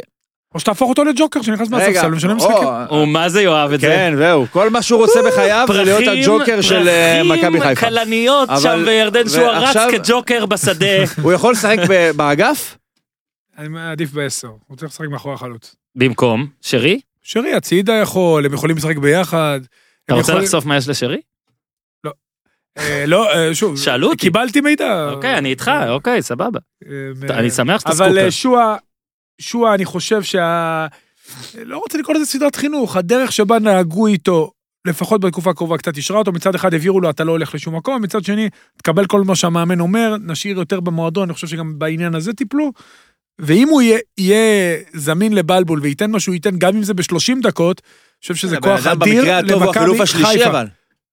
Speaker 3: או שתהפוך אותו לג'וקר שנכנס
Speaker 4: רגע,
Speaker 3: מהספסל ומשלם
Speaker 4: או, אה,
Speaker 3: משחקים.
Speaker 1: הוא מה זה יאהב את זה?
Speaker 4: כן, זהו, כל מה שהוא רוצה בחייו זה להיות הג'וקר של אה, מכבי
Speaker 1: פרחים,
Speaker 4: חיפה.
Speaker 1: כלניות
Speaker 4: אבל-
Speaker 1: שם וירדן שועה רץ
Speaker 4: ועכשיו-
Speaker 1: כג'וקר בשדה.
Speaker 4: *laughs* הוא יכול לשחק ב- באגף?
Speaker 3: אני עדיף בעשר, הוא צריך לשחק מאחורי החלוץ.
Speaker 1: במקום, שרי?
Speaker 3: שרי הצידה יכול, הם יכולים לשחק ביחד.
Speaker 1: אתה
Speaker 3: הם
Speaker 1: רוצה
Speaker 3: יכולים-
Speaker 1: לחשוף מה יש לשרי?
Speaker 3: אה, לא, אה, שוב,
Speaker 1: שאלו אותי.
Speaker 3: קיבלתי מידע.
Speaker 1: אוקיי, אני איתך, אוקיי, סבבה.
Speaker 3: אה,
Speaker 1: אני שמח שאתה
Speaker 3: אבל
Speaker 1: סקופר.
Speaker 3: אה, שועה, שועה, אני חושב שה... לא רוצה לקרוא לזה סדרת חינוך, הדרך שבה נהגו איתו, לפחות בתקופה הקרובה, קצת אישרה אותו, מצד אחד הבהירו לו, אתה לא הולך לשום מקום, מצד שני, תקבל כל מה שהמאמן אומר, נשאיר יותר במועדון, אני חושב שגם בעניין הזה טיפלו. ואם הוא יהיה, יהיה זמין לבלבול וייתן מה שהוא ייתן, גם אם זה ב-30 דקות, אני חושב שזה כוח
Speaker 4: הבן כן, אדם במקרה
Speaker 3: אדיר
Speaker 4: הטוב הוא החילוף
Speaker 3: למכבי
Speaker 4: השלישי
Speaker 3: חיפה.
Speaker 4: אבל.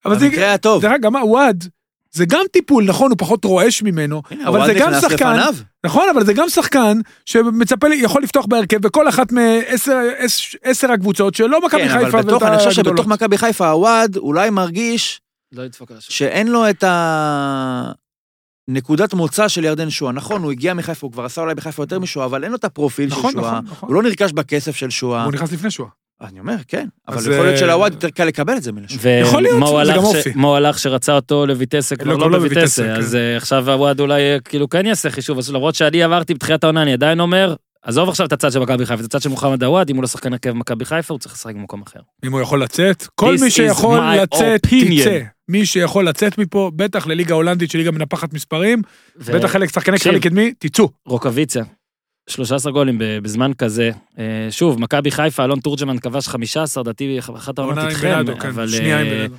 Speaker 3: אבל זה-
Speaker 4: במקרה הטוב.
Speaker 3: דרך אגב, גם הוואד, זה גם טיפול, נכון, הוא פחות רועש ממנו, אבל
Speaker 4: הוואד
Speaker 3: זה גם
Speaker 4: נכנס
Speaker 3: שחקן,
Speaker 4: לפניו.
Speaker 3: נכון, אבל זה גם שחקן שמצפה, לי- יכול לפתוח בהרכב בכל אחת מעשר עשר הקבוצות שלא
Speaker 4: כן,
Speaker 3: מכבי חיפה.
Speaker 4: אבל בתוך,
Speaker 3: ולא
Speaker 4: אני חושב
Speaker 3: הגדולות.
Speaker 4: שבתוך מכבי חיפה הוואד אולי מרגיש
Speaker 1: לא לדפוק על השם.
Speaker 4: שאין לו את ה... נקודת מוצא של ירדן שואה. נכון, הוא הגיע מחיפה, הוא כבר עשה אולי בחיפה יותר משואה, אבל אין לו את הפרופיל של
Speaker 3: נכון,
Speaker 4: שואה.
Speaker 3: נכון, נכון.
Speaker 4: הוא לא נרכש בכסף של שואה.
Speaker 3: הוא נכנס לפני שואה.
Speaker 8: אני אומר, כן, אבל
Speaker 3: אז,
Speaker 8: יכול להיות
Speaker 3: אה,
Speaker 8: שלעוואד יותר קל לקבל את זה מלשון.
Speaker 3: יכול להיות,
Speaker 1: ומה הוא
Speaker 3: זה
Speaker 1: הלך
Speaker 3: גם
Speaker 1: ש-
Speaker 3: אופי.
Speaker 1: מה הוא הלך שרצה אותו לויטסה, כבר
Speaker 3: לא,
Speaker 1: לא
Speaker 3: כבר לא
Speaker 1: בויטסה,
Speaker 3: בויטסה,
Speaker 1: אז אה, עכשיו הוואד אולי אה, כאילו כן יעשה חישוב, אז למרות שאני עברתי בתחילת העונה, אני עדיין אומר, עזוב עכשיו את הצד של מכבי חיפה, את הצד של מוחמד עוואד, אם הוא לא שחקן הרכב מכבי חיפה, הוא צריך לשחק במקום אחר.
Speaker 3: אם הוא יכול לצאת, כל
Speaker 1: This
Speaker 3: מי
Speaker 1: is
Speaker 3: שיכול
Speaker 1: my
Speaker 3: לצאת,
Speaker 1: opinion.
Speaker 3: תצא. מי שיכול לצאת מפה, בטח לליגה ההולנדית שליגה מנפחת מספרים,
Speaker 1: ו-
Speaker 3: בטח חלק שחקני
Speaker 1: תקשיב.
Speaker 3: חלק קדמי, תצאו.
Speaker 1: רוקאביצה, 13 גולים ב- בזמן כזה. אה, שוב, מכבי חיפה, אלון תורג'מן כבש 15, דעתי אחת העונות
Speaker 3: עונה עם
Speaker 1: איתכם,
Speaker 3: בלאדו, כן,
Speaker 1: אבל
Speaker 3: שנייה עם
Speaker 1: אה,
Speaker 3: בלאדו.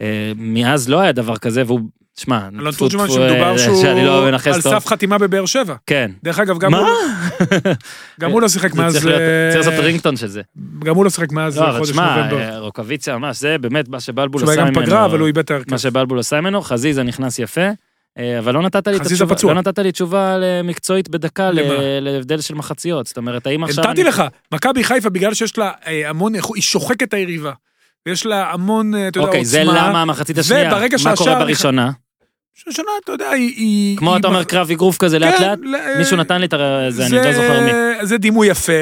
Speaker 1: אה, מאז לא היה דבר כזה, והוא, שמע,
Speaker 3: אלון
Speaker 1: טפו,
Speaker 3: תורג'מן
Speaker 1: טפו, אה,
Speaker 3: שמדובר שהוא
Speaker 1: שאני לא
Speaker 3: על
Speaker 1: מנכס טוב.
Speaker 3: סף חתימה בבאר שבע.
Speaker 1: כן.
Speaker 3: דרך אגב, גם
Speaker 1: מה?
Speaker 3: הוא- גם הוא לא שיחק
Speaker 1: זה
Speaker 3: מאז...
Speaker 1: צריך להיות-
Speaker 3: אה,
Speaker 1: צריך לעשות רינגטון של זה.
Speaker 3: גם הוא לא שיחק מאז
Speaker 1: לא, אבל
Speaker 3: חודש
Speaker 1: תשמע,
Speaker 3: נובמבר.
Speaker 1: אה, רוקאביצה ממש, זה באמת מה שבלבול
Speaker 3: שהוא היה
Speaker 1: עשה
Speaker 3: גם
Speaker 1: ממנו.
Speaker 3: פגרה, אבל הוא איבד את ההרכב.
Speaker 1: מה שבלבול עשה ממנו, חזיזה נכנס יפה, אה, אבל לא נתת לי את
Speaker 3: חזיזה
Speaker 1: התשובה,
Speaker 3: פצוע.
Speaker 1: לא נתת לי תשובה אה, מקצועית בדקה ל-
Speaker 3: למה?
Speaker 1: להבדל של מחציות, זאת אומרת, האם עכשיו...
Speaker 3: נתתי
Speaker 1: אני-
Speaker 3: לך, מכבי חיפה, בגלל שיש לה אה, המון, איכות- היא שוחקת את היריבה. ויש לה המון, אה, אתה יודע, עוצמה.
Speaker 1: אוקיי, זה למה המחצית השנייה,
Speaker 3: וברגע
Speaker 1: מה
Speaker 3: שהשער
Speaker 1: קורה
Speaker 3: נכ-
Speaker 1: בראשונה?
Speaker 3: שנה, אתה יודע, היא- היא...
Speaker 1: כמו
Speaker 3: היא
Speaker 1: אתה
Speaker 3: מח-
Speaker 1: אומר קרב אגרוף כזה לאט
Speaker 3: כן,
Speaker 1: לאט?
Speaker 3: ל-
Speaker 1: מישהו נתן לי את ה- זה, אני לא זוכר מי.
Speaker 3: זה דימוי יפה,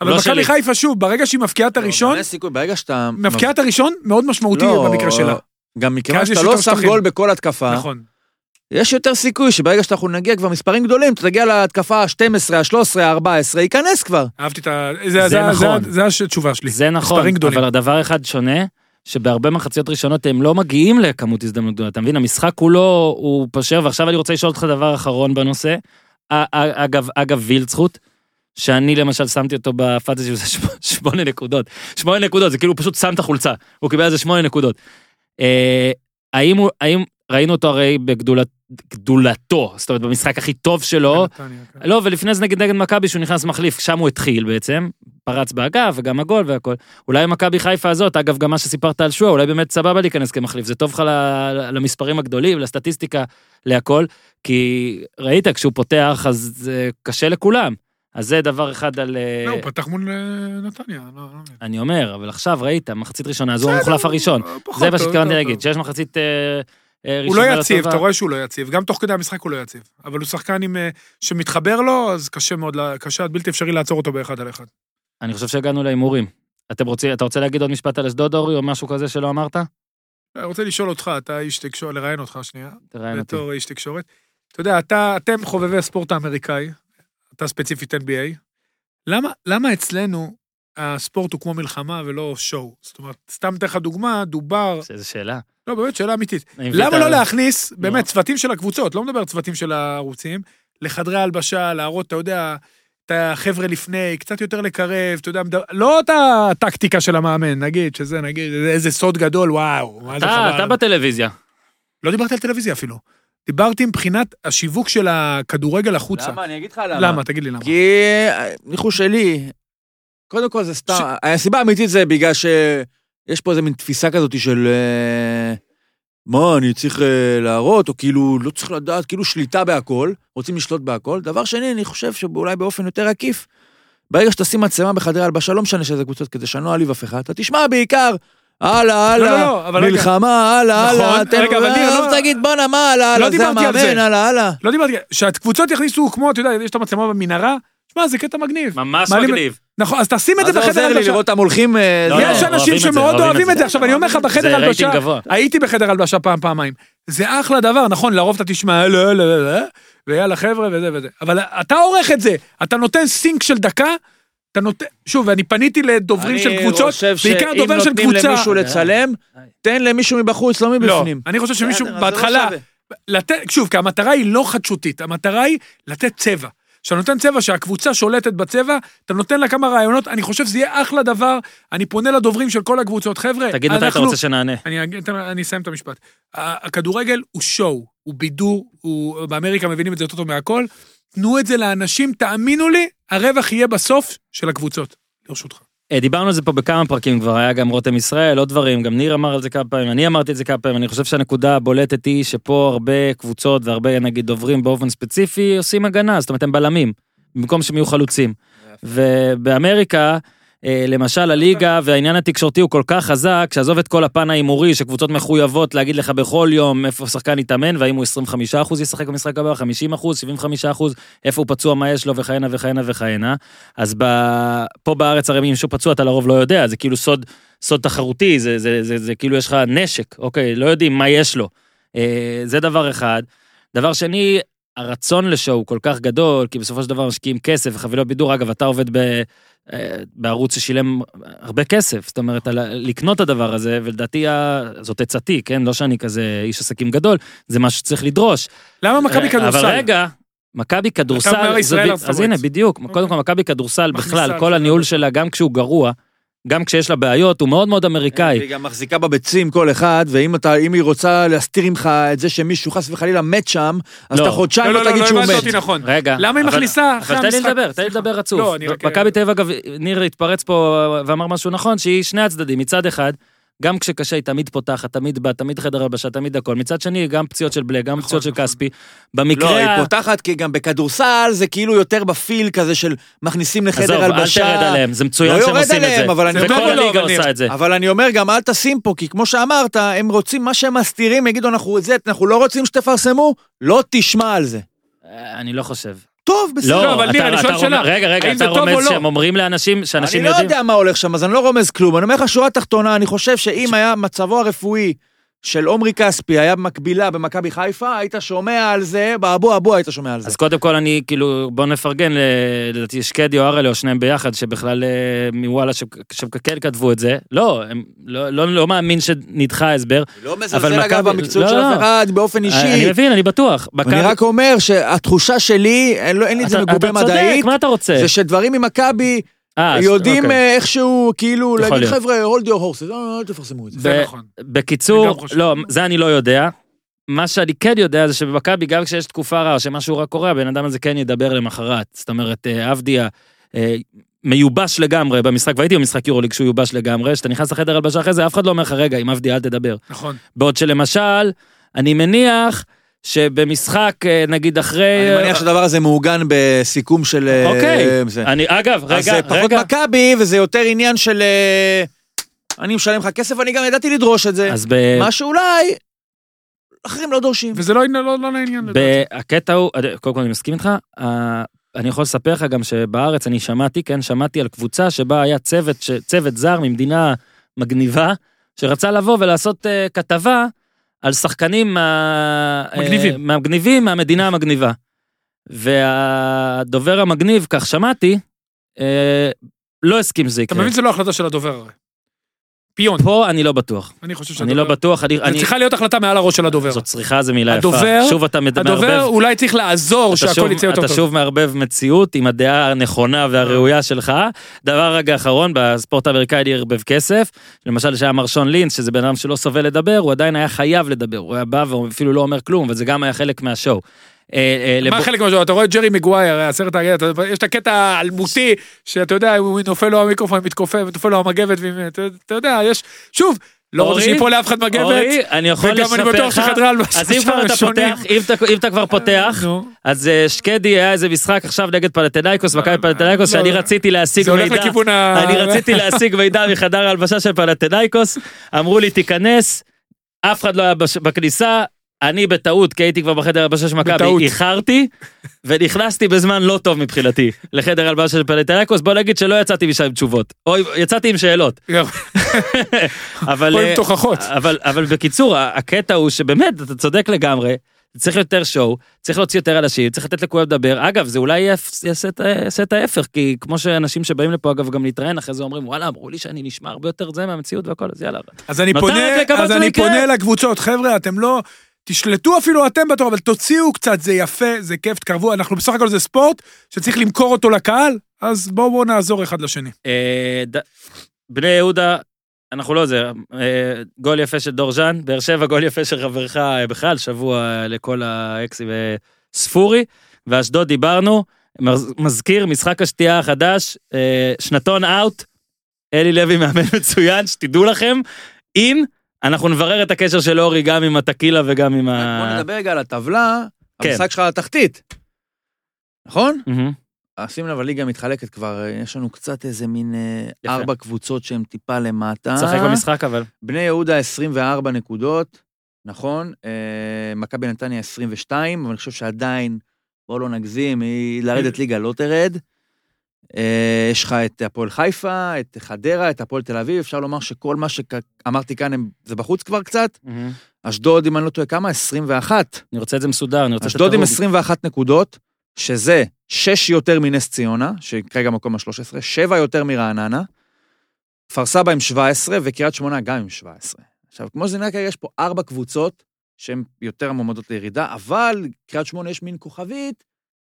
Speaker 3: אבל
Speaker 1: לא
Speaker 3: מכבי
Speaker 1: שלי.
Speaker 3: חיפה, שוב, ברגע שהיא מפקיעה את
Speaker 4: לא,
Speaker 3: הראשון,
Speaker 8: אין סיכוי, ברגע שאתה...
Speaker 3: מפקיעה את הראשון, מאוד משמעותי
Speaker 8: לא,
Speaker 4: אה,
Speaker 3: במקרה שלה.
Speaker 8: גם
Speaker 3: כי
Speaker 8: מכיוון
Speaker 3: אז
Speaker 8: שאתה
Speaker 3: יש
Speaker 8: לא
Speaker 3: יותר
Speaker 8: שם
Speaker 3: שטחים.
Speaker 8: גול בכל התקפה,
Speaker 3: נכון.
Speaker 8: יש יותר סיכוי שברגע שאנחנו נגיע כבר מספרים גדולים, אתה תגיע להתקפה ה-12, ה-13, ה-14, ייכנס כבר.
Speaker 3: אהבתי את ה... זה- זה
Speaker 1: נכון.
Speaker 3: נכון. זה התשובה שלי.
Speaker 1: זה נכון,
Speaker 3: מספרים גדולים.
Speaker 1: אבל הדבר אחד שונה, שבהרבה מחציות ראשונות הם לא מגיעים לכמות הזדמנות גדולה, אתה מבין? המשחק כולו הוא פשר, ועכשיו אני רוצה לשאול אותך דבר אחרון בנושא. א- א- אגב, אגב וילצחוט, שאני למשל שמתי אותו בפאנטזי, שזה שמ- שמונה נקודות. שמונה נקודות, זה כאילו הוא פשוט שם את החולצה, הוא קיבל על זה שמונה נקודות. אה, האם הוא, האם, ראינו אותו הרי בגדולתו, זאת אומרת במשחק הכי טוב שלו,
Speaker 3: בנתניה, כן.
Speaker 1: לא, ולפני זה נגד נגד מכבי שהוא נכנס מחליף, שם הוא התחיל בעצם, פרץ באגף וגם הגול והכל. אולי מכבי חיפה הזאת, אגב, גם מה שסיפרת על שואה, אולי באמת סבבה להיכנס כמחליף, זה טוב לך ל- למספרים הגדולים, לסטטיסטיקה, להכל, כי ראית, כשהוא פותח, אז זה קשה לכולם. אז זה דבר אחד על... אה,
Speaker 3: לא, הוא פתח מול אה, נתניה. לא- לא מבין.
Speaker 1: אני אומר, אבל עכשיו ראית, מחצית ראשונה, אז הוא המוחלף הראשון.
Speaker 3: אה, פחות
Speaker 1: זה מה
Speaker 3: טוב,
Speaker 1: שהתכוונתי
Speaker 3: יותר
Speaker 1: להגיד,
Speaker 3: טוב.
Speaker 1: שיש מחצית אה, אה,
Speaker 3: הוא
Speaker 1: ראשונה
Speaker 3: לא
Speaker 1: לא
Speaker 3: יציב,
Speaker 1: טובה.
Speaker 3: אתה רואה שהוא לא יציב, גם תוך כדי המשחק הוא לא יציב. אבל הוא שחקן עם... אה, שמתחבר לו, אז קשה מאוד, לה- קשה עד בלתי אפשרי לעצור אותו באחד על אחד.
Speaker 1: אני חושב שהגענו להימורים. אתם רוצים, אתה רוצה להגיד עוד משפט על אשדוד, אורי, או משהו כזה שלא אמרת?
Speaker 3: אני רוצה לשאול אותך, אתה איש תקשורת, לראיין אותך שנייה.
Speaker 1: תראיין אותי.
Speaker 3: בתור איש תקשורת. אתה יודע, אתה, אתם חובבי הספורט האמריקאי, אתה ספציפית NBA, למה, למה אצלנו הספורט הוא כמו מלחמה ולא שואו? זאת אומרת, סתם אתן לך דוגמה, דובר,
Speaker 1: איזה שאלה.
Speaker 3: לא, באמת, שאלה אמיתית.
Speaker 1: אני מבין את
Speaker 3: למה
Speaker 1: ה-
Speaker 3: לא להכניס, באמת,
Speaker 1: נו.
Speaker 3: צוותים של הקבוצות, לא מדבר צוותים של הערוצים, לחדרי ההלבשה, להראות, אתה יודע, את החבר'ה לפני, קצת יותר לקרב, אתה יודע, מד- לא את הטקטיקה של המאמן, נגיד, שזה, נגיד, איזה סוד גדול, וואו, מה זה
Speaker 1: אתה,
Speaker 3: חבל.
Speaker 1: אתה בטלוויזיה.
Speaker 3: לא דיברתי על טלוויזיה אפילו. דיברתי מבחינת השיווק של הכדורגל החוצה.
Speaker 8: אני אגיד לך
Speaker 3: למה? תגיד לי למה.
Speaker 8: כי אה, ניחוש שלי, קודם כל זה סתם, אה,
Speaker 3: ש-
Speaker 8: הסיבה האמיתית זה בגלל שיש פה איזה מין תפיסה כזאת של אה, מה, אני צריך אה, להראות, או כאילו לא צריך לדעת, כאילו שליטה בהכל, רוצים לשלוט בהכל. דבר שני, אני חושב שאולי באופן יותר עקיף, ברגע שתשים מצלמה בחדרי הלבשה, לא משנה שזה קבוצות, כדי שאני לא אעליב אף אחד, אתה תשמע בעיקר, הלאה,
Speaker 3: לא,
Speaker 8: הלאה,
Speaker 3: לא, אבל רגע.
Speaker 8: מלחמה, הלאה,
Speaker 3: נכון,
Speaker 8: הלאה, תן-
Speaker 3: רגע, אבל ניר,
Speaker 8: אה,
Speaker 3: לא-
Speaker 8: תגיד בואנה, מה, הלאה, הלאה, זה
Speaker 3: דיברתי על זה.
Speaker 8: המאמן, הלאה, הלאה.
Speaker 3: לא דיברתי, שהקבוצות יכניסו כמו, אתה יודע, יש את המצלמה במנהרה, שמע, זה קטע מגניב.
Speaker 1: ממש
Speaker 3: מעלים-
Speaker 1: מגניב.
Speaker 3: נכון, אז תשים את זה
Speaker 8: מה זה
Speaker 3: בחדר
Speaker 8: עוזר לי
Speaker 3: הלבשה.
Speaker 8: לראות אותם הולכים... אה,
Speaker 1: לא,
Speaker 8: זה-
Speaker 1: לא,
Speaker 3: יש
Speaker 1: אוהבים
Speaker 3: אנשים
Speaker 1: את זה,
Speaker 3: שמאוד
Speaker 1: אוהבים
Speaker 3: אוהבים
Speaker 1: את
Speaker 3: את
Speaker 1: זה.
Speaker 3: זה. עכשיו, אני אומר לך, בחדר
Speaker 1: זה רייטינג
Speaker 3: הלבשה,
Speaker 1: גבוה.
Speaker 3: הייתי בחדר הלבשה פעם, פעמיים. זה אחלה דבר, נכון, לרוב אתה תשמע, "אה, לא, לא, לא, לא, ויאללה חבר'ה וזה וזה. אבל אתה עורך את זה, אתה נותן סינק של דקה, אתה נותן, שוב, אני פניתי לדוברים של
Speaker 8: אני
Speaker 3: קבוצות,
Speaker 8: חושב
Speaker 3: בעיקר
Speaker 8: שאם
Speaker 3: דובר של
Speaker 8: נותנים
Speaker 3: קבוצה.
Speaker 8: למישהו לצלם,
Speaker 4: אה.
Speaker 8: תן למישהו מבחוץ, לא
Speaker 3: לא,
Speaker 8: מבפנים.
Speaker 3: אני חושב שמישהו
Speaker 8: בסדר, אז זה לא
Speaker 3: בהתחלה,
Speaker 8: שווה.
Speaker 3: לתת, שוב, כי המטרה היא לא חדשותית, המטרה היא לתת צבע. כשאתה נותן צבע שהקבוצה שולטת בצבע, אתה נותן לה כמה רעיונות, אני חושב שזה יהיה אחלה דבר, אני פונה לדוברים של כל הקבוצות, חבר'ה,
Speaker 1: תגיד מתי אתה
Speaker 3: אנחנו-
Speaker 1: רוצה שנענה.
Speaker 3: אני, אגיד- תן- אני אסיים את המשפט. ה- הכדורגל הוא שואו, הוא בידור, הוא, באמריקה מבינים את זה יותר טוב מהכל. תנו את זה לאנשים, תאמינו לי, הרווח יהיה בסוף של הקבוצות, לרשותך.
Speaker 1: אה, דיברנו על זה פה בכמה פרקים כבר, היה גם רותם ישראל, עוד דברים, גם ניר אמר על זה כמה פעמים, אני אמרתי את זה כמה פעמים, אני חושב שהנקודה הבולטת היא שפה הרבה קבוצות והרבה נגיד דוברים באופן ספציפי עושים הגנה, זאת אומרת הם בלמים, במקום שהם יהיו חלוצים. ובאמריקה, אה, למשל הליגה והעניין התקשורתי הוא כל כך חזק, שעזוב את כל הפן ההימורי, שקבוצות מחויבות להגיד לך בכל יום איפה שחקן יתאמן, והאם הוא 25% ישחק במשחק הבא, 50%, 75%, איפה הוא פצוע, מה יש לו, וכהנה וכהנה וכהנה. אז ב... פה בארץ הרי אם מישהו פצוע אתה לרוב לא יודע, זה כאילו סוד, סוד תחרותי, זה, זה, זה, זה, זה כאילו יש לך נשק, אוקיי, לא יודעים מה יש לו. אה, זה דבר אחד. דבר שני, הרצון לשואו כל כך גדול, כי בסופו של דבר משקיעים כסף וחבילות בידור. אגב, אתה עובד ב, אה, בערוץ ששילם הרבה כסף, זאת אומרת, על, ה- לקנות את הדבר הזה, ולדעתי ה- זאת עצתי, כן? לא שאני כזה איש עסקים גדול, זה משהו שצריך לדרוש.
Speaker 3: למה מכבי כדורסל?
Speaker 1: אה, אבל רגע, מכבי
Speaker 3: אתה אומר
Speaker 1: כדורסל, זה
Speaker 3: ישראל
Speaker 1: ב-
Speaker 3: הפבוריט.
Speaker 1: אז הנה, בדיוק, קודם כל מכבי כדורסל
Speaker 3: מכניסה
Speaker 1: בכלל,
Speaker 3: על
Speaker 1: כל
Speaker 3: זה.
Speaker 1: הניהול שלה, גם כשהוא גרוע, גם כשיש לה בעיות, הוא מאוד מאוד
Speaker 3: אה,
Speaker 1: אמריקאי.
Speaker 4: היא גם מחזיקה בביצים כל אחד, ואם אתה, אם היא רוצה להסתיר ממך את זה שמישהו חס וחלילה מת שם, אז
Speaker 1: לא.
Speaker 4: אתה חודשיים
Speaker 3: לא,
Speaker 4: לא
Speaker 3: לא, לא,
Speaker 4: תגיד שהוא
Speaker 3: לא הבנת
Speaker 4: מת.
Speaker 3: אותי נכון.
Speaker 1: רגע.
Speaker 3: למה היא
Speaker 1: אבל-
Speaker 3: מכניסה אחרי
Speaker 1: אבל תן לי
Speaker 3: המשחק?
Speaker 1: לדבר, תן לי לדבר רצוף.
Speaker 3: לא, אני רק-
Speaker 1: מכבי תל אביב, אגב, ניר התפרץ פה ואמר משהו נכון, שהיא שני הצדדים. מצד אחד, גם כשקשה היא תמיד פותחת, תמיד באה, תמיד חדר הלבשה, תמיד הכל. מצד שני, גם פציעות של בלק,
Speaker 3: נכון,
Speaker 1: גם פציעות של כספי.
Speaker 4: לא,
Speaker 1: במקרה... ה-
Speaker 4: היא פותחת, כי גם בכדורסל זה כאילו יותר בפיל כזה של מכניסים
Speaker 1: עזוב,
Speaker 4: לחדר
Speaker 1: אל
Speaker 4: הלבשה.
Speaker 1: תרד עליהם, זה מצוין
Speaker 4: לא
Speaker 1: שהם
Speaker 4: יורד
Speaker 1: עושים את
Speaker 4: עליהם,
Speaker 1: זה.
Speaker 4: אבל אני
Speaker 3: אומר,
Speaker 1: וכל
Speaker 3: לא,
Speaker 1: הליגה
Speaker 3: אבל ניר,
Speaker 1: עושה את זה.
Speaker 4: אבל אני אומר, גם אל תשים פה, כי כמו שאמרת, הם רוצים, מה שהם מסתירים, יגידו, אנחנו את זה, אנחנו לא רוצים שתפרסמו, לא תשמע על זה.
Speaker 1: אה, אני לא חושב.
Speaker 4: טוב, בסדר.
Speaker 1: לא,
Speaker 3: אבל
Speaker 1: אתה-
Speaker 3: ניר, אני
Speaker 1: אתה
Speaker 3: שואל
Speaker 1: רומז-
Speaker 3: שאלה.
Speaker 1: רגע, רגע,
Speaker 3: האם
Speaker 1: אתה
Speaker 3: זה טוב או
Speaker 1: רומז
Speaker 3: לא?
Speaker 1: שהם אומרים לאנשים, שאנשים
Speaker 4: אני לא
Speaker 1: יודעים...
Speaker 4: יודע מה הולך שם, אז אני לא רומז כלום. אני אומר לך, שורה תחתונה, אני חושב שאם היה מצבו הרפואי של עומרי כספי היה מקבילה במכבי חיפה, היית שומע על זה, באבו אבו היית שומע על זה.
Speaker 1: אז קודם כל אני כאילו בוא נפרגן ל- לדעתי שקדי או הראלה או שניהם ביחד שבכלל אה, מוואלה שפ- שבקקל כתבו את זה לא הם לא לא לא מאמין שנדחה ההסבר.
Speaker 4: לא
Speaker 1: אבל
Speaker 4: מזלזל אגב
Speaker 1: מכבי-
Speaker 4: במקצועיות
Speaker 1: לא,
Speaker 4: של
Speaker 1: לא.
Speaker 4: אף אחד באופן
Speaker 1: אני
Speaker 4: אישי.
Speaker 1: מבין אני בטוח. מכבי-
Speaker 4: אני רק אומר שהתחושה שלי, אין לא- אין לי את זה
Speaker 1: אתה-
Speaker 4: מגובה
Speaker 1: אתה
Speaker 4: מדעית,
Speaker 1: צודק מה אתה רוצה.
Speaker 4: זה שדברים ממכבי
Speaker 1: אה, אז-
Speaker 4: יודעים
Speaker 1: אוקיי.
Speaker 4: אה, איכשהו כאילו
Speaker 1: יכול
Speaker 4: להגיד
Speaker 1: להיות.
Speaker 4: חבר'ה, hold your horses, אה, אל תפרסמו את זה.
Speaker 3: זה
Speaker 1: ב-
Speaker 3: נכון. אני גם
Speaker 1: בקיצור
Speaker 3: חושב.
Speaker 1: לא זה אני לא יודע. מה שאני כן יודע זה שבמכבי גם כשיש תקופה רעה שמשהו רע קורה הבן אדם הזה כן ידבר למחרת זאת אומרת אה, עבדיה. אה, מיובש לגמרי במשחק, והייתי במשחק יורוליג שהוא יובש לגמרי, שאתה נכנס לחדר הלבשה אחרי זה, אף אחד לא אומר לך, רגע, עם עבדיה אל תדבר.
Speaker 3: נכון.
Speaker 1: בעוד שלמשל, אני מניח שבמשחק, אה, נגיד אחרי...
Speaker 4: אני מניח שהדבר הזה מעוגן בסיכום של... אה,
Speaker 1: אוקיי.
Speaker 4: זה.
Speaker 1: אני, אגב,
Speaker 4: אז אה, זה
Speaker 1: רגע,
Speaker 4: פחות
Speaker 1: רגע.
Speaker 4: מכבי, וזה יותר עניין של... אה, אני משלם לך כסף, אני גם ידעתי לדרוש את זה.
Speaker 1: אז אה, ב...
Speaker 4: מה שאולי אחרים לא דורשים.
Speaker 3: וזה לא לא- לא לעניין לדעתי.
Speaker 1: ב- הקטע הוא, קודם כל אני מסכים איתך, ה- אני יכול לספר לך גם שבארץ אני שמעתי, כן, שמעתי על קבוצה שבה היה צוות, ש- צוות זר ממדינה מגניבה, שרצה לבוא ולעשות אה, כתבה על שחקנים מה-
Speaker 3: מגניבים.
Speaker 1: אה, מהמגניבים מהמדינה המגניבה. והדובר המגניב, כך שמעתי, אה, לא הסכים שזה
Speaker 3: אתה
Speaker 1: יקרה.
Speaker 3: מבין זה לא החלטה של הדובר הרי. פיון.
Speaker 1: פה אני לא בטוח.
Speaker 3: אני חושב
Speaker 1: אני לא
Speaker 3: שהדובר...
Speaker 1: בטוח, אני...
Speaker 3: זה
Speaker 1: אני-
Speaker 3: צריכה להיות החלטה מעל הראש של הדובר.
Speaker 1: זאת צריכה, זו מילה יפה.
Speaker 3: הדובר-
Speaker 1: שוב אתה מד-
Speaker 3: הדובר
Speaker 1: מערבב...
Speaker 3: אולי צריך לעזור
Speaker 1: אתה
Speaker 3: שהכל
Speaker 1: שוב-
Speaker 3: יצא יותר
Speaker 1: אתה
Speaker 3: טוב.
Speaker 1: שוב מערבב מציאות עם הדעה הנכונה והראויה שלך. דבר רגע אחרון, בספורט האמריקאי אני ערבב כסף. למשל שהיה מרשון לינץ, שזה בן אדם שלא סובל לדבר, הוא עדיין היה חייב לדבר. הוא היה בא ואפילו לא אומר כלום, וזה גם היה חלק מהשואו. אה, אה,
Speaker 3: מה
Speaker 1: לבו-
Speaker 3: חלק מהשאלה? אתה רואה את ג'רי מגווייר, אה, הסרט האגדה, אתה- יש את הקטע האלמותי, שאתה יודע, הוא נופל לו המיקרופון, מתכופף, נופל לו המגבת, ואם- אתה- אתה יודע, יש... שוב, לא
Speaker 1: אורי,
Speaker 3: רוצה שיפול לאף אחד מגבת.
Speaker 1: אורי, אני יכול
Speaker 3: וגם אני
Speaker 1: לספר
Speaker 3: בטוח
Speaker 1: לך,
Speaker 3: שחדרה על
Speaker 1: אז אם כבר אתה
Speaker 3: הראשונים.
Speaker 1: פותח, אם אתה- אם אתה כבר פותח,
Speaker 3: נו.
Speaker 1: אז אה, שקדי היה איזה משחק עכשיו נגד פלטנאיקוס, מכבי פלטנאיקוס,
Speaker 3: לא,
Speaker 1: שאני
Speaker 3: לא.
Speaker 1: רציתי להשיג
Speaker 3: זה הולך
Speaker 1: מידע,
Speaker 3: לכיוון ה-
Speaker 1: אני
Speaker 3: *laughs*
Speaker 1: רציתי להשיג מידע מחדר ההלבשה של פלטנאיקוס, אמרו לי תיכנס, אף אחד לא היה בש- בכניסה, אני בטעות, כי הייתי כבר בחדר ההלבשה של
Speaker 3: בטעות.
Speaker 1: מכבי, איחרתי, ונכנסתי בזמן לא טוב מבחינתי לחדר ההלבשה של פלטנאיקוס, בוא נגיד שלא יצאתי משם עם תשובות, או יצאתי עם שאלות, אבל...
Speaker 3: או עם
Speaker 1: אה,
Speaker 3: תוכחות.
Speaker 1: אבל, אבל בקיצור, ה- הקטע הוא שבאמת, אתה צודק לגמרי, צריך יותר שואו, צריך להוציא יותר אנשים, צריך לתת לכולם לדבר. אגב, זה אולי יפ- יעשה את ה- יעשה את ההפך, כי כמו שאנשים שבאים לפה, אגב, גם להתראיין, אחרי זה אומרים, וואלה, אמרו לי שאני נשמע הרבה יותר זה מהמציאות והכל, אז יאללה.
Speaker 3: אז אני
Speaker 1: מתי
Speaker 3: פונה,
Speaker 1: רק לקוות
Speaker 3: אז
Speaker 1: שזה
Speaker 3: אני
Speaker 1: יקרה?
Speaker 3: פונה לקבוצות, חבר'ה, אתם לא... תשלטו אפילו אתם בתור, אבל תוציאו קצת, זה יפה, זה כיף, תקרבו, אנחנו בסך הכל זה ספורט שצריך למכור אותו לקהל, אז בואו בואו נעזור אחד לשני.
Speaker 1: אה, ד... בני יהודה, אנחנו לא זה, אה, גול יפה של דור ז'אן, באר שבע גול יפה של חברך אה, בכלל, שבוע אה, לכל האקסים אה, ספורי, ואשדוד דיברנו, מז- מזכיר משחק השתייה החדש, אה, שנתון אאוט, אלי לוי מאמן *laughs* מצוין, שתדעו לכם, אם אנחנו נברר את הקשר של אורי גם עם הטקילה וגם עם
Speaker 4: אה,
Speaker 1: ה...
Speaker 4: בוא נדבר רגע על הטבלה,
Speaker 1: אה, כן.
Speaker 4: המשחק שלך על התחתית. נכון?
Speaker 1: מהמם.
Speaker 4: אה, שים לב, הליגה מתחלקת כבר, אה, יש לנו קצת איזה מין אה,
Speaker 1: יפה.
Speaker 4: ארבע קבוצות שהן טיפה למטה.
Speaker 1: תשחק במשחק אבל.
Speaker 4: בני יהודה 24 נקודות, נכון? אה, מכבי נתניה 22, אבל אני חושב שעדיין, בואו לא נגזים, היא לרדת ליגה לא תרד. אה, יש לך את הפועל חיפה, את חדרה, את הפועל תל אביב, אפשר לומר שכל מה שאמרתי כאן הם- זה בחוץ כבר קצת. אשדוד, אם אני לא טועה, כמה? 21.
Speaker 1: אני רוצה את זה מסודר, אני רוצה את
Speaker 4: אשדוד עם
Speaker 1: הדירוג.
Speaker 4: 21 נקודות, שזה 6 יותר מנס ציונה, שכרגע מקום ה-13, 7 יותר מרעננה, כפר סבא עם 17 וקריית שמונה גם עם 17. עכשיו, כמו שזה נראה כרגע, יש פה 4 קבוצות שהן יותר מועמדות לירידה, אבל קריית שמונה יש מין כוכבית,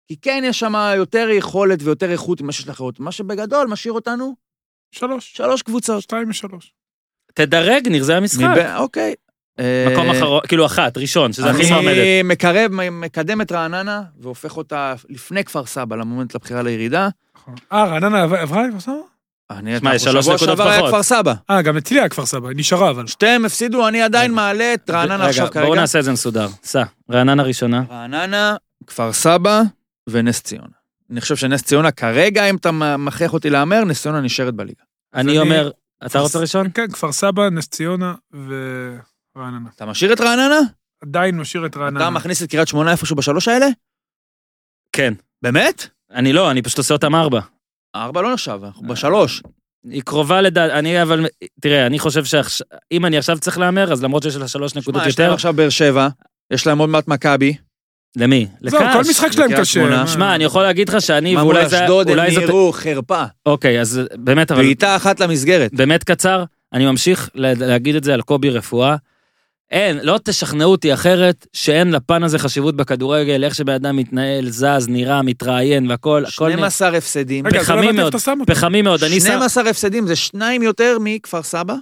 Speaker 4: כי כן יש שם יותר יכולת ויותר איכות ממה שיש לאחרות, מה שבגדול משאיר אותנו
Speaker 3: שלוש.
Speaker 4: שלוש קבוצות.
Speaker 3: שתיים משלוש.
Speaker 1: תדרג, ניר, זה המשחק.
Speaker 4: מבין- אוקיי.
Speaker 1: מקום
Speaker 4: אה,
Speaker 1: אחרון, כאילו אחת, ראשון, שזה הכי מעמדת.
Speaker 4: אני מקרב, מקדם את רעננה, והופך אותה לפני כפר סבא למומנט לבחירה לירידה.
Speaker 3: נכון. אה, רעננה עבר- עברה לכפר סבא?
Speaker 4: אני,
Speaker 1: שמע, יש
Speaker 4: אנחנו
Speaker 1: שלוש
Speaker 4: שבוע
Speaker 1: נקודות
Speaker 4: שעבר היה
Speaker 1: פחות.
Speaker 4: כפר סבא.
Speaker 3: אה, גם אצלי היה כפר סבא, נשארה אבל.
Speaker 4: שתיהם הפסידו, אני עדיין מעלה את רעננה
Speaker 1: רגע,
Speaker 4: עכשיו
Speaker 1: בואו
Speaker 4: כרגע.
Speaker 1: נעשה את זה מסודר. סע, רעננה ראשונה.
Speaker 4: רעננה, כפר סבא ונס ציונה. אני חושב שנס ציונה כרגע, אם אתה מכריח אותי להמר, נס ציונה נשארת בליגה.
Speaker 1: אני
Speaker 3: אני-
Speaker 1: אומר, אתה רוצה ראשון?
Speaker 3: כן, כפר סבא, נס ציונה ורעננה.
Speaker 4: אתה משאיר את רעננה?
Speaker 3: עדיין משאיר את
Speaker 4: אתה
Speaker 3: רעננה.
Speaker 4: מכניס את קריית שמונה איפשהו בשלוש האלה?
Speaker 1: כן.
Speaker 4: באמת?
Speaker 1: אני לא, אני פשוט עושה אותם ארבע.
Speaker 4: ארבע לא נחשב, אנחנו בשלוש.
Speaker 1: אה, היא קרובה לדעת, אני אבל, תראה, אני חושב שאם אני עכשיו צריך להמר, אז למרות שיש לה שלוש נקודות
Speaker 4: מה, יש להם
Speaker 1: יותר,
Speaker 4: עכשיו באר שבע, יש להם עוד מעט מכבי.
Speaker 1: למי?
Speaker 3: זהו, כל
Speaker 1: לקאש.
Speaker 3: משחק שלהם
Speaker 4: לקריית
Speaker 3: קשה. אה.
Speaker 4: שמונה.
Speaker 3: מה?
Speaker 1: שמע, אני יכול להגיד לך שאני,
Speaker 4: מה מול
Speaker 1: ואולי זה,
Speaker 4: אשדוד הם
Speaker 1: אולי זאת,
Speaker 4: נראו חרפה.
Speaker 1: אוקיי, אז באמת, אבל
Speaker 4: בעיטה אחת למסגרת.
Speaker 1: באמת קצר, אני ממשיך ל- להגיד את זה על קובי רפואה. אין, לא תשכנעו אותי אחרת שאין לפן הזה חשיבות בכדורגל, איך שבן אדם מתנהל, זז, נראה, מתראיין והכל, הכל נ-
Speaker 4: 12 הפסדים.
Speaker 3: רגע, אז לא
Speaker 1: פחמים
Speaker 3: הבנתי
Speaker 1: מאוד.
Speaker 3: איפה אתה שם אותה.
Speaker 1: פחמי מאוד. אני, שם,
Speaker 4: 12 הפסדים זה שניים יותר מכפר סבא,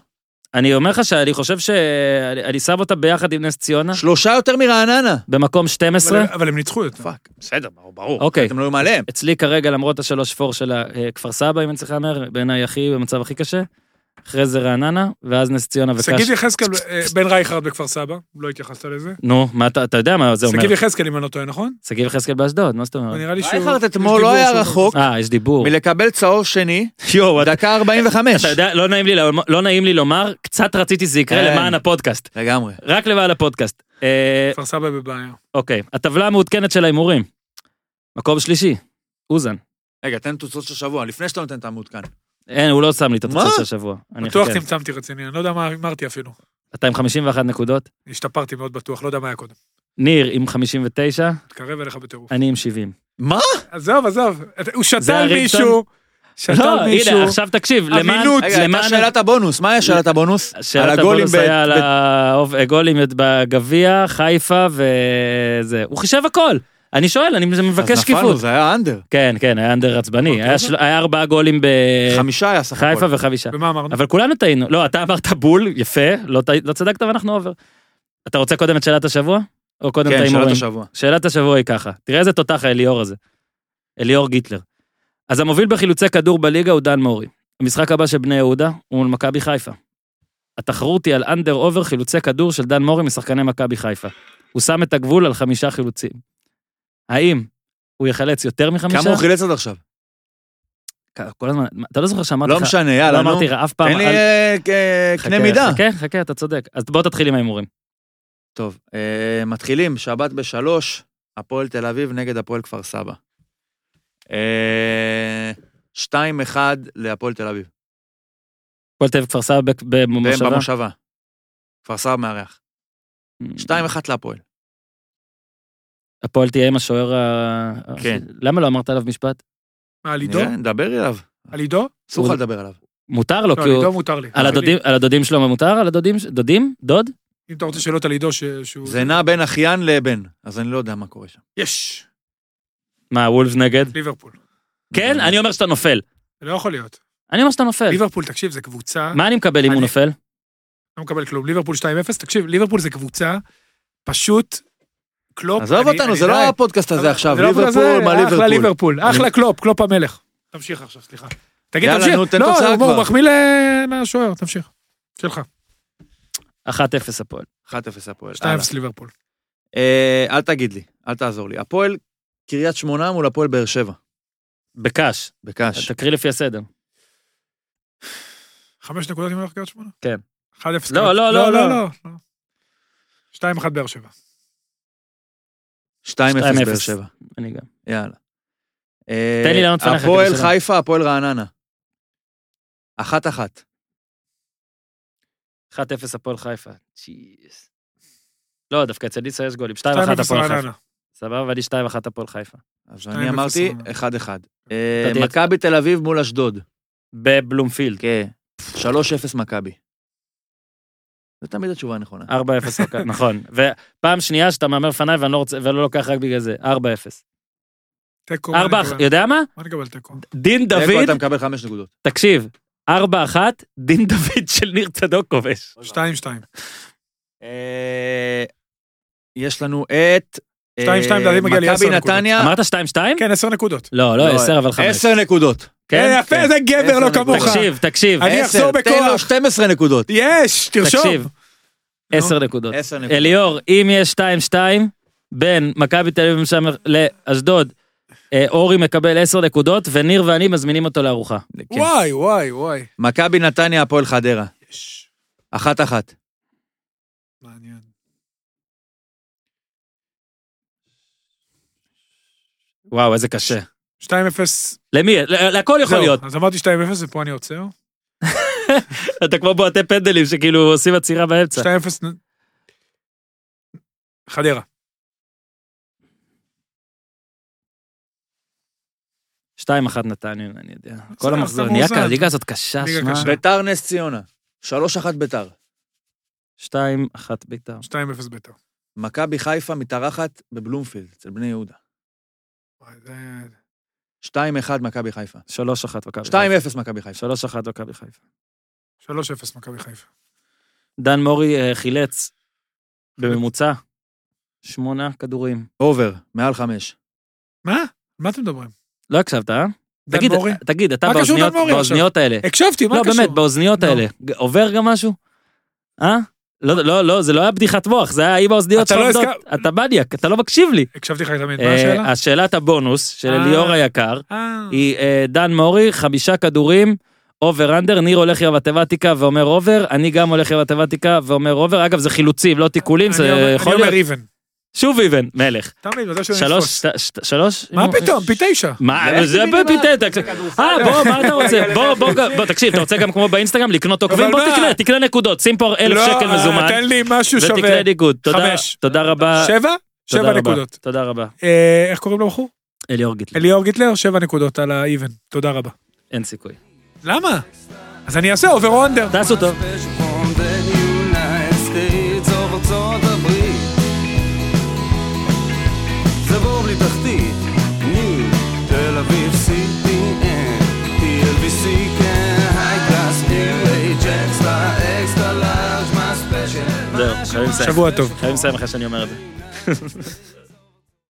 Speaker 1: אני אומר לך שאני חושב שאני אני שם אותה ביחד עם נס ציונה,
Speaker 4: שלושה יותר מרעננה.
Speaker 1: במקום 12.
Speaker 3: אבל- אבל הם ניצחו יותר.
Speaker 4: פאק, בסדר, ברור.
Speaker 1: אוקיי.
Speaker 4: אתם לא מעליהם.
Speaker 1: אצלי כרגע, למרות השלוש פור של אה, כפר סבא, אם אני צריך להמר, בעיניי הכי, במצב הכי קשה. אחרי זה רעננה, ואז נס ציונה וקש.
Speaker 3: שגיב יחזקאל, אה, בן רייכרד בכפר סבא, לא התייחסת לזה.
Speaker 1: נו, מה אתה, אתה יודע מה זה אומר. אה.
Speaker 3: שגיב יחזקאל, אם אני לא טועה, נכון?
Speaker 1: שגיב יחזקאל באשדוד, מה זאת אומרת?
Speaker 3: נראה לי שהוא...
Speaker 4: רייכרד
Speaker 3: יש
Speaker 4: אתמול לא
Speaker 3: דיבור
Speaker 4: היה
Speaker 3: שהוא-
Speaker 4: רחוק
Speaker 1: אה, יש דיבור.
Speaker 4: מלקבל צהוב שני,
Speaker 1: יואו, אתה-
Speaker 4: דקה 45.
Speaker 1: אתה יודע, לא נעים לי ל- לא נעים לי לומר, קצת רציתי שזה יקרה
Speaker 4: אין.
Speaker 1: למען הפודקאסט.
Speaker 4: לגמרי.
Speaker 1: רק למען הפודקאסט. אה,
Speaker 3: כפר סבא בבעיה.
Speaker 1: אוקיי, הטבלה המעודכנת של ההימורים. מקום שלישי, אוזן.
Speaker 4: רגע, תן תוצאות של שבוע, לפני שאתה נותן את המעודכן.
Speaker 1: אין, הוא לא שם לי את התוצאות
Speaker 4: מה?
Speaker 1: של השבוע. אני
Speaker 3: בטוח
Speaker 1: אחכה.
Speaker 3: צמצמתי רציני, אני לא יודע מה אמרתי אפילו.
Speaker 1: 251 נקודות.
Speaker 3: השתפרתי מאוד בטוח, לא יודע מה היה קודם.
Speaker 1: ניר עם 59,
Speaker 3: מתקרב אליך בטירוף.
Speaker 1: אני עם 70.
Speaker 4: מה?
Speaker 3: עזוב, עזוב, הוא
Speaker 1: זה
Speaker 3: שתל
Speaker 1: הרילטון?
Speaker 3: מישהו, שתל
Speaker 1: לא,
Speaker 3: מישהו.
Speaker 1: הנה, עכשיו תקשיב, למען...
Speaker 3: אמינות.
Speaker 4: רגע, הייתה
Speaker 1: למען-
Speaker 4: שאלת הבונוס, מה היה שאלת הבונוס? על
Speaker 1: שאלת
Speaker 4: הגולים
Speaker 1: הבונוס
Speaker 4: ב-
Speaker 1: היה על
Speaker 4: ב-
Speaker 1: האוב- הגולים בגביע, חיפה וזה. הוא חישב הכל. אני שואל, אני מבקש
Speaker 4: אז נפלנו,
Speaker 1: שקיפות.
Speaker 4: זה היה אנדר.
Speaker 1: כן, כן, היה אנדר עצבני. היה של- היה ארבעה גולים אה,
Speaker 4: חמישה היה סך
Speaker 1: בחיפה
Speaker 4: הכל.
Speaker 1: וחמישה.
Speaker 3: ומה אמרנו?
Speaker 1: אבל כולנו טעינו. לא, אתה אמרת בול, יפה, לא טע- לא צדקת ואנחנו אובר. אתה רוצה קודם את שאלת השבוע? או קודם את
Speaker 4: כן,
Speaker 1: ההימורים?
Speaker 4: שאלת השבוע.
Speaker 1: שאלת השבוע היא ככה, תראה איזה תותח האליאור הזה, אליאור גיטלר. אז המוביל בחילוצי כדור בליגה הוא דן מורי. המשחק הבא של בני יהודה הוא מול מכבי חיפה. התחרות היא על אנדר אובר חילוצי כדור של דן מורי משחקני מכבי חיפה. הוא שם את הגבול על חמישה חילוצים. האם הוא יחלץ יותר מחמישה?
Speaker 4: כמה הוא חילץ עד עכשיו?
Speaker 1: כ- כל הזמן, מה, אתה לא זוכר שאמרתי
Speaker 4: לא
Speaker 1: לך,
Speaker 4: משנה,
Speaker 1: לא
Speaker 4: יאללה, נו.
Speaker 1: אמרתי לך אף פעם,
Speaker 4: תן לי
Speaker 1: אל-
Speaker 4: אה, אה,
Speaker 1: חכה,
Speaker 4: קנה מידה.
Speaker 1: חכה, חכה, אתה צודק. אז בוא תתחיל עם ההימורים.
Speaker 4: טוב, אה, מתחילים, שבת בשלוש, הפועל תל אביב נגד הפועל כפר סבא. אה, 2-1 להפועל תל אביב,
Speaker 1: הפועל תל אביב כפר סבא בק-
Speaker 4: והם
Speaker 1: במושבה.
Speaker 4: במושבה. כפר סבא מארח.
Speaker 3: Mm.
Speaker 4: 2-1 להפועל.
Speaker 1: Mm, הפועל תהיה עם השוער ה...
Speaker 4: כן.
Speaker 1: למה לא אמרת עליו משפט?
Speaker 3: מה, על עידו?
Speaker 4: נראה, נדבר אליו.
Speaker 3: על עידו?
Speaker 4: אסור לך
Speaker 1: הוא-
Speaker 4: לדבר עליו.
Speaker 1: מותר לו,
Speaker 3: לא,
Speaker 1: כי
Speaker 3: על
Speaker 1: אוקיי, הוא...
Speaker 3: עידו מותר לי.
Speaker 1: על הדודים, על הדודים שלו מה מותר? על הדודים? ש- דודים? דוד?
Speaker 3: אם אתה רוצה שאלות על עידו ש- שהוא...
Speaker 4: זה נע בין אחיין לבן, אז אני לא יודע מה קורה שם.
Speaker 3: יש.
Speaker 1: מה, וולף נגד?
Speaker 3: ליברפול.
Speaker 1: כן? אני אומר שאתה נופל.
Speaker 3: זה לא יכול להיות.
Speaker 1: אני אומר שאתה נופל.
Speaker 3: ליברפול, תקשיב, זה קבוצה,
Speaker 1: כן. מה אני מקבל אם הוא
Speaker 3: אני-
Speaker 1: נופל?
Speaker 3: לא מקבל כלום. ליברפול 2-0, תקשיב, ליברפול זה קבוצה פשוט קלופ.
Speaker 4: עזוב
Speaker 3: אני-
Speaker 4: אותנו,
Speaker 3: אני
Speaker 4: זה לא
Speaker 3: יודע,
Speaker 4: הפודקאסט הזה
Speaker 3: אבל-
Speaker 4: עכשיו,
Speaker 3: זה לא הפודקאסט
Speaker 4: ליברפול,
Speaker 3: הזה,
Speaker 4: מה
Speaker 3: אחלה
Speaker 4: ליברפול.
Speaker 3: ליברפול, אחלה קלופ, קלופ המלך. תמשיך עכשיו, סליחה. תגיד,
Speaker 4: יאללה,
Speaker 3: תמשיך.
Speaker 4: נו, תן
Speaker 3: לא,
Speaker 4: תוצאה
Speaker 3: הוא- הוא
Speaker 4: כבר.
Speaker 3: מחמיא ל- לשוער, תמשיך. שלך.
Speaker 1: 1-0 הפועל.
Speaker 4: 1-0 הפועל.
Speaker 3: 2-0 ליברפול.
Speaker 4: אה, אל תגיד לי, אל תעזור לי. הפועל קריית שמונה מול הפועל באר שבע.
Speaker 1: בקאש.
Speaker 4: בקאש.
Speaker 1: תקריא לפי הסדר.
Speaker 3: חמש נקודות אם הולך לקריית שמונה?
Speaker 1: כן.
Speaker 3: 1-0.
Speaker 1: לא, לא, לא,
Speaker 3: לא,
Speaker 1: לא.
Speaker 3: לא. 2-1 באר שבע.
Speaker 4: 2-0
Speaker 1: 2-0.
Speaker 4: באר שבע.
Speaker 1: אני גם.
Speaker 4: יאללה. אה,
Speaker 1: תן לי לענות לפניך,
Speaker 4: הפועל
Speaker 1: כדי שלא-
Speaker 4: חיפה, הפועל רעננה. אחת אחת.
Speaker 1: 1-0 הפועל חיפה. צ'יז. לא, דווקא אצל ניסה יש גולים. 2-1
Speaker 3: 2-0
Speaker 1: הפועל חיפה.
Speaker 3: רעננה.
Speaker 1: סבבה, ואני 2-1 הפועל חיפה.
Speaker 4: אז
Speaker 3: שתיים
Speaker 4: אני
Speaker 3: אפס
Speaker 4: אמרתי
Speaker 3: רעננה.
Speaker 4: אחד אחד. אה,
Speaker 1: אתה תהיה-
Speaker 4: מכבי תל אביב מול אשדוד.
Speaker 1: בבלומפילד.
Speaker 4: כן. 3-0 מכבי. זו תמיד התשובה הנכונה.
Speaker 1: אה, 4-0 מכבי, נכון. ופעם שנייה שאתה מהמר לפניי ואני לא רוצה, ולא לוקח רק בגלל זה, 4-0.
Speaker 3: תיקו. מה
Speaker 1: 4
Speaker 3: אני אקבל?
Speaker 1: יודע מה?
Speaker 3: מה נקבל תיקו?
Speaker 1: דין
Speaker 4: תיקו, אתה
Speaker 1: דוד,
Speaker 4: מקבל חמש נקודות.
Speaker 1: תקשיב, 4-1, דין *laughs* דוד של ניר צדוק כובש.
Speaker 3: 2-2.
Speaker 4: אה, יש לנו את... אה,
Speaker 3: שתיים, שתיים, לדעתי מגיע לי עשר
Speaker 4: מכבי
Speaker 3: נקודות.
Speaker 4: נתניה.
Speaker 1: אמרת 2-2?
Speaker 3: כן, 10 נקודות.
Speaker 1: לא, לא,
Speaker 4: לא,
Speaker 1: 10 אבל 5.
Speaker 4: עשר נקודות.
Speaker 3: אה,
Speaker 1: כן?
Speaker 3: יפה, זה גבר,
Speaker 4: עשר
Speaker 3: לא
Speaker 4: נקודות.
Speaker 3: כמוך.
Speaker 1: תקשיב, תקשיב,
Speaker 3: אני
Speaker 4: עשר,
Speaker 3: אחזור
Speaker 4: תן לו
Speaker 3: בכוח.
Speaker 4: 12 נקודות.
Speaker 3: יש, תרשום.
Speaker 1: תקשיב. 10 נקודות.
Speaker 4: 10 נקודות.
Speaker 1: אליאור, אם יש 2-2 בין מכבי תל אביב שם לאשדוד, אה, אורי מקבל 10 נקודות, וניר ואני מזמינים אותו לארוחה.
Speaker 4: כן.
Speaker 3: וואי, וואי, וואי.
Speaker 4: מכבי נתניה, הפועל חדרה.
Speaker 3: יש.
Speaker 4: אחת אחת.
Speaker 3: מעניין.
Speaker 1: וואו, איזה קשה.
Speaker 3: 2-0.
Speaker 1: למי? ל- להכל יכול
Speaker 3: זהו,
Speaker 1: להיות.
Speaker 3: אז אמרתי 2-0 ופה אני עוצר.
Speaker 1: אתה כמו בועטי פנדלים שכאילו עושים עצירה באמצע.
Speaker 3: 2-0. נ- חדרה.
Speaker 1: 2-1 נתניה, אני יודע. כל
Speaker 3: בסדר,
Speaker 1: המחזור.
Speaker 3: אתה
Speaker 1: נהיה
Speaker 3: מאוזן.
Speaker 1: כאן, הליגה הזאת קשה,
Speaker 3: ליגה
Speaker 1: שמע.
Speaker 3: קשה.
Speaker 4: ביתר נס ציונה. שלוש אחת ביתר.
Speaker 1: 2-1 ביתר.
Speaker 3: 2-0 ביתר.
Speaker 4: מכבי חיפה מתארחת בבלומפילד, אצל בני יהודה.
Speaker 3: וואי, זה-
Speaker 4: 2-1 מכבי חיפה.
Speaker 1: 3-1 מכבי
Speaker 4: 2-0
Speaker 1: חיפה.
Speaker 4: מכבי חיפה.
Speaker 1: 3-1 מכבי חיפה.
Speaker 3: 3-0 מכבי חיפה.
Speaker 1: דן מורי אה, חילץ בממוצע שמונה כדורים.
Speaker 4: אובר, מעל 5.
Speaker 3: מה? מה אתם מדברים?
Speaker 1: לא הקשבת, אה?
Speaker 3: דן
Speaker 1: תגיד,
Speaker 3: מורי?
Speaker 1: תגיד, אתה
Speaker 3: מה קשור
Speaker 1: באוזניות,
Speaker 3: דן מורי
Speaker 1: באוזניות האלה.
Speaker 3: הקשבתי, מה
Speaker 1: לא,
Speaker 3: קשור?
Speaker 1: באמת, באוזניות
Speaker 3: נו.
Speaker 1: האלה. ג- עובר גם משהו? אה? לא, לא, לא, זה לא היה בדיחת מוח, זה היה עם האוזניות
Speaker 3: אתה
Speaker 1: שלא
Speaker 3: לא
Speaker 1: עובדות.
Speaker 3: הזכר-
Speaker 1: אתה מניאק, אתה לא מקשיב לי.
Speaker 3: הקשבתי לך תמיד, מה
Speaker 1: אה,
Speaker 3: השאלה?
Speaker 1: השאלת הבונוס של
Speaker 3: אה.
Speaker 1: ליאור היקר
Speaker 3: אה,
Speaker 1: היא אה, דן מורי, חמישה כדורים, אובר אנדר, ניר הולך עם המתמטיקה ואומר אובר, אני גם הולך עם המתמטיקה ואומר אובר. אגב, זה חילוצים, לא תיקולים,
Speaker 3: אני אומר-
Speaker 1: זה יכול
Speaker 3: אני אומר
Speaker 1: להיות.
Speaker 3: איבן.
Speaker 1: שוב איבן, מלך.
Speaker 3: תמיד, מתי שאני
Speaker 1: שלוש,
Speaker 3: אתפוס.
Speaker 1: ש- ש- שלוש?
Speaker 3: מה פתאום, פי תשע.
Speaker 1: מה, זה בפיתטק. אה, בוא, מה אתה רוצה? בוא, בוא, בוא, תקשיב, אתה רוצה גם כמו באינסטגרם לקנות עוקבים?
Speaker 3: אבל
Speaker 1: בוא
Speaker 3: מה?
Speaker 1: תקנה, תקנה נקודות, שים פה אלף
Speaker 3: לא,
Speaker 1: שקל
Speaker 3: אה,
Speaker 1: מזומן,
Speaker 3: תן לי משהו שווה.
Speaker 1: ותקנה ניקוד. תודה,
Speaker 3: חמש.
Speaker 1: תודה רבה.
Speaker 3: שבע?
Speaker 1: תודה
Speaker 3: שבע
Speaker 1: רבה.
Speaker 3: נקודות.
Speaker 1: תודה רבה.
Speaker 3: אה, איך קוראים לבחור?
Speaker 1: אליאור גיטלי,
Speaker 3: אליאור גיטלר, שבע נקודות על האיבן. תודה רבה.
Speaker 1: אין סיכוי.
Speaker 3: למה? אז אני אעשה אובר או אנדר.
Speaker 1: תעשו טוב.
Speaker 9: from the United States of ארצות הברית. זה בור בלי תחתית, ניו, תל אביב, CPN, TLVC, כן, high class, new age, extra, extra large, my special,
Speaker 1: זהו, חייבים לסיים.
Speaker 3: שבוע טוב.
Speaker 1: חייבים לסיים אחרי שאני אומר את זה.